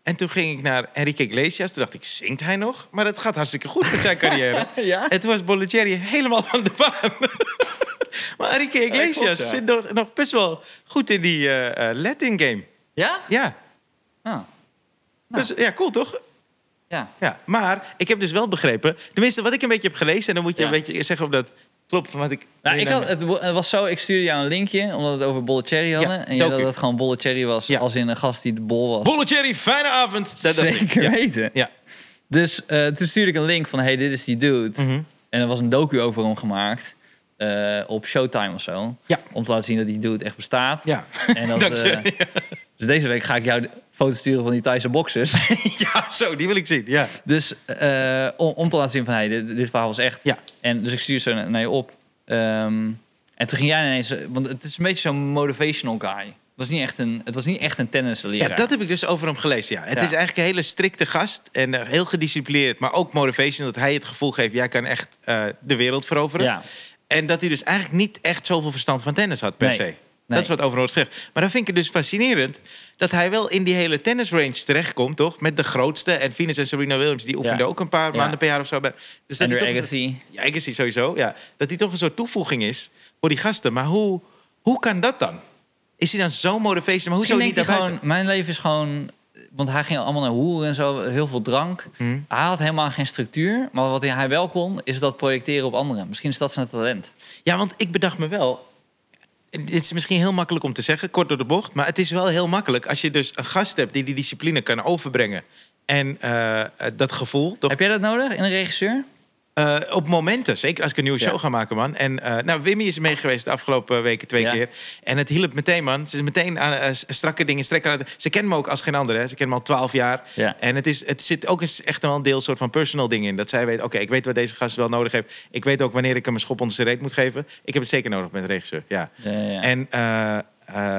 [SPEAKER 1] En toen ging ik naar Enrique Iglesias. Toen dacht ik, zingt hij nog? Maar dat gaat hartstikke goed met zijn carrière.
[SPEAKER 2] <laughs> Ja?
[SPEAKER 1] En toen was Bolligieri helemaal van de baan. <laughs> maar Enrique Iglesias
[SPEAKER 2] klopt, ja.
[SPEAKER 1] zit nog, nog best wel goed in die eh, eh, Latin game.
[SPEAKER 2] Ja?
[SPEAKER 1] Ja.
[SPEAKER 2] Ah, Nou.
[SPEAKER 1] Dus, ja, cool toch?
[SPEAKER 2] ja.
[SPEAKER 1] Ja, maar ik heb dus wel begrepen... Tenminste, wat ik een beetje heb gelezen... en dan moet je
[SPEAKER 2] Ja.
[SPEAKER 1] een beetje zeggen of dat klopt van wat ik...
[SPEAKER 2] Nou, ik had, het, wo- het was zo, ik stuurde jou een linkje, omdat we het over Bollicherry hadden. en jij
[SPEAKER 1] docu.
[SPEAKER 2] dat het gewoon Bollicherry was,
[SPEAKER 1] Ja.
[SPEAKER 2] als in een gast die de bol was.
[SPEAKER 1] Bolletjerry, fijne avond. Dat dacht ik.
[SPEAKER 2] Zeker
[SPEAKER 1] Ja.
[SPEAKER 2] weten.
[SPEAKER 1] Ja.
[SPEAKER 2] Dus eh, toen stuurde ik een link van, hey, dit is die dude.
[SPEAKER 1] Mhm.
[SPEAKER 2] En er was een docu over hem gemaakt, eh, op Showtime of zo.
[SPEAKER 1] Ja.
[SPEAKER 2] Om te laten zien dat die dude echt bestaat.
[SPEAKER 1] Ja.
[SPEAKER 2] En
[SPEAKER 1] <laughs>
[SPEAKER 2] dat,
[SPEAKER 1] Dank je.
[SPEAKER 2] eh, Dus deze week ga ik jou de foto's sturen van die Thaise
[SPEAKER 1] <laughs>
[SPEAKER 2] boxers.
[SPEAKER 1] eh, ja, zo, die wil ik zien. Ja.
[SPEAKER 2] dus eh, om, om te laten zien van, hey, dit, dit verhaal was echt.
[SPEAKER 1] Ja.
[SPEAKER 2] En dus ik stuur zo naar, naar je op. Ehm, en toen ging jij ineens... eh, Want het is een beetje zo'n motivational guy. Het was niet echt een, het was niet echt een
[SPEAKER 1] ja,
[SPEAKER 2] tennisleraar.
[SPEAKER 1] dat heb ik dus over hem gelezen. Ja. Het
[SPEAKER 2] Ja.
[SPEAKER 1] is eigenlijk een hele strikte gast en eh, heel gedisciplineerd, maar ook motivation. Dat hij het gevoel geeft, jij kan echt eh, de wereld veroveren.
[SPEAKER 2] Ja.
[SPEAKER 1] En dat hij dus eigenlijk niet echt zoveel verstand van tennis had, per
[SPEAKER 2] Nee.
[SPEAKER 1] se.
[SPEAKER 2] Nee.
[SPEAKER 1] Dat is wat overal wordt gezegd. Maar dan vind ik het dus fascinerend dat hij wel in die hele tennisrange terechtkomt, toch? Met de grootste. En Venus en Serena Williams, die oefenden ook een paar
[SPEAKER 2] Ja.
[SPEAKER 1] maanden per jaar of zo. bij- Dus dat hij
[SPEAKER 2] Andrew
[SPEAKER 1] toch een soort-
[SPEAKER 2] Agassi.
[SPEAKER 1] Ja, Agassi sowieso. Ja. Dat die toch een soort toevoeging is voor die gasten. Maar hoe, hoe kan dat dan? Is hij dan zo motivation? Maar hoezo
[SPEAKER 2] Misschien
[SPEAKER 1] niet
[SPEAKER 2] denk hij
[SPEAKER 1] daarbuiten?
[SPEAKER 2] gewoon, mijn leven is gewoon... Want hij ging allemaal naar hoeren en zo, heel veel drank.
[SPEAKER 1] Hmm.
[SPEAKER 2] Hij had helemaal geen structuur. Maar wat hij wel kon, is dat projecteren op anderen. Misschien is dat zijn talent.
[SPEAKER 1] Ja, want ik bedacht me wel. en Dit is misschien heel makkelijk om te zeggen, kort door de bocht. Maar het is wel heel makkelijk als je dus een gast hebt die die discipline kan overbrengen. En eh, eh, dat gevoel, toch?
[SPEAKER 2] Heb jij dat nodig in een regisseur?
[SPEAKER 1] Eh, op momenten, zeker als ik een nieuwe
[SPEAKER 2] Ja.
[SPEAKER 1] show ga maken, man. En eh, nou, Wimmy is mee geweest de afgelopen weken twee
[SPEAKER 2] Ja.
[SPEAKER 1] keer. En het hielp meteen, man. Ze is meteen aan eh, s- strakke dingen strekken. laten. Ze kennen me ook als geen ander, hè. Ze kennen me al twaalf jaar.
[SPEAKER 2] Ja.
[SPEAKER 1] En het, is, het zit ook eens echt wel een deel soort van personal dingen in. Dat zij weet, oké, ik weet wat deze gast wel nodig heeft. Ik weet ook wanneer ik hem een schop onder zijn reet moet geven. Ik heb het zeker nodig met een regisseur, ja.
[SPEAKER 2] Ja, ja, ja.
[SPEAKER 1] En eh,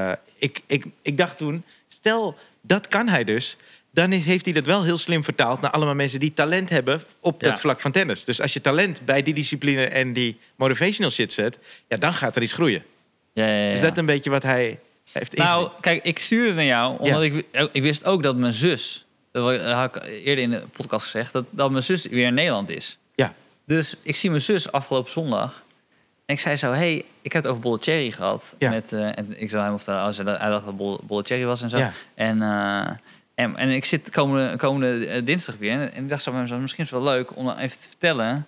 [SPEAKER 1] eh, ik, ik, ik dacht toen, stel dat kan hij dus. Dan is- heeft hij dat wel heel slim vertaald naar allemaal mensen die talent hebben op
[SPEAKER 2] Ja.
[SPEAKER 1] dat vlak van tennis. Dus als je talent bij die discipline en die motivational shit zet, ja, dan gaat er iets groeien.
[SPEAKER 2] Ja, ja, ja,
[SPEAKER 1] Is
[SPEAKER 2] ja.
[SPEAKER 1] dat een beetje wat hij heeft
[SPEAKER 2] Nou,
[SPEAKER 1] ingezien?
[SPEAKER 2] kijk, ik stuurde het naar jou, omdat ik, ik wist ook dat mijn zus, dat had ik eerder in de podcast gezegd, dat, dat mijn zus weer in Nederland is.
[SPEAKER 1] Ja.
[SPEAKER 2] Dus ik zie mijn zus afgelopen zondag. En ik zei zo, hé, hey, ik heb het over Bolle Cherry gehad.
[SPEAKER 1] Ja.
[SPEAKER 2] Met, eh, en ik zei hem of dat, oh, ze- hij dacht dat Bolle- Bolle Cherry was en zo.
[SPEAKER 1] Ja.
[SPEAKER 2] En, eh, en, en ik zit komende, komende eh, dinsdag weer. En ik dacht zo bij mezelf, misschien is het wel leuk om dan even te vertellen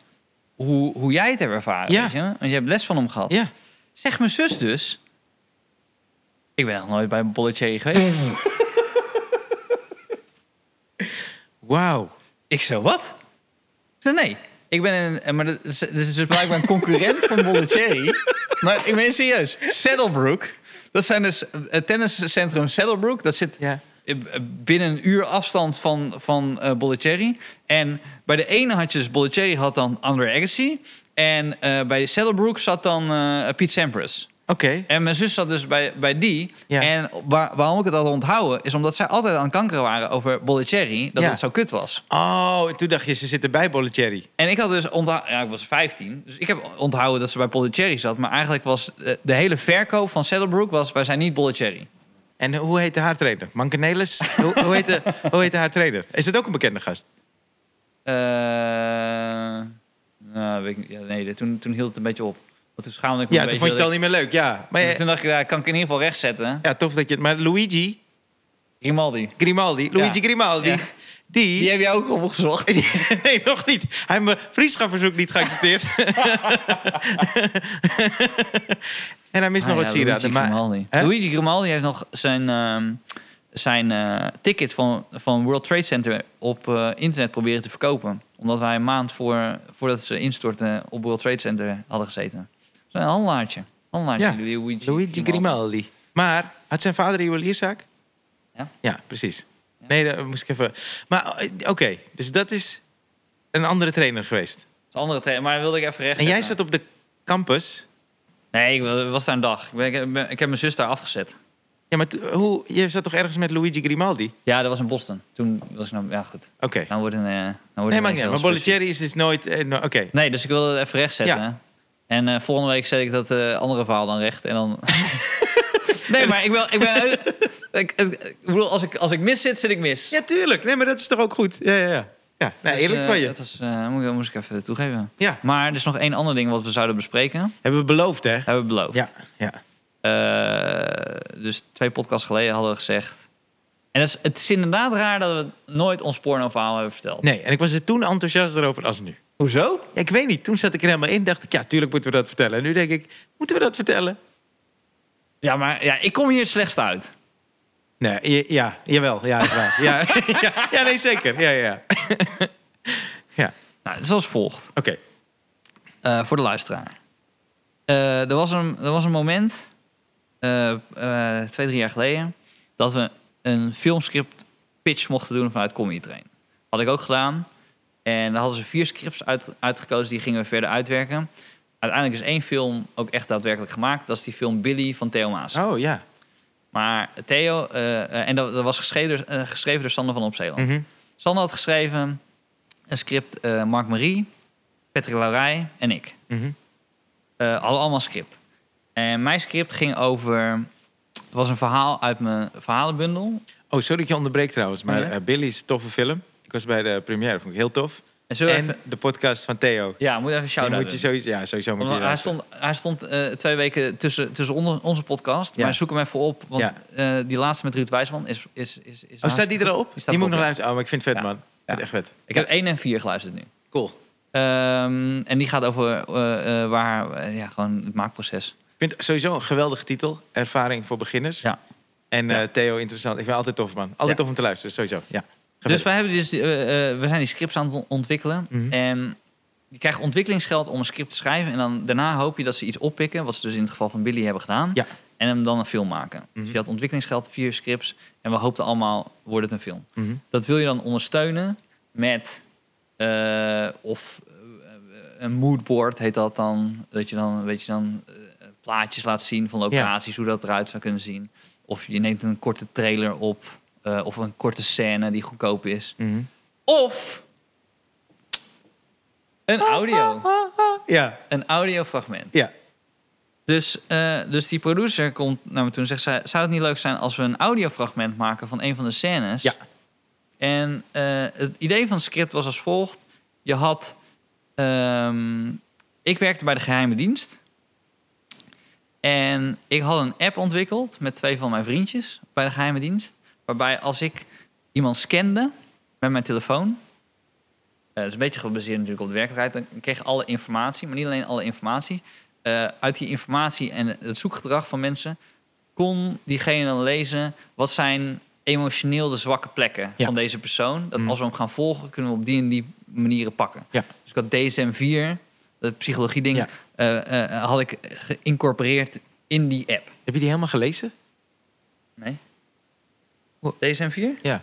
[SPEAKER 2] hoe, hoe jij het hebt ervaren.
[SPEAKER 1] Ja.
[SPEAKER 2] weet je? Want je hebt les van hem gehad.
[SPEAKER 1] Ja.
[SPEAKER 2] Zeg mijn zus dus. Ik ben nog nooit bij een bolletje geweest.
[SPEAKER 1] Wauw.
[SPEAKER 2] ik zo, wat? Ze nee. Ik ben een... eh, Maar dat is, dit is dus blijkbaar een concurrent van Bollettieri. Maar ik ben serieus. Saddlebrook. Dat zijn dus... Het tenniscentrum Saddlebrook. Dat zit
[SPEAKER 1] Ja.
[SPEAKER 2] eh, binnen een uur afstand van, van eh Bollettieri. En bij de ene had je dus... Bollettieri had dan Andre Agassi. En eh, bij Saddlebrook zat dan eh, Pete Sampras.
[SPEAKER 1] Oké.
[SPEAKER 2] En mijn zus zat dus bij, bij die.
[SPEAKER 1] Ja.
[SPEAKER 2] En waar- waarom ik het had onthouden, is omdat zij altijd aan het kankeren waren over Bollicherry. Dat
[SPEAKER 1] Ja.
[SPEAKER 2] het zo kut was.
[SPEAKER 1] Oh, en toen dacht je, ze zitten bij Bollettieri.
[SPEAKER 2] En ik had dus onthouden, ja, ik was 15. Dus ik heb onthouden dat ze bij Bollicherry zat. Maar eigenlijk was eh, de hele verkoop van Saddlebrook was, wij zijn niet Bollicherry.
[SPEAKER 1] En hoe heette haar trainer?
[SPEAKER 2] <laughs>
[SPEAKER 1] Mankenelis? hoe, hoe, heette, hoe heette haar trainer? Is dat ook een bekende gast?
[SPEAKER 2] Eh nou, weet ik niet. Ja, nee, dit- toen, toen hield het een beetje op. Want toen schaamde ik me
[SPEAKER 1] Ja,
[SPEAKER 2] een
[SPEAKER 1] toen
[SPEAKER 2] beetje.
[SPEAKER 1] vond je het al
[SPEAKER 2] dat
[SPEAKER 1] niet meer leuk. Ja, maar
[SPEAKER 2] ik-
[SPEAKER 1] ja,
[SPEAKER 2] Toen dacht ik, ja, kan ik in ieder geval recht zetten.
[SPEAKER 1] ja, tof dat je het... Maar Luigi,
[SPEAKER 2] Grimaldi.
[SPEAKER 1] Grimaldi, Luigi
[SPEAKER 2] Ja.
[SPEAKER 1] Grimaldi,
[SPEAKER 2] Ja.
[SPEAKER 1] die...
[SPEAKER 2] Die heb jij ook opgezocht.
[SPEAKER 1] <laughs> nee, nog niet. Hij heeft mijn vriendschapverzoek niet
[SPEAKER 2] <laughs>
[SPEAKER 1] geaccepteerd. en hij mist nog
[SPEAKER 2] Ah,
[SPEAKER 1] wat
[SPEAKER 2] ja,
[SPEAKER 1] sieraden.
[SPEAKER 2] Luigi
[SPEAKER 1] Maar,
[SPEAKER 2] Grimaldi.
[SPEAKER 1] Hè?
[SPEAKER 2] Luigi Grimaldi heeft nog zijn, ehm, zijn eh, ticket van, van World Trade Center op eh, internet proberen te verkopen. Omdat wij een maand voor, voordat ze instortten op World Trade Center hadden gezeten. Dus een handelaartje. Handelaartje,
[SPEAKER 1] Ja,
[SPEAKER 2] Luigi,
[SPEAKER 1] Luigi Grimaldi. Maar had zijn vader een juwelierszaak?
[SPEAKER 2] Ja.
[SPEAKER 1] Ja, precies.
[SPEAKER 2] Ja.
[SPEAKER 1] Nee, dat moest ik even... Maar eh, oké, dus dat is een andere trainer geweest.
[SPEAKER 2] is een andere thema, maar dat wilde ik even recht.
[SPEAKER 1] En jij zat op de campus.
[SPEAKER 2] Nee, ik wa- was daar een dag. Ik, ben, ik, ben- ik heb mijn zus daar afgezet.
[SPEAKER 1] Ja, maar t- hoe, je zat toch ergens met Luigi Grimaldi?
[SPEAKER 2] Ja, dat was in Boston. Toen was ik nou... Ja, goed.
[SPEAKER 1] Oké.
[SPEAKER 2] Nou wordt een... eh, nou wordt
[SPEAKER 1] Nee,
[SPEAKER 2] het
[SPEAKER 1] maakt
[SPEAKER 2] ineens
[SPEAKER 1] niet
[SPEAKER 2] heel
[SPEAKER 1] uit. Maar
[SPEAKER 2] specifiek.
[SPEAKER 1] Bollicherry is dus nooit... eh, no- Oké,
[SPEAKER 2] Nee, dus ik wilde het even recht zetten.
[SPEAKER 1] Ja.
[SPEAKER 2] En eh, volgende week zet ik dat eh, andere verhaal dan recht. En
[SPEAKER 1] <laughs>
[SPEAKER 2] dan... nee, maar ik, wil, ik ben... Ik, ik- ik bedoel, als ik, als ik mis zit, zit ik mis.
[SPEAKER 1] Ja, tuurlijk. Nee, maar dat is toch ook goed. Ja, ja, ja. ja nou,
[SPEAKER 2] Dus,
[SPEAKER 1] eerlijk
[SPEAKER 2] eh,
[SPEAKER 1] van je.
[SPEAKER 2] Dat was, eh, moet, ik- moest ik even toegeven.
[SPEAKER 1] Ja,
[SPEAKER 2] Maar er is nog één ander ding wat we zouden bespreken.
[SPEAKER 1] hebben we beloofd, hè?
[SPEAKER 2] Hebben we beloofd.
[SPEAKER 1] Ja, ja.
[SPEAKER 2] Eh, dus twee podcasts geleden hadden we gezegd... En dat is, het is inderdaad raar dat we nooit ons porno-verhaal hebben verteld.
[SPEAKER 1] Nee, en ik was er toen enthousiaster over als nu.
[SPEAKER 2] Hoezo?
[SPEAKER 1] Ja, ik weet niet, toen zat ik er helemaal in. Dacht ik, ja, tuurlijk moeten we dat vertellen. En nu denk ik, moeten we dat vertellen?
[SPEAKER 2] Ja, maar ja, ik kom hier het slechtst uit.
[SPEAKER 1] Nee, ja, ja jawel. Ja, is waar. ja, <laughs> ja, ja, nee, zeker. Ja, ja, ja. <laughs>
[SPEAKER 2] Nou, het is als volgt.
[SPEAKER 1] Oké.
[SPEAKER 2] Eh, voor de luisteraar. Eh, er, was een, er was een moment, eh, eh, twee, drie jaar geleden, dat we een filmscript pitch mochten doen vanuit Comedy Train. Had ik ook gedaan. En daar hadden ze vier scripts uit, uitgekozen, die gingen we verder uitwerken. Uiteindelijk is één film ook echt daadwerkelijk gemaakt. Dat is die film Billy van Theo Maas.
[SPEAKER 1] Oh, ja.
[SPEAKER 2] Maar Theo, eh, eh, en dat, dat was geschreven, door- eh, geschreven door Sander van Opzeeland.
[SPEAKER 1] Mhm.
[SPEAKER 2] Sander had geschreven een script, eh, Mark Marie, Patrick Laurij en ik
[SPEAKER 1] Mhm.
[SPEAKER 2] eh hadden allemaal script. En mijn script ging over. Het was een verhaal uit mijn verhalenbundel.
[SPEAKER 1] Oh, sorry dat je onderbreekt trouwens. Maar
[SPEAKER 2] Ja.
[SPEAKER 1] eh, Billy is een toffe film. Ik was bij de première, vond ik heel tof.
[SPEAKER 2] En zullen we
[SPEAKER 1] en
[SPEAKER 2] even,
[SPEAKER 1] de podcast van Theo.
[SPEAKER 2] ja, moet even een
[SPEAKER 1] Die
[SPEAKER 2] shout-out
[SPEAKER 1] moet je
[SPEAKER 2] doen.
[SPEAKER 1] sowieso, ja, sowieso moet je
[SPEAKER 2] Want
[SPEAKER 1] die
[SPEAKER 2] hij
[SPEAKER 1] luisteren.
[SPEAKER 2] stond, hij stond eh, twee weken tussen, tussen onder- onze podcast.
[SPEAKER 1] Ja.
[SPEAKER 2] Maar zoek hem even op. Want
[SPEAKER 1] Ja.
[SPEAKER 2] eh, die laatste met Ruud Wijsman is... is, is, is
[SPEAKER 1] Oh, staat die er al op?
[SPEAKER 2] Die
[SPEAKER 1] Die,
[SPEAKER 2] staat
[SPEAKER 1] moet
[SPEAKER 2] erop,
[SPEAKER 1] nog
[SPEAKER 2] ja.
[SPEAKER 1] luisteren. Oh, maar ik vind het vet,
[SPEAKER 2] Ja.
[SPEAKER 1] man. Ik vind het echt vet.
[SPEAKER 2] Ik heb 1 en 4 geluisterd nu.
[SPEAKER 1] Cool.
[SPEAKER 2] Ehm, en die gaat over eh, eh, waar, eh, ja, gewoon het maakproces.
[SPEAKER 1] Ik vind het sowieso een geweldige titel. Ervaring voor beginners.
[SPEAKER 2] Ja.
[SPEAKER 1] En
[SPEAKER 2] Ja.
[SPEAKER 1] eh, Theo, interessant. Ik vind het altijd tof, man. Altijd
[SPEAKER 2] Ja.
[SPEAKER 1] tof om te luisteren, sowieso. Ja. Ga verder.
[SPEAKER 2] Dus we, hebben dus, die- eh, eh, we zijn die scripts aan het on- ontwikkelen.
[SPEAKER 1] Mhm.
[SPEAKER 2] En je krijgt ontwikkelingsgeld om een script te schrijven. En dan, daarna hoop je dat ze iets oppikken. Wat ze dus in het geval van Billy hebben gedaan.
[SPEAKER 1] Ja.
[SPEAKER 2] En hem dan een film maken. Dus
[SPEAKER 1] Mhm.
[SPEAKER 2] je had ontwikkelingsgeld, vier scripts. En we hoopten allemaal, wordt het een film.
[SPEAKER 1] Mhm.
[SPEAKER 2] Dat wil je dan ondersteunen met... eh, of eh, een moodboard heet dat dan. Dat je dan, weet je dan eh, plaatjes laat zien van locaties. Hoe dat eruit zou kunnen zien. Of je neemt een korte trailer op. eh, of een korte scène die goedkoop is.
[SPEAKER 1] Mhm.
[SPEAKER 2] Of een audio.
[SPEAKER 1] Ja,
[SPEAKER 2] Een audiofragment.
[SPEAKER 1] ja.
[SPEAKER 2] Dus, eh, dus die producer komt naar me toe en zegt... "Zou- zou het niet leuk zijn als we een audiofragment maken van een van de scènes?
[SPEAKER 1] Ja.
[SPEAKER 2] En eh, het idee van het script was als volgt. Je had... ehm, ik werkte bij de geheime dienst. En ik had een app ontwikkeld met twee van mijn vriendjes bij de geheime dienst. Waarbij als ik iemand scande met mijn telefoon... eh, dat is een beetje gebaseerd natuurlijk op de werkelijkheid. Dan kreeg ik alle informatie, maar niet alleen alle informatie eh, uit die informatie en het zoekgedrag van mensen kon diegene dan lezen wat zijn emotioneel de zwakke plekken
[SPEAKER 1] Ja.
[SPEAKER 2] van deze persoon. Dat
[SPEAKER 1] Mm.
[SPEAKER 2] als we hem gaan volgen, kunnen we op die en die manieren pakken.
[SPEAKER 1] Ja.
[SPEAKER 2] Dus ik had DSM-4, dat psychologie-ding,
[SPEAKER 1] Ja.
[SPEAKER 2] eh, eh, had ik geïncorporeerd in die app.
[SPEAKER 1] Heb je die helemaal gelezen?
[SPEAKER 2] Nee? DSM-4?
[SPEAKER 1] Ja.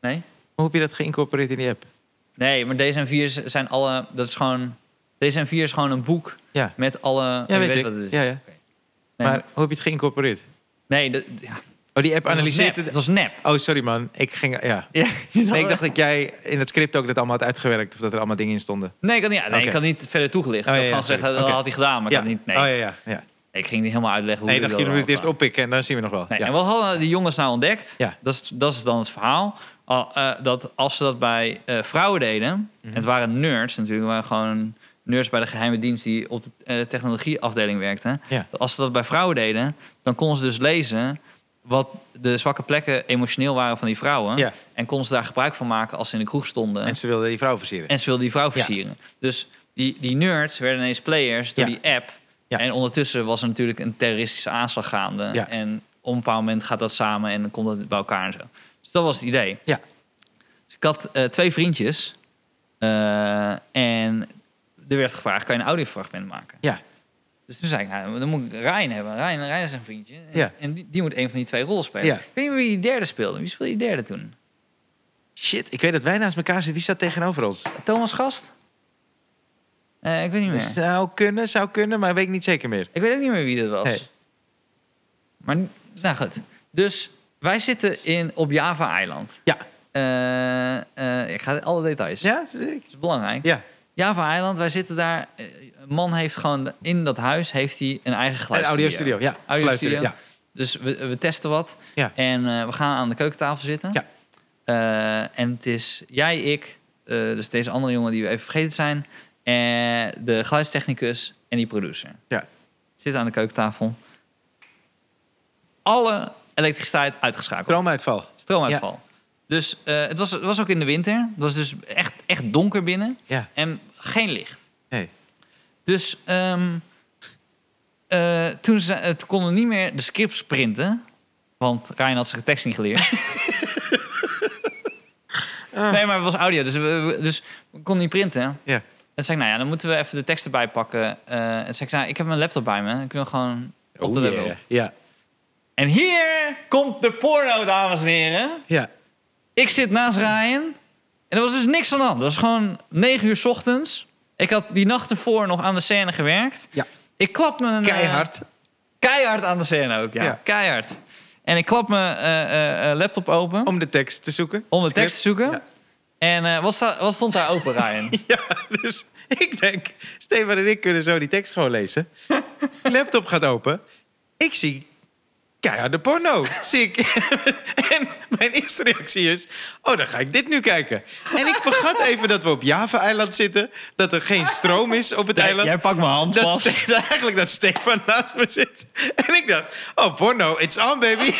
[SPEAKER 2] Nee?
[SPEAKER 1] Hoe heb je dat geïncorporeerd in die app?
[SPEAKER 2] Nee, maar DSM-4 zijn alle... Dat is gewoon... DSM-4 is gewoon een boek
[SPEAKER 1] Ja,
[SPEAKER 2] met alle...
[SPEAKER 1] ja
[SPEAKER 2] je
[SPEAKER 1] weet ik.
[SPEAKER 2] wat het is.
[SPEAKER 1] Ja, ja.
[SPEAKER 2] Oké. Nee,
[SPEAKER 1] Maar hoe heb je het geïncorporeerd?
[SPEAKER 2] nee, dat- ja.
[SPEAKER 1] Oh, die app
[SPEAKER 2] Het was nep.
[SPEAKER 1] analyseert
[SPEAKER 2] Het
[SPEAKER 1] het.
[SPEAKER 2] was nep.
[SPEAKER 1] Oh, sorry, man. Ik ging... Ja.
[SPEAKER 2] Ja,
[SPEAKER 1] Nee, ik dacht dat jij in het script ook dat allemaal had uitgewerkt. Of dat er allemaal dingen in stonden.
[SPEAKER 2] nee, ik had niet, nee,
[SPEAKER 1] Oké.
[SPEAKER 2] ik had niet verder toegelicht.
[SPEAKER 1] Oh,
[SPEAKER 2] ik
[SPEAKER 1] ja, ja,
[SPEAKER 2] had gewoon gezegd,
[SPEAKER 1] sorry.
[SPEAKER 2] dat
[SPEAKER 1] Oké.
[SPEAKER 2] had hij gedaan, maar
[SPEAKER 1] ja.
[SPEAKER 2] ik had niet... Nee,
[SPEAKER 1] Oh, ja, ja. ja.
[SPEAKER 2] ik ging niet helemaal uitleggen hoe
[SPEAKER 1] Nee, ik
[SPEAKER 2] hij
[SPEAKER 1] dacht, jullie moeten
[SPEAKER 2] dat
[SPEAKER 1] het eerst
[SPEAKER 2] allemaal
[SPEAKER 1] oppikken en dan zien we nog wel.
[SPEAKER 2] kwam. Nee,
[SPEAKER 1] ja.
[SPEAKER 2] En wat hadden die jongens nou ontdekt?
[SPEAKER 1] Ja.
[SPEAKER 2] Dat, is, dat is dan het verhaal. Al, eh, dat als ze dat bij eh, vrouwen deden...
[SPEAKER 1] Mhm.
[SPEAKER 2] en het waren nerds natuurlijk, het waren gewoon nerds bij de geheime dienst... die op de eh, technologieafdeling werkten.
[SPEAKER 1] Ja.
[SPEAKER 2] Dat Als ze dat bij vrouwen deden, dan konden ze dus lezen... wat de zwakke plekken emotioneel waren van die vrouwen.
[SPEAKER 1] Ja.
[SPEAKER 2] En konden ze daar gebruik van maken als ze in de kroeg stonden.
[SPEAKER 1] En ze wilden die vrouw versieren.
[SPEAKER 2] En ze wilden die vrouw versieren. Dus die, die nerds werden ineens players door
[SPEAKER 1] Ja.
[SPEAKER 2] die app.
[SPEAKER 1] Ja.
[SPEAKER 2] En ondertussen was er natuurlijk een terroristische aanslag gaande.
[SPEAKER 1] Ja.
[SPEAKER 2] En op een bepaald moment gaat dat samen en dan komt dat bij elkaar en zo. Dus dat was het idee.
[SPEAKER 1] Ja.
[SPEAKER 2] Dus ik had eh, twee vriendjes. eh, en er werd gevraagd, kan je een audiofragment maken?
[SPEAKER 1] Ja.
[SPEAKER 2] Dus Dus toen zei ik, nou, dan moet ik Ryan hebben. Ryan, Ryan is een vriendje. En,
[SPEAKER 1] Ja.
[SPEAKER 2] en die, die moet een van die twee rollen spelen.
[SPEAKER 1] Ja.
[SPEAKER 2] Ik weet niet wie die derde speelde. Wie speelde die derde toen?
[SPEAKER 1] Shit, ik weet dat wij naast elkaar zitten. Wie staat tegenover ons?
[SPEAKER 2] Thomas Gast? Eh, ik weet niet meer.
[SPEAKER 1] Zou kunnen, zou kunnen, maar weet ik niet zeker meer.
[SPEAKER 2] Ik weet ook niet meer wie dat was.
[SPEAKER 1] Nee.
[SPEAKER 2] Maar, nou goed. Dus wij zitten in, op Java-eiland.
[SPEAKER 1] Ja.
[SPEAKER 2] Eh, eh, ik ga alle details.
[SPEAKER 1] Ja? ik-
[SPEAKER 2] Dat is belangrijk.
[SPEAKER 1] Ja.
[SPEAKER 2] Java-eiland, wij zitten daar. Eh, Een man heeft gewoon in dat huis heeft hij een eigen
[SPEAKER 1] Een
[SPEAKER 2] geluidsstudio.
[SPEAKER 1] audiostudio. Ja.
[SPEAKER 2] Audio
[SPEAKER 1] Geluidsstudio,
[SPEAKER 2] studio. Dus we, we testen wat.
[SPEAKER 1] Ja.
[SPEAKER 2] En eh, we gaan aan de keukentafel zitten.
[SPEAKER 1] Ja.
[SPEAKER 2] Eh, en het is jij, ik, eh, dus deze andere jongen die we even vergeten zijn. En de geluidstechnicus en die producer.
[SPEAKER 1] Ja.
[SPEAKER 2] Zitten aan de keukentafel. Alle elektriciteit uitgeschakeld.
[SPEAKER 1] Stroomuitval.
[SPEAKER 2] Stroomuitval. Dus eh, het, was, het was ook in de winter. Het was dus echt, echt donker binnen.
[SPEAKER 1] Ja.
[SPEAKER 2] En geen licht.
[SPEAKER 1] Nee.
[SPEAKER 2] Dus ehm, eh, toen ze, eh, toen konden we niet meer de scripts printen. Want Ryan had zijn tekst niet
[SPEAKER 1] <laughs>
[SPEAKER 2] geleerd.
[SPEAKER 1] Ah.
[SPEAKER 2] Nee, maar het was audio, dus we, we- dus we konden niet printen.
[SPEAKER 1] Ja.
[SPEAKER 2] En toen zei ik, nou ja, dan moeten we even de tekst erbij pakken. Eh, en toen zei ik, nou, ik heb mijn laptop bij me. Ik wil gewoon op de
[SPEAKER 1] Oh,
[SPEAKER 2] laptop.
[SPEAKER 1] yeah. Ja.
[SPEAKER 2] En hier komt de porno, dames en heren.
[SPEAKER 1] Ja.
[SPEAKER 2] Ik zit naast Ryan. En er was dus niks aan de hand. Het was gewoon 9 uur 's ochtends. Ik had die nacht ervoor nog aan de scène gewerkt.
[SPEAKER 1] Ja.
[SPEAKER 2] Ik klap mijn... eh,
[SPEAKER 1] Keihard.
[SPEAKER 2] keihard aan de scène ook, ja.
[SPEAKER 1] Ja.
[SPEAKER 2] Keihard. En ik klap mijn eh, eh, eh, laptop open om,
[SPEAKER 1] Om de tekst te zoeken.
[SPEAKER 2] de tekst te zoeken.
[SPEAKER 1] Ja.
[SPEAKER 2] En eh, wat, sta- wat stond daar open, Ryan?
[SPEAKER 1] <laughs> Ja, dus ik denk, Stefan en ik kunnen zo die tekst gewoon lezen. Laptop gaat open. Ik zie keiharde porno. Zie ik. <laughs> en mijn eerste reactie is, oh, dan ga ik dit nu kijken. En ik vergat even dat we op Java-eiland zitten. Dat er geen stroom is op het eiland.
[SPEAKER 2] Jij pakt mijn hand
[SPEAKER 1] Dat
[SPEAKER 2] vast.
[SPEAKER 1] Ste- eigenlijk dat Stefan naast me zit. En ik dacht, oh, porno, it's on, baby.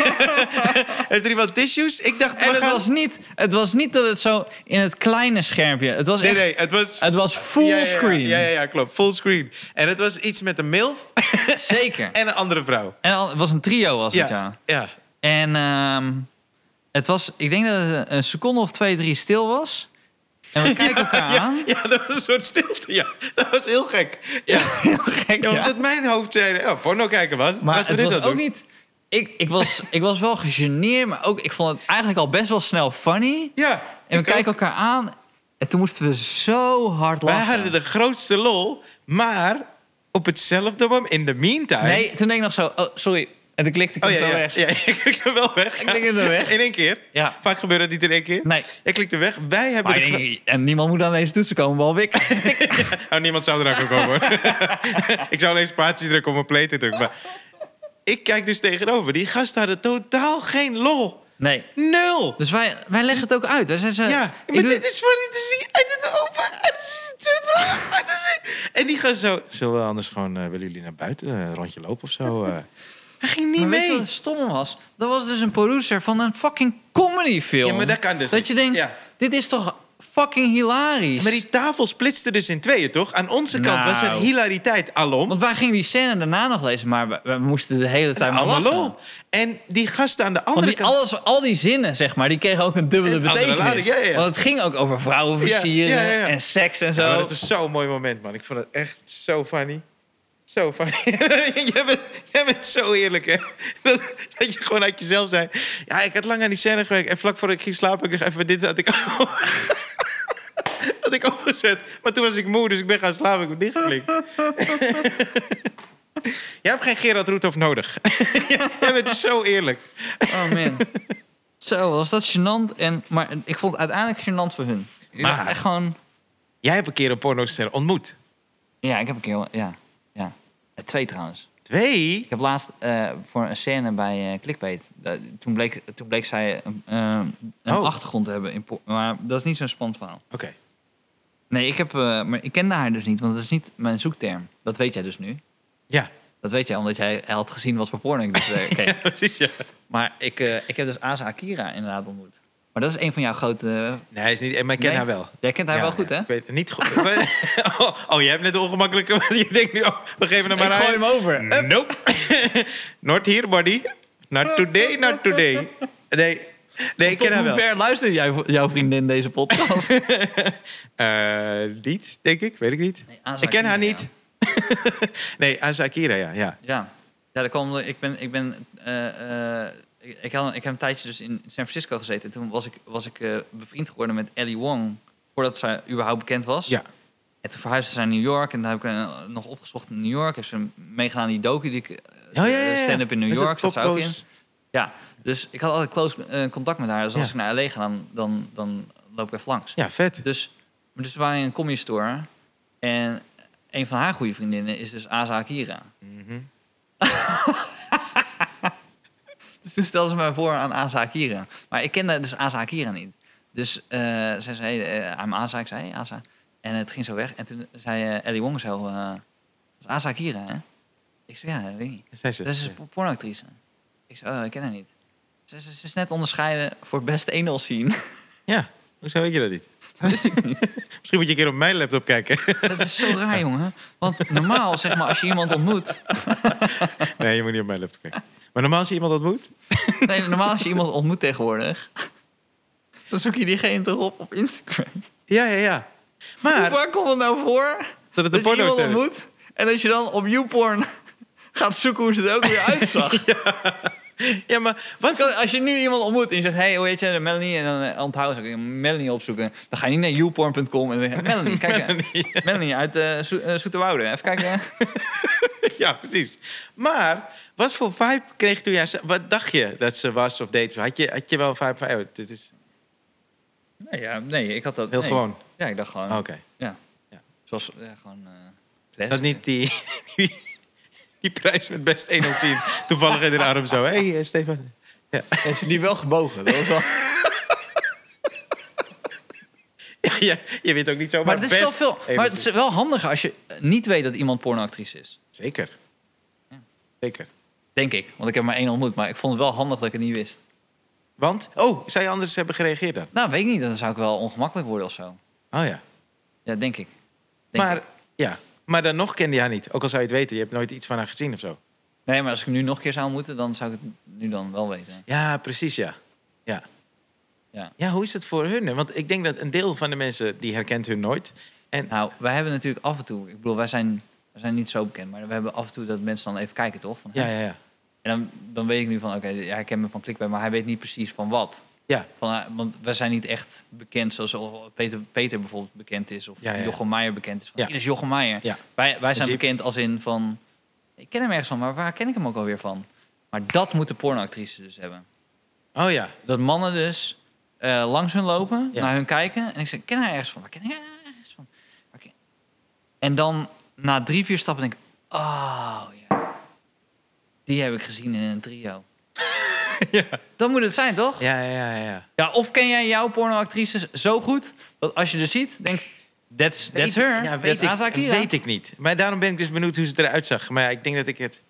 [SPEAKER 1] <laughs> Heeft er iemand tissues? Ik dacht,
[SPEAKER 2] En
[SPEAKER 1] we
[SPEAKER 2] het
[SPEAKER 1] gaan...
[SPEAKER 2] was, niet, het was niet dat het zo in het kleine schermpje... Het was,
[SPEAKER 1] Nee,
[SPEAKER 2] echt-
[SPEAKER 1] nee, het was
[SPEAKER 2] Het was full
[SPEAKER 1] Ja, ja, ja.
[SPEAKER 2] screen.
[SPEAKER 1] Ja, ja, ja, klopt. Fullscreen. En het was iets met een milf
[SPEAKER 2] Zeker.
[SPEAKER 1] en een andere vrouw.
[SPEAKER 2] En al- het was een trio, was het, ja.
[SPEAKER 1] ja. ja.
[SPEAKER 2] En ehm, het was, ik denk dat het een seconde of twee, drie stil was. En we kijken
[SPEAKER 1] <laughs>
[SPEAKER 2] elkaar
[SPEAKER 1] Ja,
[SPEAKER 2] aan.
[SPEAKER 1] ja, dat was een soort stilte. Ja, dat was heel gek. Ja,
[SPEAKER 2] <laughs> Heel gek,
[SPEAKER 1] Ja, want
[SPEAKER 2] ja.
[SPEAKER 1] uit mijn hoofd zeiden, oh, porno kijken was.
[SPEAKER 2] Maar
[SPEAKER 1] Laten
[SPEAKER 2] het
[SPEAKER 1] we
[SPEAKER 2] was
[SPEAKER 1] dit
[SPEAKER 2] ook
[SPEAKER 1] dan doen.
[SPEAKER 2] niet... Ik, ik, was, ik was wel gegeneerd, maar ook, ik vond het eigenlijk al best wel snel funny.
[SPEAKER 1] Ja.
[SPEAKER 2] En we
[SPEAKER 1] ik
[SPEAKER 2] kijken elkaar aan. En toen moesten we zo hard
[SPEAKER 1] ook. Wij
[SPEAKER 2] lachen.
[SPEAKER 1] hadden de grootste lol, maar op hetzelfde moment, in the meantime...
[SPEAKER 2] Nee, toen denk ik nog zo... Oh, sorry. En toen klikte ik
[SPEAKER 1] Oh
[SPEAKER 2] het
[SPEAKER 1] ja,
[SPEAKER 2] zo
[SPEAKER 1] ja,
[SPEAKER 2] weg.
[SPEAKER 1] ja, <laughs> ik klikte wel weg.
[SPEAKER 2] Ik klikte hem weg.
[SPEAKER 1] In één keer.
[SPEAKER 2] Ja.
[SPEAKER 1] Vaak gebeurt dat niet in één keer.
[SPEAKER 2] Nee.
[SPEAKER 1] Ik klikte weg. Wij hebben
[SPEAKER 2] Maar
[SPEAKER 1] de
[SPEAKER 2] ik
[SPEAKER 1] gro-
[SPEAKER 2] denk, en niemand moet aan deze toetsen komen, behalve ik.
[SPEAKER 1] <laughs> Nou, niemand zou eraan komen.
[SPEAKER 2] <laughs>
[SPEAKER 1] hoor. ik zou alleen spaties drukken om een play te drukken. Maar ik kijk dus tegenover. Die gasten hadden totaal geen lol.
[SPEAKER 2] Nee.
[SPEAKER 1] Nul.
[SPEAKER 2] Dus wij, wij leggen het ook uit. Wij zijn zo,
[SPEAKER 1] Ja,
[SPEAKER 2] ik
[SPEAKER 1] maar
[SPEAKER 2] doe-
[SPEAKER 1] dit is voor niet te zien. En dit is open. En dit is twee vragen. En dit is- En die gaan zo... Zullen we anders gewoon... eh, willen jullie naar buiten eh, een rondje lopen of zo? eh? Hij ging niet
[SPEAKER 2] maar weet je
[SPEAKER 1] mee.
[SPEAKER 2] wat het stomme was? Dat was dus een producer van een fucking comedyfilm.
[SPEAKER 1] Ja, maar dat kan dus
[SPEAKER 2] Dat
[SPEAKER 1] niet.
[SPEAKER 2] je denkt,
[SPEAKER 1] Ja.
[SPEAKER 2] dit is toch fucking hilarisch.
[SPEAKER 1] Maar die tafel splitste dus in tweeën, toch? Aan onze kant was er
[SPEAKER 2] Nou.
[SPEAKER 1] hilariteit alom.
[SPEAKER 2] Want wij gingen die scène daarna nog lezen, maar we, we moesten de hele tijd maar
[SPEAKER 1] Allemaal
[SPEAKER 2] lachen.
[SPEAKER 1] lol. En die gasten aan de
[SPEAKER 2] Want
[SPEAKER 1] andere
[SPEAKER 2] die,
[SPEAKER 1] kant...
[SPEAKER 2] alles, al die zinnen, zeg maar, die kregen ook een dubbele
[SPEAKER 1] Een andere
[SPEAKER 2] betekenis.
[SPEAKER 1] lading, ja, ja, ja.
[SPEAKER 2] Want het ging ook over vrouwenversieren
[SPEAKER 1] Ja, ja, ja, ja.
[SPEAKER 2] en seks en zo.
[SPEAKER 1] Ja, maar dat is zo'n mooi moment, man. Ik vond het echt zo funny. Zo funny. <laughs> jij, bent, jij bent zo eerlijk, hè? <laughs> Dat, dat je gewoon uit jezelf zei. Ja, ik had lang aan die scène gewerkt. En vlak voordat ik ging slapen, heb ik nog even dit had ik, <laughs> had ik opgezet. Maar toen was ik moe, dus ik ben gaan slapen. Ik heb dichtgeklikt. <laughs> jij hebt geen Gerard Roethoff nodig. <laughs> jij bent zo eerlijk. <laughs>
[SPEAKER 2] Oh man. Zo, was dat gênant. En, maar ik vond het uiteindelijk gênant voor hun. Ik dacht
[SPEAKER 1] Maar-
[SPEAKER 2] echt gewoon...
[SPEAKER 1] Jij hebt een keer een pornoster ontmoet.
[SPEAKER 2] Ja, ik heb een keer... Ja, ja. Eh, Twee trouwens.
[SPEAKER 1] Twee?
[SPEAKER 2] Ik heb laatst eh, voor een scène bij eh Clickbait. eh, toen, bleek, toen bleek zij een, eh, een
[SPEAKER 1] Oh.
[SPEAKER 2] achtergrond te hebben. In por- maar dat is niet zo'n spannend verhaal.
[SPEAKER 1] Oké.
[SPEAKER 2] Nee, ik, heb, eh, maar ik kende haar dus niet, want dat is niet mijn zoekterm. Dat weet jij dus nu.
[SPEAKER 1] Ja. <laughs>
[SPEAKER 2] Dat weet jij, omdat jij had gezien wat voor porno ik dus eh, keek.
[SPEAKER 1] Precies, ja.
[SPEAKER 2] Maar ik, eh, ik heb dus Asa Akira inderdaad ontmoet. Maar dat is een van jouw grote... eh,
[SPEAKER 1] Nee, hij is niet... Maar ik ken
[SPEAKER 2] Nee?
[SPEAKER 1] haar wel.
[SPEAKER 2] Jij kent haar
[SPEAKER 1] Ja,
[SPEAKER 2] Nou, wel goed,
[SPEAKER 1] ja,
[SPEAKER 2] hè?
[SPEAKER 1] Ik weet het niet goed. oh, <laughs> oh, jij hebt net een ongemakkelijke... <laughs> want Je denkt nu, oh, we geven hem maar aan.
[SPEAKER 2] over.
[SPEAKER 1] Nope. <laughs> Not here, buddy. Not today, not today. Nee, nee ik ken haar wel.
[SPEAKER 2] Hoe ver luistert jij, jouw vriendin deze podcast?
[SPEAKER 1] Eh, niet, denk ik. Weet ik niet.
[SPEAKER 2] Nee, Asa
[SPEAKER 1] ik ken haar
[SPEAKER 2] Akira,
[SPEAKER 1] niet.
[SPEAKER 2] ja.
[SPEAKER 1] <laughs> nee, Asakira, ja. ja.
[SPEAKER 2] Ja, ja daar kwam, ik ben. Ik ben eh, eh, ik, ik, had, ik heb een tijdje dus in San Francisco gezeten. En toen was ik, was ik eh, bevriend geworden met Ellie Wong. Voordat zij überhaupt bekend was.
[SPEAKER 1] Ja.
[SPEAKER 2] En toen verhuisde ze naar New York. En daar heb ik haar nog opgezocht in New York. Heeft ze meegedaan aan die docu die ik... eh,
[SPEAKER 1] Oh, ja, ja, ja.
[SPEAKER 2] Stand-up in New
[SPEAKER 1] Is het
[SPEAKER 2] York zat ze ook in.
[SPEAKER 1] Popco's?
[SPEAKER 2] Ja, dus ik had altijd close eh, contact met haar. Dus als
[SPEAKER 1] Ja.
[SPEAKER 2] ik naar L.A. ga, dan, dan, dan loop ik even langs.
[SPEAKER 1] Ja, vet.
[SPEAKER 2] Dus, maar dus we waren in een comedy store. En een van haar goede vriendinnen is dus Asa Akira.
[SPEAKER 1] Mhm.
[SPEAKER 2] <laughs> Dus toen stelde ze mij voor aan Asa Akira. Maar ik kende dus Asa Akira niet. Dus eh zij zei, eh, I'm Asa. Ik zei, hey, Asa. En het ging zo weg. En toen zei eh, Ellie Wong zo, eh, dat is Asa Akira, hè? Ik zei, ja, dat weet ik niet.
[SPEAKER 1] Zij ze.
[SPEAKER 2] Dat is een po- pornoactrice. Ik zei, oh, ik ken haar niet. Ze, ze, ze is net onderscheiden voor best
[SPEAKER 1] <laughs>
[SPEAKER 2] anal scene. <laughs>
[SPEAKER 1] Ja, hoezo weet je dat niet?
[SPEAKER 2] Wist ik niet.
[SPEAKER 1] Misschien moet je een keer op mijn laptop kijken. <laughs>
[SPEAKER 2] Dat is zo raar, jongen. Want normaal, zeg maar, als je iemand ontmoet...
[SPEAKER 1] nee, je moet niet op mijn laptop kijken. Maar normaal als je iemand ontmoet...
[SPEAKER 2] Nee, normaal als je iemand ontmoet tegenwoordig... dan zoek je diegene toch op op Instagram.
[SPEAKER 1] Ja, ja, ja.
[SPEAKER 2] Maar,
[SPEAKER 1] Maar
[SPEAKER 2] Hoe vaak komt het nou voor
[SPEAKER 1] dat het een
[SPEAKER 2] dat je
[SPEAKER 1] porno
[SPEAKER 2] iemand
[SPEAKER 1] is.
[SPEAKER 2] ontmoet... en dat je dan op YouPorn gaat zoeken hoe ze er ook weer <laughs> uitzag?
[SPEAKER 1] <laughs> Ja, maar wat voor...
[SPEAKER 2] Kan- Als je nu iemand ontmoet en je zegt, hey, hoe heet je, Melanie? En dan eh, onthouden ze ook, Melanie opzoeken. Dan ga je niet naar youporn.com en dan zeg je, Melanie, <laughs> kijk. eh, Melanie uit eh Zo- eh, Zoeterwoude. Even kijken. <laughs>
[SPEAKER 1] Ja, precies. Maar wat voor vibe kreeg je toen jij... ze- Wat dacht je dat ze was of deed? ze? Had je, had je wel een vibe van... Oh, dit is
[SPEAKER 2] nee, ja, nee, ik had dat...
[SPEAKER 1] heel
[SPEAKER 2] nee.
[SPEAKER 1] gewoon. Oh,
[SPEAKER 2] Ja, ik dacht gewoon,
[SPEAKER 1] Oké.
[SPEAKER 2] zoals ja, gewoon... eh,
[SPEAKER 1] Is dat
[SPEAKER 2] <laughs>
[SPEAKER 1] niet die... <laughs> die, die prijs met best 1
[SPEAKER 2] <laughs>
[SPEAKER 1] zien? Toevallig in de arm zo. Hé, hey, eh, Stefan.
[SPEAKER 2] Is die wel gebogen? Dat was wel...
[SPEAKER 1] Ja, ja, je weet ook niet zomaar
[SPEAKER 2] maar het is wel
[SPEAKER 1] best
[SPEAKER 2] veel... Maar het
[SPEAKER 1] 107.
[SPEAKER 2] is wel handiger als je eh, niet weet dat iemand pornoactrice is.
[SPEAKER 1] Zeker. Zeker.
[SPEAKER 2] Denk ik. Want ik heb maar één ontmoet. Maar ik vond het wel handig dat ik het niet wist.
[SPEAKER 1] Want? Oh, zou je anders hebben gereageerd dan?
[SPEAKER 2] Nou, weet ik niet. Dan zou ik wel ongemakkelijk worden of zo.
[SPEAKER 1] Oh ja.
[SPEAKER 2] Ja, denk ik. Denk
[SPEAKER 1] Maar,
[SPEAKER 2] ik.
[SPEAKER 1] ja. maar dan nog kende je haar niet. Ook al zou je het weten. Je hebt nooit iets van haar gezien of zo.
[SPEAKER 2] Nee, maar als ik hem nu nog een keer zou moeten, dan zou ik het nu dan wel weten.
[SPEAKER 1] Ja, precies ja. Ja,
[SPEAKER 2] Ja.
[SPEAKER 1] ja hoe is het voor hun? Want ik denk dat een deel van de mensen... die herkent hun nooit. En
[SPEAKER 2] Nou, wij hebben natuurlijk af en toe... Ik bedoel, wij zijn, wij zijn niet zo bekend. Maar we hebben af en toe dat mensen dan even kijken, toch? Van,
[SPEAKER 1] ja, ja, ja.
[SPEAKER 2] En dan, dan weet ik nu van, oké, ja, hij kent me van Klikbij, maar hij weet niet precies van wat.
[SPEAKER 1] Ja.
[SPEAKER 2] Van, eh, want wij zijn niet echt bekend zoals Peter, Peter bijvoorbeeld bekend is. Of
[SPEAKER 1] Ja, ja, ja.
[SPEAKER 2] Jochem Meijer bekend is. Van,
[SPEAKER 1] Ja.
[SPEAKER 2] hier is Jochem Meijer.
[SPEAKER 1] Ja.
[SPEAKER 2] Wij, wij zijn
[SPEAKER 1] Jeep.
[SPEAKER 2] bekend als in van, ik ken hem ergens van, maar waar ken ik hem ook alweer van? Maar dat moeten pornoactrices dus hebben.
[SPEAKER 1] Oh ja.
[SPEAKER 2] Dat mannen dus eh, langs hun lopen,
[SPEAKER 1] Ja.
[SPEAKER 2] naar hun kijken. En ik zeg, ik ken haar ergens van? Waar ken ik haar ergens van? Waar ken- En dan na drie, vier stappen denk ik... Oh, ja. Die heb ik gezien in een trio.
[SPEAKER 1] <laughs> Ja.
[SPEAKER 2] Dat moet het zijn, toch? Ja.
[SPEAKER 1] Ja, ja, ja. ja.
[SPEAKER 2] of ken jij jouw pornoactrices zo goed... dat als je er ziet, denk je, That's, that's
[SPEAKER 1] Weet-
[SPEAKER 2] her.
[SPEAKER 1] Ja,
[SPEAKER 2] that's
[SPEAKER 1] weet, ik,
[SPEAKER 2] Asa Akira.
[SPEAKER 1] weet ik niet. Maar daarom ben ik dus benieuwd hoe ze eruit zag. Maar ja, ik denk dat ik het...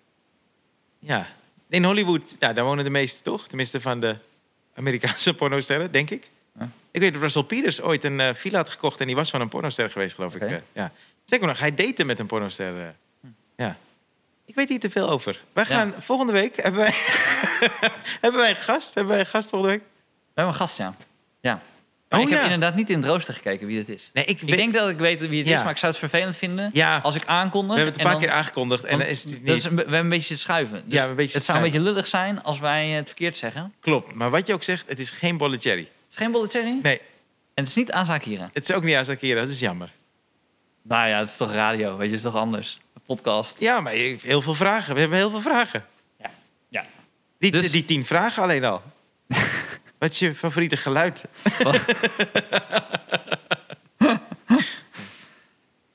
[SPEAKER 1] Ja. In Hollywood, ja, daar wonen de meeste toch? Tenminste van de Amerikaanse <laughs> pornosterren, denk ik.
[SPEAKER 2] Ja.
[SPEAKER 1] Ik weet dat Russell Peters ooit een eh, villa had gekocht... en die was van een pornoster geweest, geloof ik.
[SPEAKER 2] Oké.
[SPEAKER 1] eh, ja. Zeker nog, hij date met een pornoster. eh. Ja. Ik weet hier te veel over. Wij
[SPEAKER 2] Ja.
[SPEAKER 1] gaan volgende week... Hebben wij, <laughs> hebben wij een gast? Hebben wij een gast volgende week?
[SPEAKER 2] We hebben een gast, ja. ja. Maar
[SPEAKER 1] Oh,
[SPEAKER 2] ik
[SPEAKER 1] ja.
[SPEAKER 2] heb inderdaad niet in het rooster gekeken wie het is.
[SPEAKER 1] Nee, ik,
[SPEAKER 2] Ik
[SPEAKER 1] weet...
[SPEAKER 2] denk dat ik weet wie het
[SPEAKER 1] Ja.
[SPEAKER 2] is, maar ik zou het vervelend vinden...
[SPEAKER 1] Ja,
[SPEAKER 2] als ik aankondig...
[SPEAKER 1] we hebben het
[SPEAKER 2] en
[SPEAKER 1] een paar
[SPEAKER 2] dan-
[SPEAKER 1] keer aangekondigd. En
[SPEAKER 2] Want
[SPEAKER 1] dan is het niet...
[SPEAKER 2] dat is een, be- we hebben een beetje te schuiven. Dus
[SPEAKER 1] Ja, een beetje
[SPEAKER 2] het
[SPEAKER 1] te
[SPEAKER 2] zou een beetje lullig zijn als wij eh, het verkeerd zeggen.
[SPEAKER 1] Klopt, maar wat je ook zegt, het is geen bolle cherry.
[SPEAKER 2] Het is geen bolletjerry. En
[SPEAKER 1] Nee,
[SPEAKER 2] het is niet aanzaak hier.
[SPEAKER 1] het is ook niet Asakira, dat is jammer.
[SPEAKER 2] Nou ja, het is toch radio, weet je, het is toch anders. Een podcast.
[SPEAKER 1] Ja, maar je hebt heel veel vragen. We hebben heel veel vragen.
[SPEAKER 2] Ja, ja.
[SPEAKER 1] Die,
[SPEAKER 2] Dus-
[SPEAKER 1] die tien vragen alleen <laughs> al. wat is je favoriete geluid?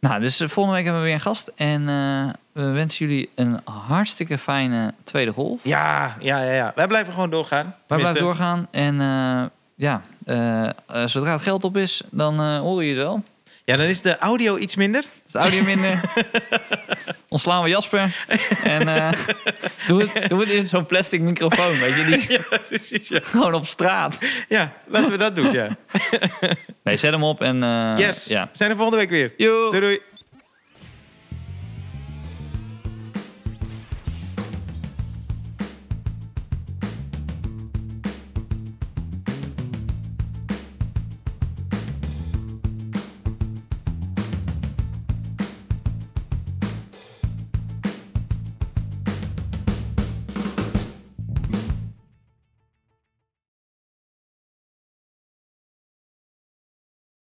[SPEAKER 2] Nou, dus eh, volgende week hebben we weer een gast. En eh, we wensen jullie een hartstikke fijne tweede golf.
[SPEAKER 1] Ja, ja, ja, ja. Wij blijven gewoon doorgaan.
[SPEAKER 2] Wij
[SPEAKER 1] Tenminste,
[SPEAKER 2] blijven doorgaan. En eh, ja, eh, eh, zodra het geld op is, dan eh horen je het wel.
[SPEAKER 1] Ja, dan is de audio iets minder.
[SPEAKER 2] Is het audio minder? Ontslaan we Jasper. En eh, doe, het, doe het in zo'n plastic microfoon, weet je. Die,
[SPEAKER 1] <laughs>
[SPEAKER 2] <laughs>
[SPEAKER 1] ja, precies. Ja.
[SPEAKER 2] Gewoon op straat.
[SPEAKER 1] ja, laten we dat doen. Ja.
[SPEAKER 2] Nee, zet hem op en... eh,
[SPEAKER 1] Yes,
[SPEAKER 2] Ja.
[SPEAKER 1] we zijn er volgende week weer.
[SPEAKER 2] Joe.
[SPEAKER 1] Doei doei.